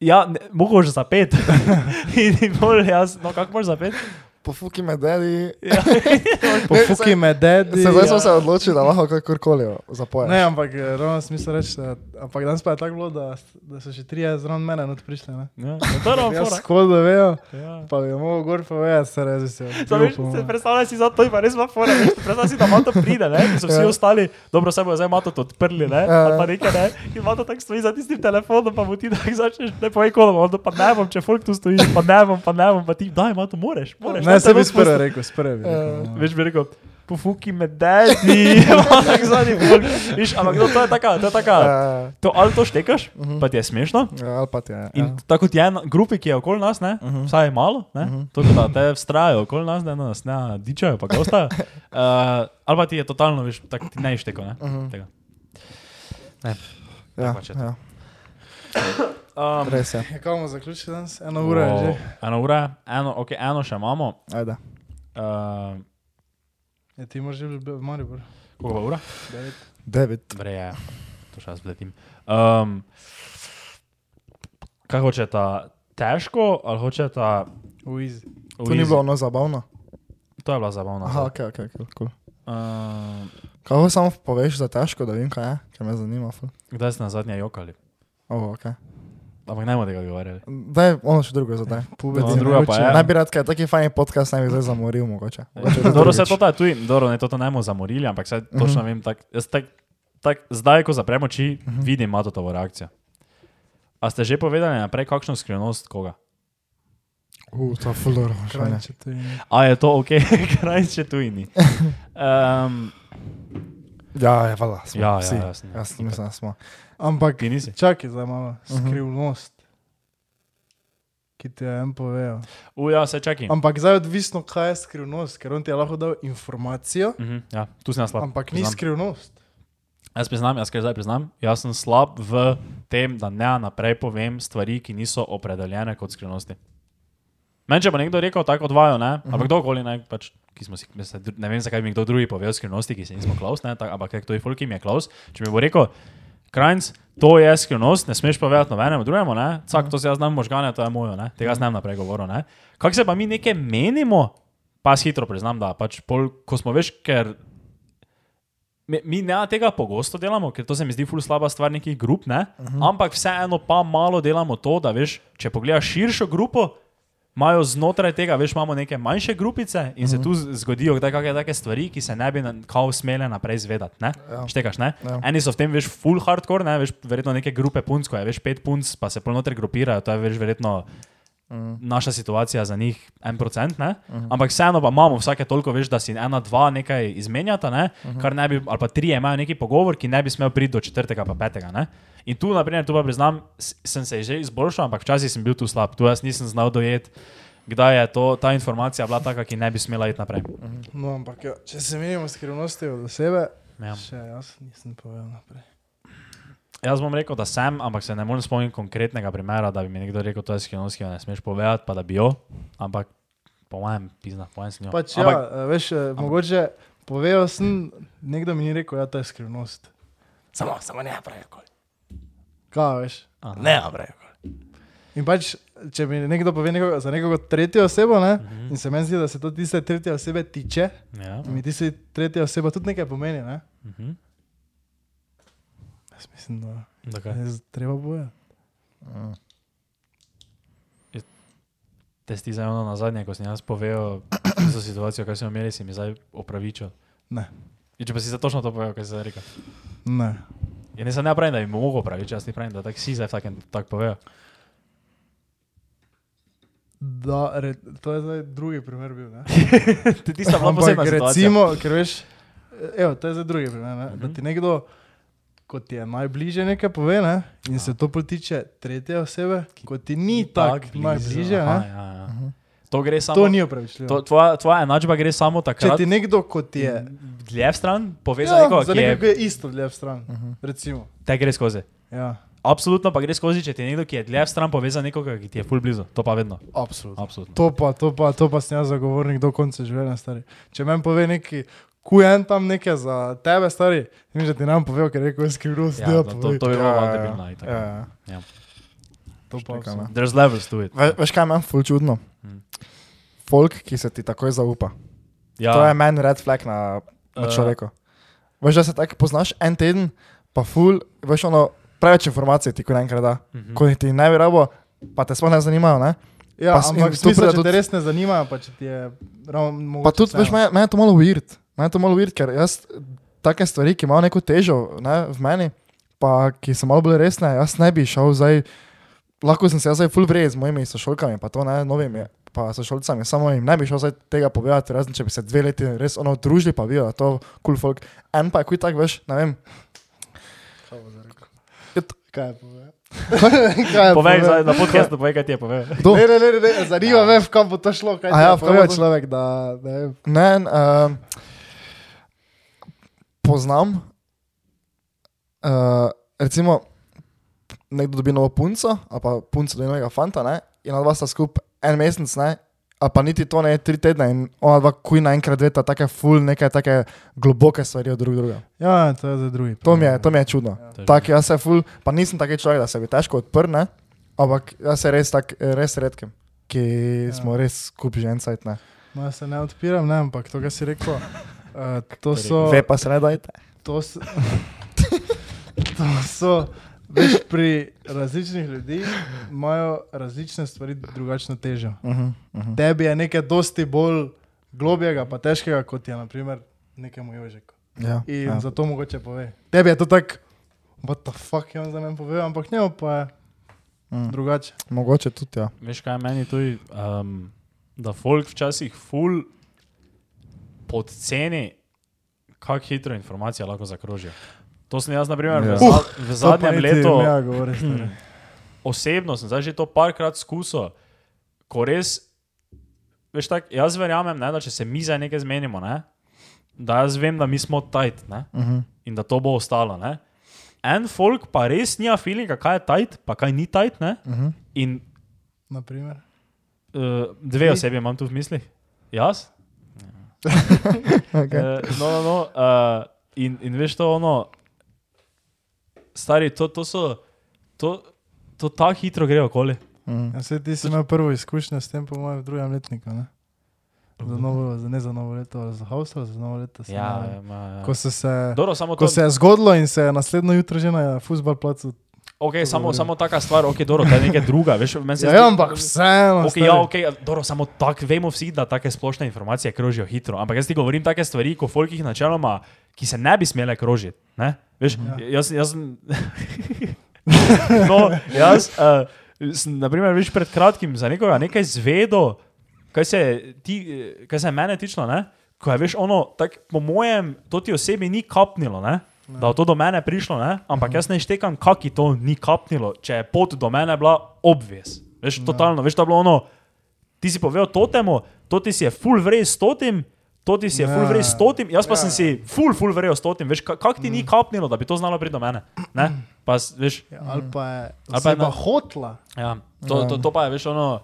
Speaker 4: ja, ne- mogoče za pet. in in bolj jaz, no kako moraš za pet? Ja.
Speaker 5: Pofuki me dedi.
Speaker 3: Pofuki me dedi. ja.
Speaker 5: Se zdaj smo se odločili, da lahko kakorkoli zapoješ.
Speaker 3: Ne, ampak eh, ravno smisel reči, da- ampak danes pa je tako bilo, da, da so še trije zraven mene not prišli. Ne?
Speaker 4: Ja, to je ravno fora.
Speaker 3: Jaz kodo vejo,
Speaker 4: Ja.
Speaker 3: pa bi mogel gor povedati, se rezi se.
Speaker 4: Samo veš, se predstavljaj si za to, pa res ima fora. veš, Predstavljaj si, da Mato pride, ne? in so vsi
Speaker 5: Ja.
Speaker 4: ostali, dobro se bojo zdaj Mato odprli, ne?
Speaker 5: Ja.
Speaker 4: ali pa nekaj, ne? in Mato tako stoji za tistim telefonom, pa mu ti tako začneš, ne povej kolom, on pa ne bom, če folk tu stoji, pa ne bom, pa ne bom, pa ti, daj Mato, moreš, moreš.
Speaker 3: Ne,
Speaker 4: daj,
Speaker 3: se bi
Speaker 4: bom spustil."
Speaker 3: sprve rekel, sprve.
Speaker 5: Ja.
Speaker 4: Veš, bi rekel, pofuki me dedi, ampak zadnji bolj. Viš, ampak no, to je taka, to je taka.
Speaker 5: Ja,
Speaker 4: To ali to štekaš,
Speaker 5: mhm.
Speaker 4: pa ti je smešno.
Speaker 5: Ja, ali pa ti je.
Speaker 4: In
Speaker 5: ja.
Speaker 4: tako kot je na grupi, ki je okoli nas, ne, uh
Speaker 5: Mhm.
Speaker 4: -huh. vsaj malo, ne, uh
Speaker 5: Mhm.
Speaker 4: -huh. to da te vztrajajo okoli nas, ne, da nas ne dičajo, pa ostaje. Uh, ali pa ti je totalno, veš, tako ti ne išteko. Ne.
Speaker 5: Mhm.
Speaker 4: tega.
Speaker 5: Ja,
Speaker 4: pač je to.
Speaker 5: ja,
Speaker 4: Um,
Speaker 5: res je.
Speaker 3: Ja, kaj bomo zaključili danes? Eno uro je že.
Speaker 4: Eno ura, je, eno, okay, eno še imamo.
Speaker 5: Ajde.
Speaker 4: Uh,
Speaker 3: Ja, ti moraš že biti v Mariboru.
Speaker 4: koliko je ura?
Speaker 3: Devet.
Speaker 5: David.
Speaker 4: Dobre, je, to še jaz letim. Um, kaj hočete, težko ali hočete?
Speaker 3: V Izi.
Speaker 5: To ni bilo ono zabavno.
Speaker 4: to je bila zabavna.
Speaker 5: Aha, ok, ok, cool, cool.
Speaker 4: Uh,
Speaker 5: Kako samo poveš za težko, da vem, kaj je, ker me zanima. ful.
Speaker 4: kdaj ste na zadnje jokali?
Speaker 5: Oh, okay.
Speaker 4: Ampak ne bomo tega odgovarjali.
Speaker 5: Daj, ono še drugo zdaj.
Speaker 4: No,
Speaker 5: Recimo,
Speaker 4: druga pa je.
Speaker 5: Ne bi rad, kaj je taki fajn podcast, naj bi zdaj zamoril mogoče. Mogoče do
Speaker 4: Dobro, se
Speaker 5: drugič.
Speaker 4: to ta tuji, dobro, ne, to, to ne bomo zamorili, ampak saj točno
Speaker 5: Mhm.
Speaker 4: vem, tak, jaz tak, tak, zdaj, ko zaprem oči, vidim Matotovo reakcijo. A ste že povedali naprej, kakšno skrivnost koga?
Speaker 5: U, to je ful dobro. vprašanje.
Speaker 3: Kranjče tu in...
Speaker 4: A je to ok, kraj še tujini. Um,
Speaker 5: Ja, je vala. Smo,
Speaker 4: ja,
Speaker 5: vsi.
Speaker 4: ja, jasno.
Speaker 5: Jaz mislim, da smo.
Speaker 3: Ampak,
Speaker 4: Ti nisi.
Speaker 3: čakaj zdaj malo. Skrivnost. Ki ti jo en povejo.
Speaker 4: Uja, se čakaj.
Speaker 3: Ampak zdaj je odvisno, kaj je skrivnost, ker on ti je lahko dal informacijo,
Speaker 4: Mhm, ja, tu sem jaz slab.
Speaker 3: ampak ni
Speaker 4: priznam.
Speaker 3: skrivnost.
Speaker 4: Jaz priznam, jaz kar zdaj priznam, jaz sem slab v tem, da ne naprej povem stvari, ki niso opredeljene kot skrivnosti. Meni, če bo nekdo rekel tako odvajo, ne, ampak uh -huh. kdorkoli, ne, pač, ki smo si, mislim, dru- ne vem, zakaj bi mi kdo drugi povedal skrivnosti, ki se nismo klaus, ne, tak, ampak kdo je folk, ki mi je klaus, če mi bo rekel, krajnc, to je skrivnost, ne smeš povedati nobenemu drugemu, ne, vsak to se jaz znam možgane, to je mojo, ne, tega jaz ne bom naprej govoril, ne. Kako se pa mi nekaj menimo, pa jaz hitro priznam, da pač pol, ko smo veš, ker Mi, mi ne tega pogosto delamo, ker to se mi zdi ful slaba stvar nekih grup, ne? uh -huh. ampak vseeno pa malo delamo to, da veš, če pogledaš širšo grupo, imajo znotraj tega, veš, imamo neke manjše grupice in uh -huh. se tu z- zgodijo kdaj kakšne take stvari, ki se ne bi na- kao smele naprej zvedati, ne? Ja. Štekaš, ne? Ja. Eni so v tem, veš, full hardcore, ne? Veš, verjetno neke grupe punc, ko je, veš, pet punc, pa se polnoter grupirajo, to je, veš, verjetno naša situacija za njih en procent, ne? ampak vseeno pa imamo vsake toliko več, da si ena, dva nekaj izmenjata, ne?
Speaker 3: Mhm.
Speaker 4: kar ne bi, ali pa tri imajo neki pogovor, ki ne bi smel priti do četrtega, pa petega. Ne? In tu, naprimer, tu pa priznam, s- sem se že izboljšal, ampak včasih sem bil tu slab, tu jaz nisem znal dojeti. Kdaj je to, ta informacija bila taka, ki ne bi smela iti naprej?
Speaker 3: No, ampak ja, če se menimo skrivnosti od sebe,
Speaker 4: Ja.
Speaker 3: še jaz nisem povedal naprej.
Speaker 4: Jaz bom rekel, da sem, ampak se ne morem spomniti konkretnega primera, da bi mi nekdo rekel, to je skrivnost, ki jo ne smeš povedati, pa da bi jo, ampak po mojem, pizna, po mojem sem jo.
Speaker 3: Pač,
Speaker 4: ampak,
Speaker 3: ja, eh, veš, ampak. mogoče povejo sem, nekdo mi je rekel, da ja, to je skrivnost. Samo, samo ne prejkoli. Kaj veš?
Speaker 4: Aha.
Speaker 3: Ne prejkoli. In pač, če mi nekdo pove nekoga, za nekoga tretjo osebo, ne,
Speaker 4: Mhm.
Speaker 3: in se meni zdi, da se to tiste tretje osebe tiče,
Speaker 4: Ja.
Speaker 3: mi tiste tretje oseba tudi nekaj pomeni, ne?
Speaker 4: Mhm.
Speaker 3: Jaz mislim, da
Speaker 4: Dakaj.
Speaker 3: je z- treba boja.
Speaker 4: Te sti zdaj ono na zadnje, ko sem jaz povedal isto situacijo, kaj smo imeli, si mi zdaj opravičil.
Speaker 3: Ne.
Speaker 4: In če pa si za točno to povedal, kaj si zdaj rekel.
Speaker 3: Ne.
Speaker 4: Ja, ne, saj ne pravim, da bi mu mogel opravičiti, jaz ti pravim, da tak si zdaj takem tak povedal.
Speaker 3: Da, re, to je zdaj drugi primer bil, ne?
Speaker 4: Ti tista bila
Speaker 3: Ampak
Speaker 4: posebna situacija.
Speaker 3: recimo, ker veš, e, evo, to je za druge primere, ne, da
Speaker 4: Mhm.
Speaker 3: ti nekdo, kot ti je najbližje nekaj pove, ne, in
Speaker 4: Ja.
Speaker 3: se to potiče tretje osebe, kot ti ni tako tak
Speaker 4: blizu,
Speaker 3: najbližje,
Speaker 4: aha,
Speaker 3: ne,
Speaker 4: ja, ja. To gre samo...
Speaker 3: to ni opravičljivo.
Speaker 4: To, tvoja, tvoja enačba gre samo
Speaker 3: Če
Speaker 4: takrat,
Speaker 3: ti nekdo, kot je,
Speaker 4: dlje stran, pove za
Speaker 3: ja,
Speaker 4: nekoga,
Speaker 3: za
Speaker 4: ki
Speaker 3: nekoga, ki
Speaker 4: je... Mhm.
Speaker 3: je isto lev stran, recimo.
Speaker 4: Te gre skozi.
Speaker 3: Ja,
Speaker 4: Absolutno pa gre skozi, če ti nekdo, ki je dlje stran, pove za nekoga, ki ti je ful blizu. To pa vedno.
Speaker 3: absolutno.
Speaker 4: Absolutno.
Speaker 3: To pa, to pa, to pa sem jaz zagovornik do konca življenja, stari. Če meni pove neki, kujen tam nekaj za tebe, stari, nič, da ti nam pove, ker je rekel, jaz skrivnost,
Speaker 4: Ja,
Speaker 3: ja,
Speaker 4: to, to, to bi bilo malo debilno. itak.
Speaker 5: Ja,
Speaker 4: Ja.
Speaker 3: to pa.
Speaker 5: Štekam, ja.
Speaker 3: absolutno.
Speaker 4: There's levels to it.
Speaker 5: Ve, veš, kaj je meni ful čudno?
Speaker 4: Mhm.
Speaker 5: Folk, ki se ti takoj zaupa.
Speaker 4: Ja.
Speaker 5: To je meni red flag na, na
Speaker 4: Eh.
Speaker 5: človeku. Veš, da se tako poznaš en teden, pa ful, veš, ono, preveč informacij ti kot enkrat da.
Speaker 4: Mhm.
Speaker 5: Ko ti ne bi rabo, pa te sploh ne zanimajo, ne?
Speaker 3: Ja,
Speaker 5: Pa
Speaker 3: pa,
Speaker 5: s- in
Speaker 3: ampak
Speaker 5: tu
Speaker 3: to se
Speaker 5: pride
Speaker 3: tudi...
Speaker 5: tudi-
Speaker 3: te res ne zanima, pa če ti je ravno.
Speaker 4: Ja.
Speaker 5: Pa tudi, veš, meni meni je to malo weird. Meni je to malo weird, ker jaz take stvari, ki imajo neko težo ne, v meni, pa ki so malo bolj resne, jaz ne bi šel zdaj. Lahko sem se jaz zdaj full vrij z mojimi sošolkami, pa to ne, novimi. pa sošolcami, samo jim ne bi šel zdaj tega povedati, razen če bi se dve leti res ono družili, pa bi bilo to cool folk. En pa je kuj tak, veš, ne vem.
Speaker 3: Kaj je povedal? Kaj je
Speaker 4: Ja, Povej,
Speaker 3: povedal?
Speaker 4: zdaj, na podkastu povej, kaj ti je povedal.
Speaker 5: To.
Speaker 3: Ne, ne, ne, ne, ne, zanima me, v kam bo to šlo. Kaj
Speaker 5: Ja. A ja,
Speaker 3: ja,
Speaker 5: v kam
Speaker 3: pravi
Speaker 5: bo to-
Speaker 3: človek, da ne vem.
Speaker 5: Ne, uh, poznam, uh, recimo, nekdo dobi novo punco, ali pa punco dobi novega fanta, ne, in ona dva sta skupaj en mesec, ne, ali pa niti to ne, tri tedne, in ona dva kuj naenkrat veta, take ful, neke take globoke stvari od drug drugega.
Speaker 3: Ja, to je za drugi.
Speaker 5: To mi je, to mi je čudno. Ja. Tak, jaz se ful, pa nisem taki človek, da se bi težko odprl, ne, ampak jaz se res tak, res redkem, ki ja. smo res skupaj že en sajt, ne.
Speaker 3: no. Ma, se ne odpiram, ne, ampak to, kar si rekel, uh, to
Speaker 5: To...
Speaker 3: so...
Speaker 5: Ve pa se ne dajte.
Speaker 3: To so, to so veš, pri različnih ljudeh imajo različne stvari drugačno težo.
Speaker 5: Uh -huh, uh -huh.
Speaker 3: Tebi je nekaj dosti bolj globjega, pa težkega, kot je naprimer nekemu Jožeku.
Speaker 5: Ja,
Speaker 3: In
Speaker 5: ja.
Speaker 3: ja. zato mogoče pove. Tebi je to tako, what the fuck je on za meni povedal, ampak njemu pa je
Speaker 5: Mm.
Speaker 3: drugače.
Speaker 5: Mogoče tudi, ja.
Speaker 4: Veš kaj meni tudi, um, da folk včasih ful podceni, kako hitro informacije lahko zakrožijo. To sem jaz, na primer,
Speaker 5: Ja.
Speaker 4: yeah. v, za, v zadnjem letu. Mm.
Speaker 3: Ja, govoriš.
Speaker 4: osebno sem zdaj že to parkrat skušal, ko res, veš, tak, jaz verjamem, ne, da če se mi za nekaj zmenimo, ne, da jaz vem, da mi smo tajt ne, uh -huh. in da to bo ostalo. Ne. En folk pa res nima feelinga, kaj je tajt, pa kaj ni tajt. Uh
Speaker 3: Mhm.
Speaker 4: -huh. In
Speaker 3: Naprimer.
Speaker 4: uh, dve osebi imam tu v mislih, jaz.
Speaker 5: Okay.
Speaker 4: Eh, no, no, no, uh, in, in veš to ono, stari, to, to so, to, to tako hitro gre okoli.
Speaker 5: mhm,
Speaker 3: Ja, saj ti si imel prvo izkušnjo s tem, po mojem, v drugem letniku. Ne? Za novo, za, ne za novo leto, ali za Avstrijo, za novo leto. saj ne vem.
Speaker 4: ma, ja.
Speaker 3: Ko so se,
Speaker 4: Dobro, samo
Speaker 3: ko
Speaker 4: to,
Speaker 3: se je zgodilo in se je naslednjo jutro že na futbal placu.
Speaker 4: okay, samo,
Speaker 3: govorim.
Speaker 4: samo taka stvar, ok, dobro, to je nekaj druga, veš, meni se
Speaker 3: Ja,
Speaker 4: zdi-
Speaker 3: ja, ampak vseeno.
Speaker 4: Okay, ja, okay, dobro, samo tako vemo vsi, da take splošne informacije krožijo hitro. Ampak jaz ti govorim take stvari, ko folk jih načeloma, ki se ne bi smele krožiti. Ne? Veš, ja. jaz, jaz, sem- no, jaz uh, sem, naprimer, veš, pred kratkim za nekoga nekaj zvedel, kaj se, ti, eh, kaj se je mene tičilo, ne? ko je, veš, ono, tak, po mojem, to ti osebi ni kapnilo, ne? da je to do mene prišlo, ne? ampak
Speaker 3: Mhm.
Speaker 4: jaz ne štekam, kako ti to ni kapnilo, če je pot do mene bila obvez. Veš,
Speaker 3: Ja.
Speaker 4: totalno, veš, to je bilo ono, ti si povedal to temu, to ti si je full vrej s totim, to ti si je full
Speaker 3: Ja. Mhm.
Speaker 4: vrej s totim, jaz pa sem si full, full vrej s totim, veš, kako ti ni kapnilo, da bi to znalo priti do mene. Ne? Pa, s- veš,
Speaker 3: Ja, ali pa je,
Speaker 4: Ali pa
Speaker 3: ali pa
Speaker 4: je
Speaker 3: je
Speaker 4: na-
Speaker 3: hotla.
Speaker 4: Ja, to,
Speaker 3: Um.
Speaker 4: to, to pa je, veš, ono.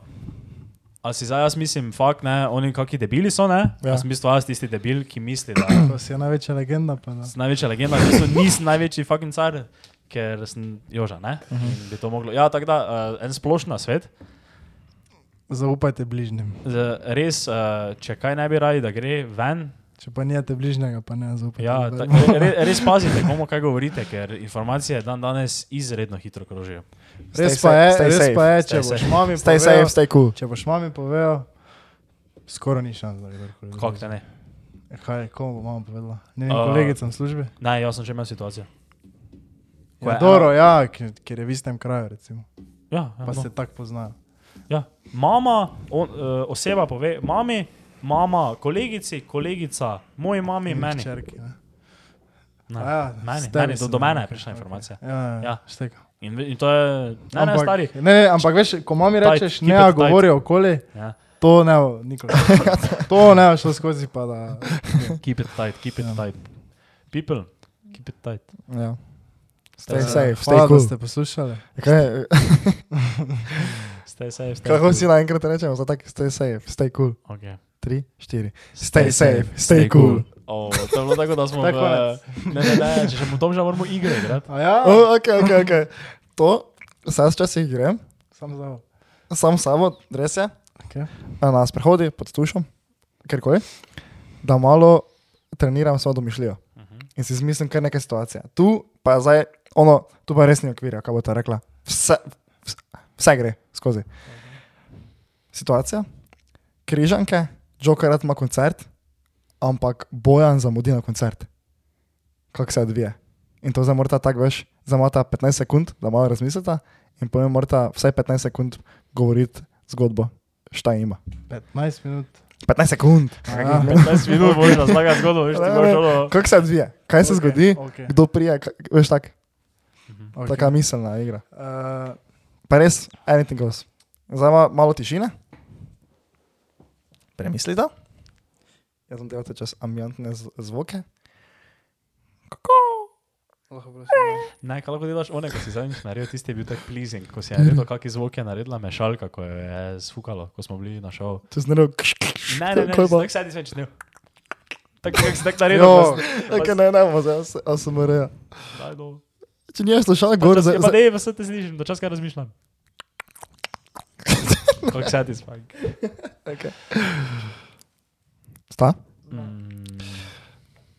Speaker 4: A si zdaj jaz mislim, fakt, ne, oni kakšni debili so, ne? Ja. Jaz sem v bistvu jaz tisti debil, ki misli, da
Speaker 3: To si je največja legenda. Pa, da.
Speaker 4: sem največja legenda, v bistvu nisem največji fucking car, ker sem joža, ne?
Speaker 3: Mhm.
Speaker 4: In bi to moglo. Ja, tako da, uh, en splošna svet.
Speaker 3: Zaupajte bližnjim.
Speaker 4: Z- Res, uh, če kaj ne bi radi, da gre ven,
Speaker 3: Če pa nijete bližnjega, pa ne zaupajte.
Speaker 4: ja,
Speaker 3: nobenemu.
Speaker 4: tak, re, res pazite, komu kaj govorite, ker informacije dan danes izredno hitro krožijo.
Speaker 3: res
Speaker 5: Stay
Speaker 3: pa je,
Speaker 5: safe, stay
Speaker 3: res
Speaker 5: safe.
Speaker 3: pa je, če
Speaker 4: Stay
Speaker 3: boš
Speaker 4: safe.
Speaker 3: mami
Speaker 5: Stay
Speaker 3: povedal,
Speaker 2: ja.
Speaker 5: safe, stay cool.
Speaker 3: če boš mami povedal, skoraj ni šans, da bi kdorkoli
Speaker 4: Kako te ne?
Speaker 3: vedel. Kaj, komu bo mama povedala? Ne vem,
Speaker 4: A.
Speaker 3: kolegicam službe.
Speaker 4: Ne, jaz sem že imel situacijo. Ko
Speaker 3: Ja,
Speaker 4: je
Speaker 3: Doro, ja, ker, ker je v istem kraju, recimo.
Speaker 4: Ja, ja,
Speaker 3: pa
Speaker 4: no.
Speaker 3: se tako poznajo.
Speaker 4: Ja. Mama, on, uh, oseba pove, mami, mama, kolegici, kolegica, moji mami, meni.
Speaker 3: Črki, ne.
Speaker 4: Ne,
Speaker 3: A ja,
Speaker 4: meni,
Speaker 3: s tebi
Speaker 4: meni do,
Speaker 3: sem,
Speaker 4: do mene
Speaker 3: okej,
Speaker 4: je prišla
Speaker 3: okej.
Speaker 4: informacija.
Speaker 3: Ja, ja,
Speaker 4: Ja.
Speaker 3: ja. šteka.
Speaker 4: In, ve- in to je, ne, ne, stari.
Speaker 3: ne, ne, ampak veš, ko mami
Speaker 4: Tight,
Speaker 3: rečeš,
Speaker 4: keep it
Speaker 3: ne,
Speaker 4: tight.
Speaker 3: govori okoli,
Speaker 4: Ja.
Speaker 3: to ne, bo nikoli. to ne, bo šlo skozi pa da.
Speaker 4: Keep it tight, keep it ja. tight. People, keep it tight.
Speaker 5: Ja. Stay
Speaker 4: Eh,
Speaker 5: safe, stay
Speaker 3: Hvala, da
Speaker 5: cool.
Speaker 3: ste poslušali.
Speaker 5: Kaj,
Speaker 4: Stay safe, stay
Speaker 5: kako
Speaker 4: cool.
Speaker 5: si naenkrat rečemo, za tak stay safe, stay cool.
Speaker 4: Okay.
Speaker 5: Tri, štiri. Stay safe, stay cool.
Speaker 4: Oh, to je bilo tako, da smo
Speaker 3: Tako
Speaker 4: v, ne, ne, ne, če še mu tom že moramo igre igrati.
Speaker 3: A ja,
Speaker 5: Oh, ok, ok, ok. To, saj včasih grem,
Speaker 3: sam za.
Speaker 5: sam s sabo, res je,
Speaker 3: Okay.
Speaker 5: na nas prehodi pod tušom, kjerkoli, da malo treniram svojo domišljijo
Speaker 4: Mhm.
Speaker 5: in si izmislim kar nekaj situacije. Tu pa je zdaj, ono, tu pa res ni okvirja, kaj bo ta rekla. Vse, vse, vse gre skozi. Situacija, križanke, Joker rad ima koncert, ampak Bojan zamudi na koncert. Kako se odvije. In to zdaj morata tako veš, zdaj imata 15 sekund, da malo razmislite in potem morata vsaj 15 sekund govoriti zgodbo, šta ima.
Speaker 3: 15 minut.
Speaker 5: 15 sekund.
Speaker 3: Aha.
Speaker 4: 15 minut boš razlagal zgodbo, veš, ti
Speaker 5: Ne,
Speaker 4: boš
Speaker 5: ne.
Speaker 4: ono...
Speaker 5: Kako se odvija? Kaj se
Speaker 3: Ok,
Speaker 5: zgodi?
Speaker 4: Ja.
Speaker 3: ok,
Speaker 5: Kdo prije? ka- Veš tako,
Speaker 3: ok.
Speaker 5: taka miselna igra.
Speaker 3: Eh,
Speaker 5: Pa res, anything goes. Zdaj ima malo tišine. Premislite. Jaz sem delal čez ambientne z- zvoke.
Speaker 3: lahko prosim,
Speaker 4: Ne, kaj lahko delaš, one, ko si zadnjič naredil, tisti je bil tak pleasing, ko si je naredil, kakšen zvok je naredila mešalka, ko jo je sfukalo, ko smo bili na šovu.
Speaker 5: Če sem rekel,
Speaker 4: Ne, ne, ne,
Speaker 5: Kaj pa?
Speaker 4: tako sedi sveč, ne. Tako kako si tak naredil,
Speaker 5: jo,
Speaker 4: ko si-
Speaker 5: nekaj ne, ne, bo zdaj as- ASMR.
Speaker 4: Daj dol.
Speaker 5: Če nisi slušal,
Speaker 4: Pa
Speaker 5: gor
Speaker 4: čas-
Speaker 5: za...
Speaker 4: ja, Pa ne, pa se te slišim, do čas kaj razmišljam. Kako satisfying.
Speaker 5: Okay. Sta?
Speaker 4: Mm,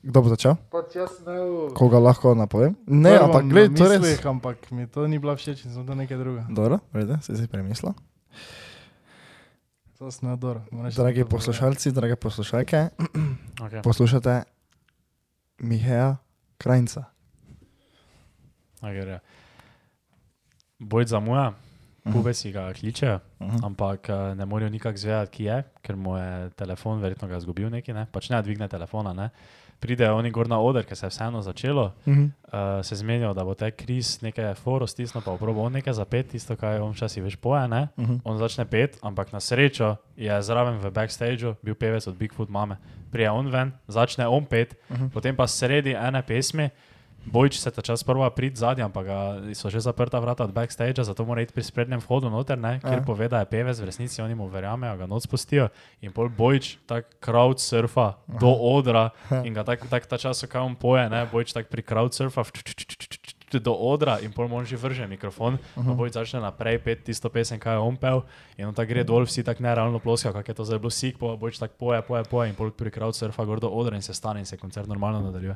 Speaker 5: Kdo bo začel?
Speaker 3: Pač jaz ne v-
Speaker 5: Koga lahko napovem? Ne,
Speaker 3: Prvo
Speaker 5: ampak
Speaker 3: na
Speaker 5: gledaj, to je res.
Speaker 3: mislih, Ampak mi to ni bila všeč, in sem to nekaj druga.
Speaker 5: Dobro, vrede, si si premislil.
Speaker 3: To sem nador.
Speaker 5: Dragi poslušalci, drage poslušalke,
Speaker 4: Okay.
Speaker 5: poslušate Mihaela Krajnca.
Speaker 4: Okay, ja. Boj zamuja, pube si ga kličejo,
Speaker 5: Mhm.
Speaker 4: ampak eh, ne morejo nikak zvedeti, ki je, ker mu je telefon verjetno ga zgubil neki, ne? pač ne dvigne telefona. Ne? Pridejo oni gor na oder, ker se je vseeno začelo, uh, se zmenijo, da bo te kriz nekaj foro stisnil, pa oprobo on nekaj zapet, tisto, kar je on včasih veš poje, ne? On začne pet, ampak na srečo je zraven v backstageu bil pevec od Bigfoot mame. Prije on ven, začne on pet, uh -huh. potem pa sredi ene pesmi. Bojč se ta čas prva prid zadnja, ampak ga- so že zaprta vrata od backstagea, zato mora iti pri sprednjem vhodu noter, ne, kjer
Speaker 5: Aha.
Speaker 4: pove, da je pevec, v resnici oni mu verjamejo, ga noč spustijo. In pol Bojč tako crowd surfa do odra in ga tako tak, ta čas, ko on poje, ne, Bojč tako pri crowd surfa do odra in pol mu on že vrže mikrofon, uh
Speaker 5: Mhm.
Speaker 4: -huh. Bojč začne naprej pet tisto pesem, kaj je on pel in on tako gre dol, vsi tako nerealno ploskajo, kak je to zdaj bilo sik, pa Bojč tako poje, poje, poje in pol pri crowd surfa gor do odra in se stane in se koncert normalno nadaljuje.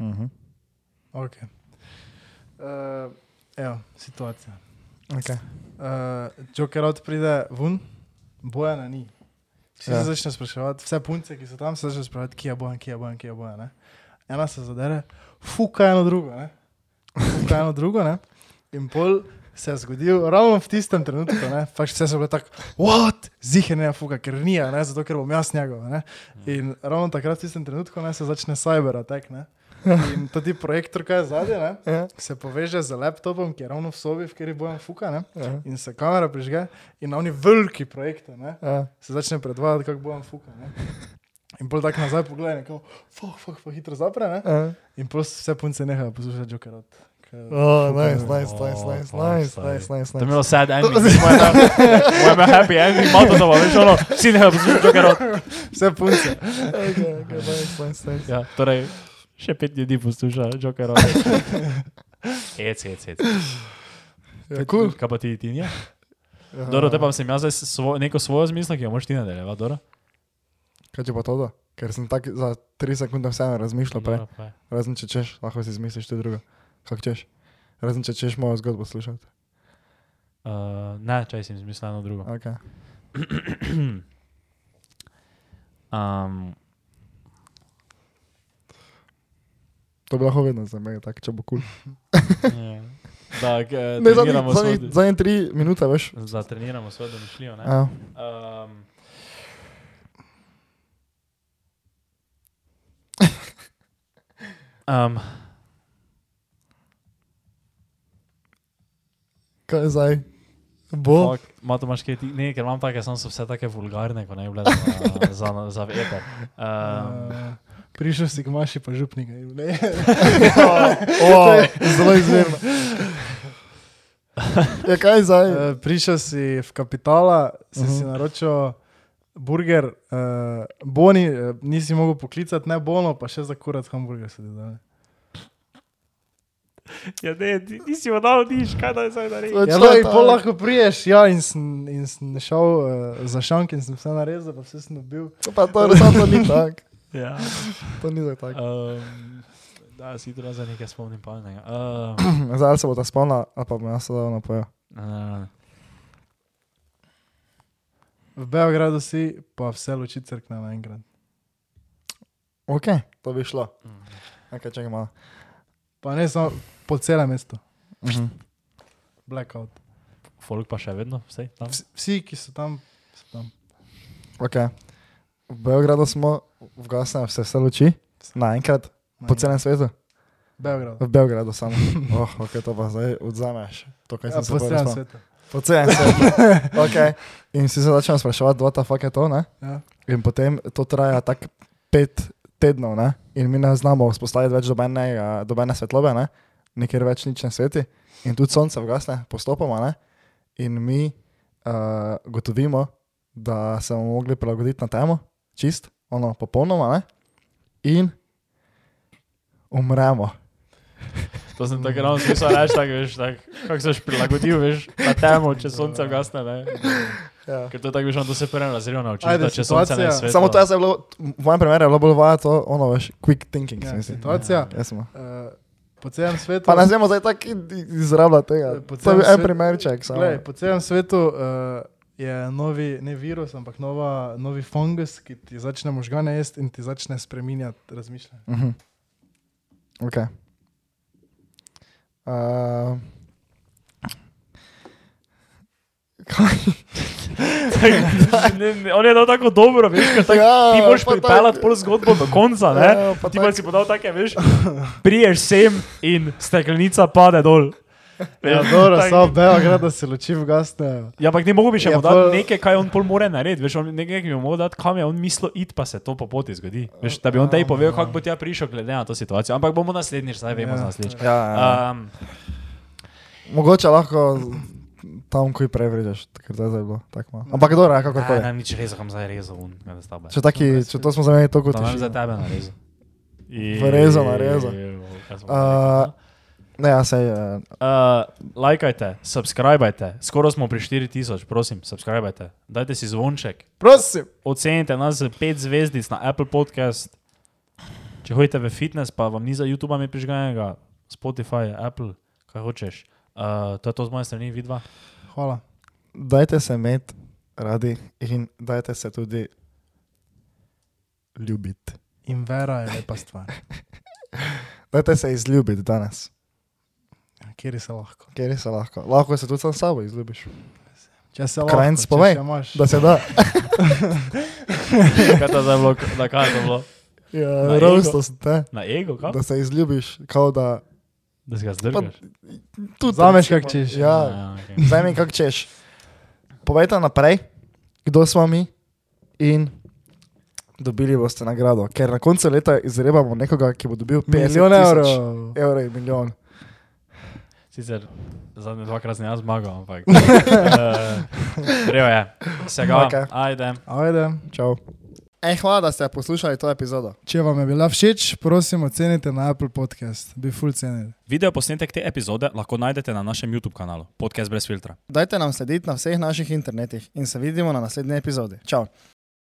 Speaker 5: Mhm.
Speaker 3: Okay. Uh, evo, situacija.
Speaker 5: Okay.
Speaker 3: Uh, Joker out pride ven, bojana ni. Vsi ja.
Speaker 5: Ja.
Speaker 3: se začnejo spraševati, vse punce, ki so tam, se začnejo spraševati, kje je bojan, kje je bojan, kje je bojan. Ne? Ena se zadere, fuka eno drugo, ne? fuka eno drugo. Ne? In pol se je zgodil ravno v tistem trenutku, ne? pač vse so bile tako, what, zihe ne fuka, ker ni, a ne? zato ker bom jaz njegov. Ne? In ravno takrat v tistem trenutku ne, se začne cyber attack. Ne? In tudi projektor, kaj je zadnji,
Speaker 5: Ja.
Speaker 3: se poveže z laptopom, ki je ravno v sobi, v kateri bojem fuka. Ne? in se kamera prižge, in na oni veliki projekti ne,
Speaker 5: Ja.
Speaker 3: se začne predvajati, kako bo on fuka. Ne. In pol tako nazaj pogleda, in kako fuck, fuck, fuck, hitro zapre. Ne.
Speaker 5: Ja.
Speaker 3: In pol vse punce nehajo poslušati Jokerot.
Speaker 5: Oh, nice,
Speaker 3: ne.
Speaker 5: nice, nice,
Speaker 4: O,
Speaker 5: nice,
Speaker 4: pa,
Speaker 5: nice,
Speaker 4: stari.
Speaker 5: nice, nice,
Speaker 4: To je
Speaker 5: nice.
Speaker 4: bilo sad ending, moje je bilo happy ending, malo to, veš, ono, vsi ne poslušajo Jokerov.
Speaker 3: Vse punce.
Speaker 5: Okay, okay, nice, nice, nice.
Speaker 4: Ja, torej, še pet ljudi posluša Jokerov. Ec, ec, ec.
Speaker 5: Ja, cool.
Speaker 4: Kaj pa ti, ti nje? Dobro, te pa sem jaz zdaj svo, neko svojo zmisel, ki jo moraš ti nadaljevati, dobro?
Speaker 5: Kaj če pa to da? Ker sem tak za 3 sekunde vseeno razmišljal prej. Razen če češ, lahko si izmisliš tudi drugo. Kako češ? Razen če češ mojo zgodbo slišati.
Speaker 4: Uh, ne, če sem izmislil eno drugo.
Speaker 5: Okay.
Speaker 4: Um,
Speaker 5: To bi lahko vedno za me, tak, če bo kul. Cool.
Speaker 4: ja. Da, k- eh,
Speaker 5: Ne,
Speaker 4: treniramo
Speaker 5: zadnji-
Speaker 4: svoj-
Speaker 5: zadnji- zadnje 3 minute, veš.
Speaker 4: da treniramo svojo domišljijo. ne?
Speaker 5: Ja.
Speaker 4: Um, um,
Speaker 5: Kaj zdaj? Bo?
Speaker 4: Fak, Mato imaš kaj ti, ne, ker imam take, samo so vse take vulgarne, ko ne bi bile za, za, za veter. Um,
Speaker 3: Uh, prišel si k maši, pa župnika. in Ne,
Speaker 5: O, zelo izvirno. Ja, kaj zdaj?
Speaker 3: Eh, prišel si v kapitala, si, uh -huh. si
Speaker 5: Mhm.
Speaker 3: naročil burger, uh, boni, uh, nisi mogel poklicati, ne bono, pa še za kurat hamburger se ti da.
Speaker 4: ja, ne, ti, ti si odal nič, kaj da je zdaj naredil.
Speaker 3: Ja,
Speaker 5: Človek
Speaker 3: no, in pol
Speaker 5: ta-
Speaker 3: lahko priješ, ja, in sem, in sem šel uh, za šank in sem vse narezal, pa vse sem dobil.
Speaker 5: Pa to resnično ni tako.
Speaker 4: Ja.
Speaker 5: To ni zdaj tako.
Speaker 4: Um, da, si tu za nekaj spomnim pametnega.
Speaker 5: Zdaj ali se bo ta spona, ali pa bom jaz to dal napoja.
Speaker 4: Um,
Speaker 3: V Beogradu si, pa vse luči crkne naenkrat.
Speaker 5: Ok, to bi šlo.
Speaker 3: Mhm.
Speaker 5: Nekaj čakaj malo.
Speaker 3: Pa ne samo po celem mestu,
Speaker 5: Mhm.
Speaker 3: blackout.
Speaker 4: folk pa še vedno, vse tam.
Speaker 3: Vsi, vsi, ki so tam
Speaker 5: Okay. V Beogradu smo, vgasne vse, vse luči, naenkrat, po celem svetu.
Speaker 3: Beograd.
Speaker 5: V Beogradu samo. Oh, okay, to pa zdaj odzameš. To, kaj
Speaker 3: Ja,
Speaker 5: sem se
Speaker 3: po
Speaker 5: prej
Speaker 3: celem
Speaker 5: spomnil.
Speaker 3: svetu.
Speaker 5: Po celem svetu. okay. In si se začel spraševati, dva ta fuck je to, ne?
Speaker 3: Ja.
Speaker 5: In potem to traja tako pet tednov, ne? In mi ne znamo vzpostaviti več dobenega- dobene svetlobe, ne? Nikjer več nič ne sveti. In tudi sonce vgasne, postopoma, ne? In mi uh, gotovimo, da se bomo mogli prilagoditi na temo, čist, ono, popolnoma, ne? In umremo.
Speaker 4: To sem tako ravno smisel reči, tako veš, tak, kako se boš prilagodil, veš, na temo, če sonce gasne, ne.
Speaker 5: Ja.
Speaker 4: Ker to je tako, veš, no, to se prvem razredu naučiš,
Speaker 3: Ajde,
Speaker 4: da če sonce ne
Speaker 3: situacija.
Speaker 4: sveti.
Speaker 5: Samo to jaz je bilo, v mojem primeru je bilo bolj vaja to, ono, veš, quick thinking,
Speaker 3: Ja,
Speaker 5: ja, mislim.
Speaker 3: situacija.
Speaker 5: Jaz smo.
Speaker 3: eh, Po celem svetu.
Speaker 5: Pa ne znamo zdaj tako izrabljati tega. To
Speaker 3: Po
Speaker 5: je
Speaker 3: celem
Speaker 5: bil en
Speaker 3: svetu-
Speaker 5: primerček. samo.
Speaker 3: Glej, po celem svetu uh, je novi, ne virus, ampak nova, novi fungus, ki ti začne možgane jesti in ti začne spreminjati razmišljanje.
Speaker 5: Mhm. Okay. Uh,
Speaker 4: Ne, ne, On je dal tako dobro, veš, ker tako,
Speaker 5: Ja,
Speaker 4: ti moraš
Speaker 5: pa tako-
Speaker 4: pripeljati pol zgodbo do konca, ne.
Speaker 5: Ja, pa
Speaker 4: Ti
Speaker 5: tako-
Speaker 4: pa si podal take, veš, priješ sem in steklenica pade dol.
Speaker 3: Ja,
Speaker 4: Veš,
Speaker 3: dobro,
Speaker 4: tako-
Speaker 3: samo Beograd, da se luči v gasne.
Speaker 4: Ja, ampak ne mogo bi še
Speaker 3: Ja,
Speaker 4: mu dati
Speaker 3: pol-
Speaker 4: nekaj, kaj on pol more narediti, veš, on nekaj bi mu mogo dati, kam je on mislil iti, pa se to po poti zgodi. Veš, da bi on
Speaker 5: Ah.
Speaker 4: tej povedal, kako bo tja prišel glede na to situacijo. Ampak bomo naslednjič, zdaj vemo za naslednjič.
Speaker 5: ja, ja.
Speaker 4: Um,
Speaker 5: Uh, Mogoče lahko tam, ko jih prej vržeš, ker zdaj zdaj je bilo tako malo. Ampak dobro, ja,
Speaker 4: Kako je?
Speaker 5: kakorkoli.
Speaker 4: Ne, nič rezal, kam zdaj rezal, un, ne da stavbe.
Speaker 5: Če, taki, če to smo zamenjali, to kot
Speaker 4: To nam
Speaker 5: je.
Speaker 4: za tebe narezal.
Speaker 5: Vrezal, narezal.
Speaker 4: Uh,
Speaker 5: Uh, ne, ja, sej, uh,
Speaker 4: uh, lajkajte, subskrbajte, skoro smo pri 4000, prosim, subskrbajte. Dajte si zvonček,
Speaker 5: prosim.
Speaker 4: ocenite nas z 5 zvezdic na Apple Podcast. Če hodite v fitness, pa vam ni za YouTube mi prižganega, Spotify, Apple, kaj hočeš. Uh, to je to z moje strani, vidva.
Speaker 3: Hvala.
Speaker 5: Dajte se imeti radi in dajte se tudi ljubiti.
Speaker 3: In vera je lepa stvar,
Speaker 5: Dajte se izljubiti danes,
Speaker 3: Ja, kjer se lahko.
Speaker 5: kjer se lahko. Lahko se tudi sam s sabo izljubiš.
Speaker 3: Če se lahko,
Speaker 5: Krajnc,
Speaker 3: če
Speaker 5: povej,
Speaker 3: še imaš.
Speaker 5: Da se da.
Speaker 4: Kaj je to zdaj bilo, da kaj je to bilo? Na
Speaker 5: Ja, Rosto
Speaker 4: ego.
Speaker 5: se te.
Speaker 4: Na ego, kaj?
Speaker 5: Da se izljubiš, kot da.
Speaker 4: Da si ga
Speaker 5: Pa,
Speaker 4: zdrgaš.
Speaker 5: tudi,
Speaker 3: Vzameš,
Speaker 5: recimo,
Speaker 3: kako češ.
Speaker 5: Ja,
Speaker 4: Ja, okay.
Speaker 5: vzemi, kak češ. Povejte naprej, kdo smo mi in dobili boste nagrado. Ker na koncu leta izrebamo nekoga, ki bo dobil 50
Speaker 3: Milijon
Speaker 5: tisoč
Speaker 3: evrov.
Speaker 5: evrov in milijon.
Speaker 4: Sicer zadnje dvakrat sem jaz zmagal, ampak. eh, Treba je, se ga.
Speaker 5: Okej.
Speaker 4: Okay. Ajde.
Speaker 3: Ajde.
Speaker 5: Čau.
Speaker 2: Ej, hvala, da ste poslušali to epizodo.
Speaker 3: Če vam je bila všeč, prosim, ocenite na Apple podcast, bi full cenili.
Speaker 7: Video posnetek te epizode lahko najdete na našem YouTube kanalu Podcast brez filtra.
Speaker 2: Dajte nam slediti na vseh naših internetih in se vidimo na naslednji epizodi. Čau!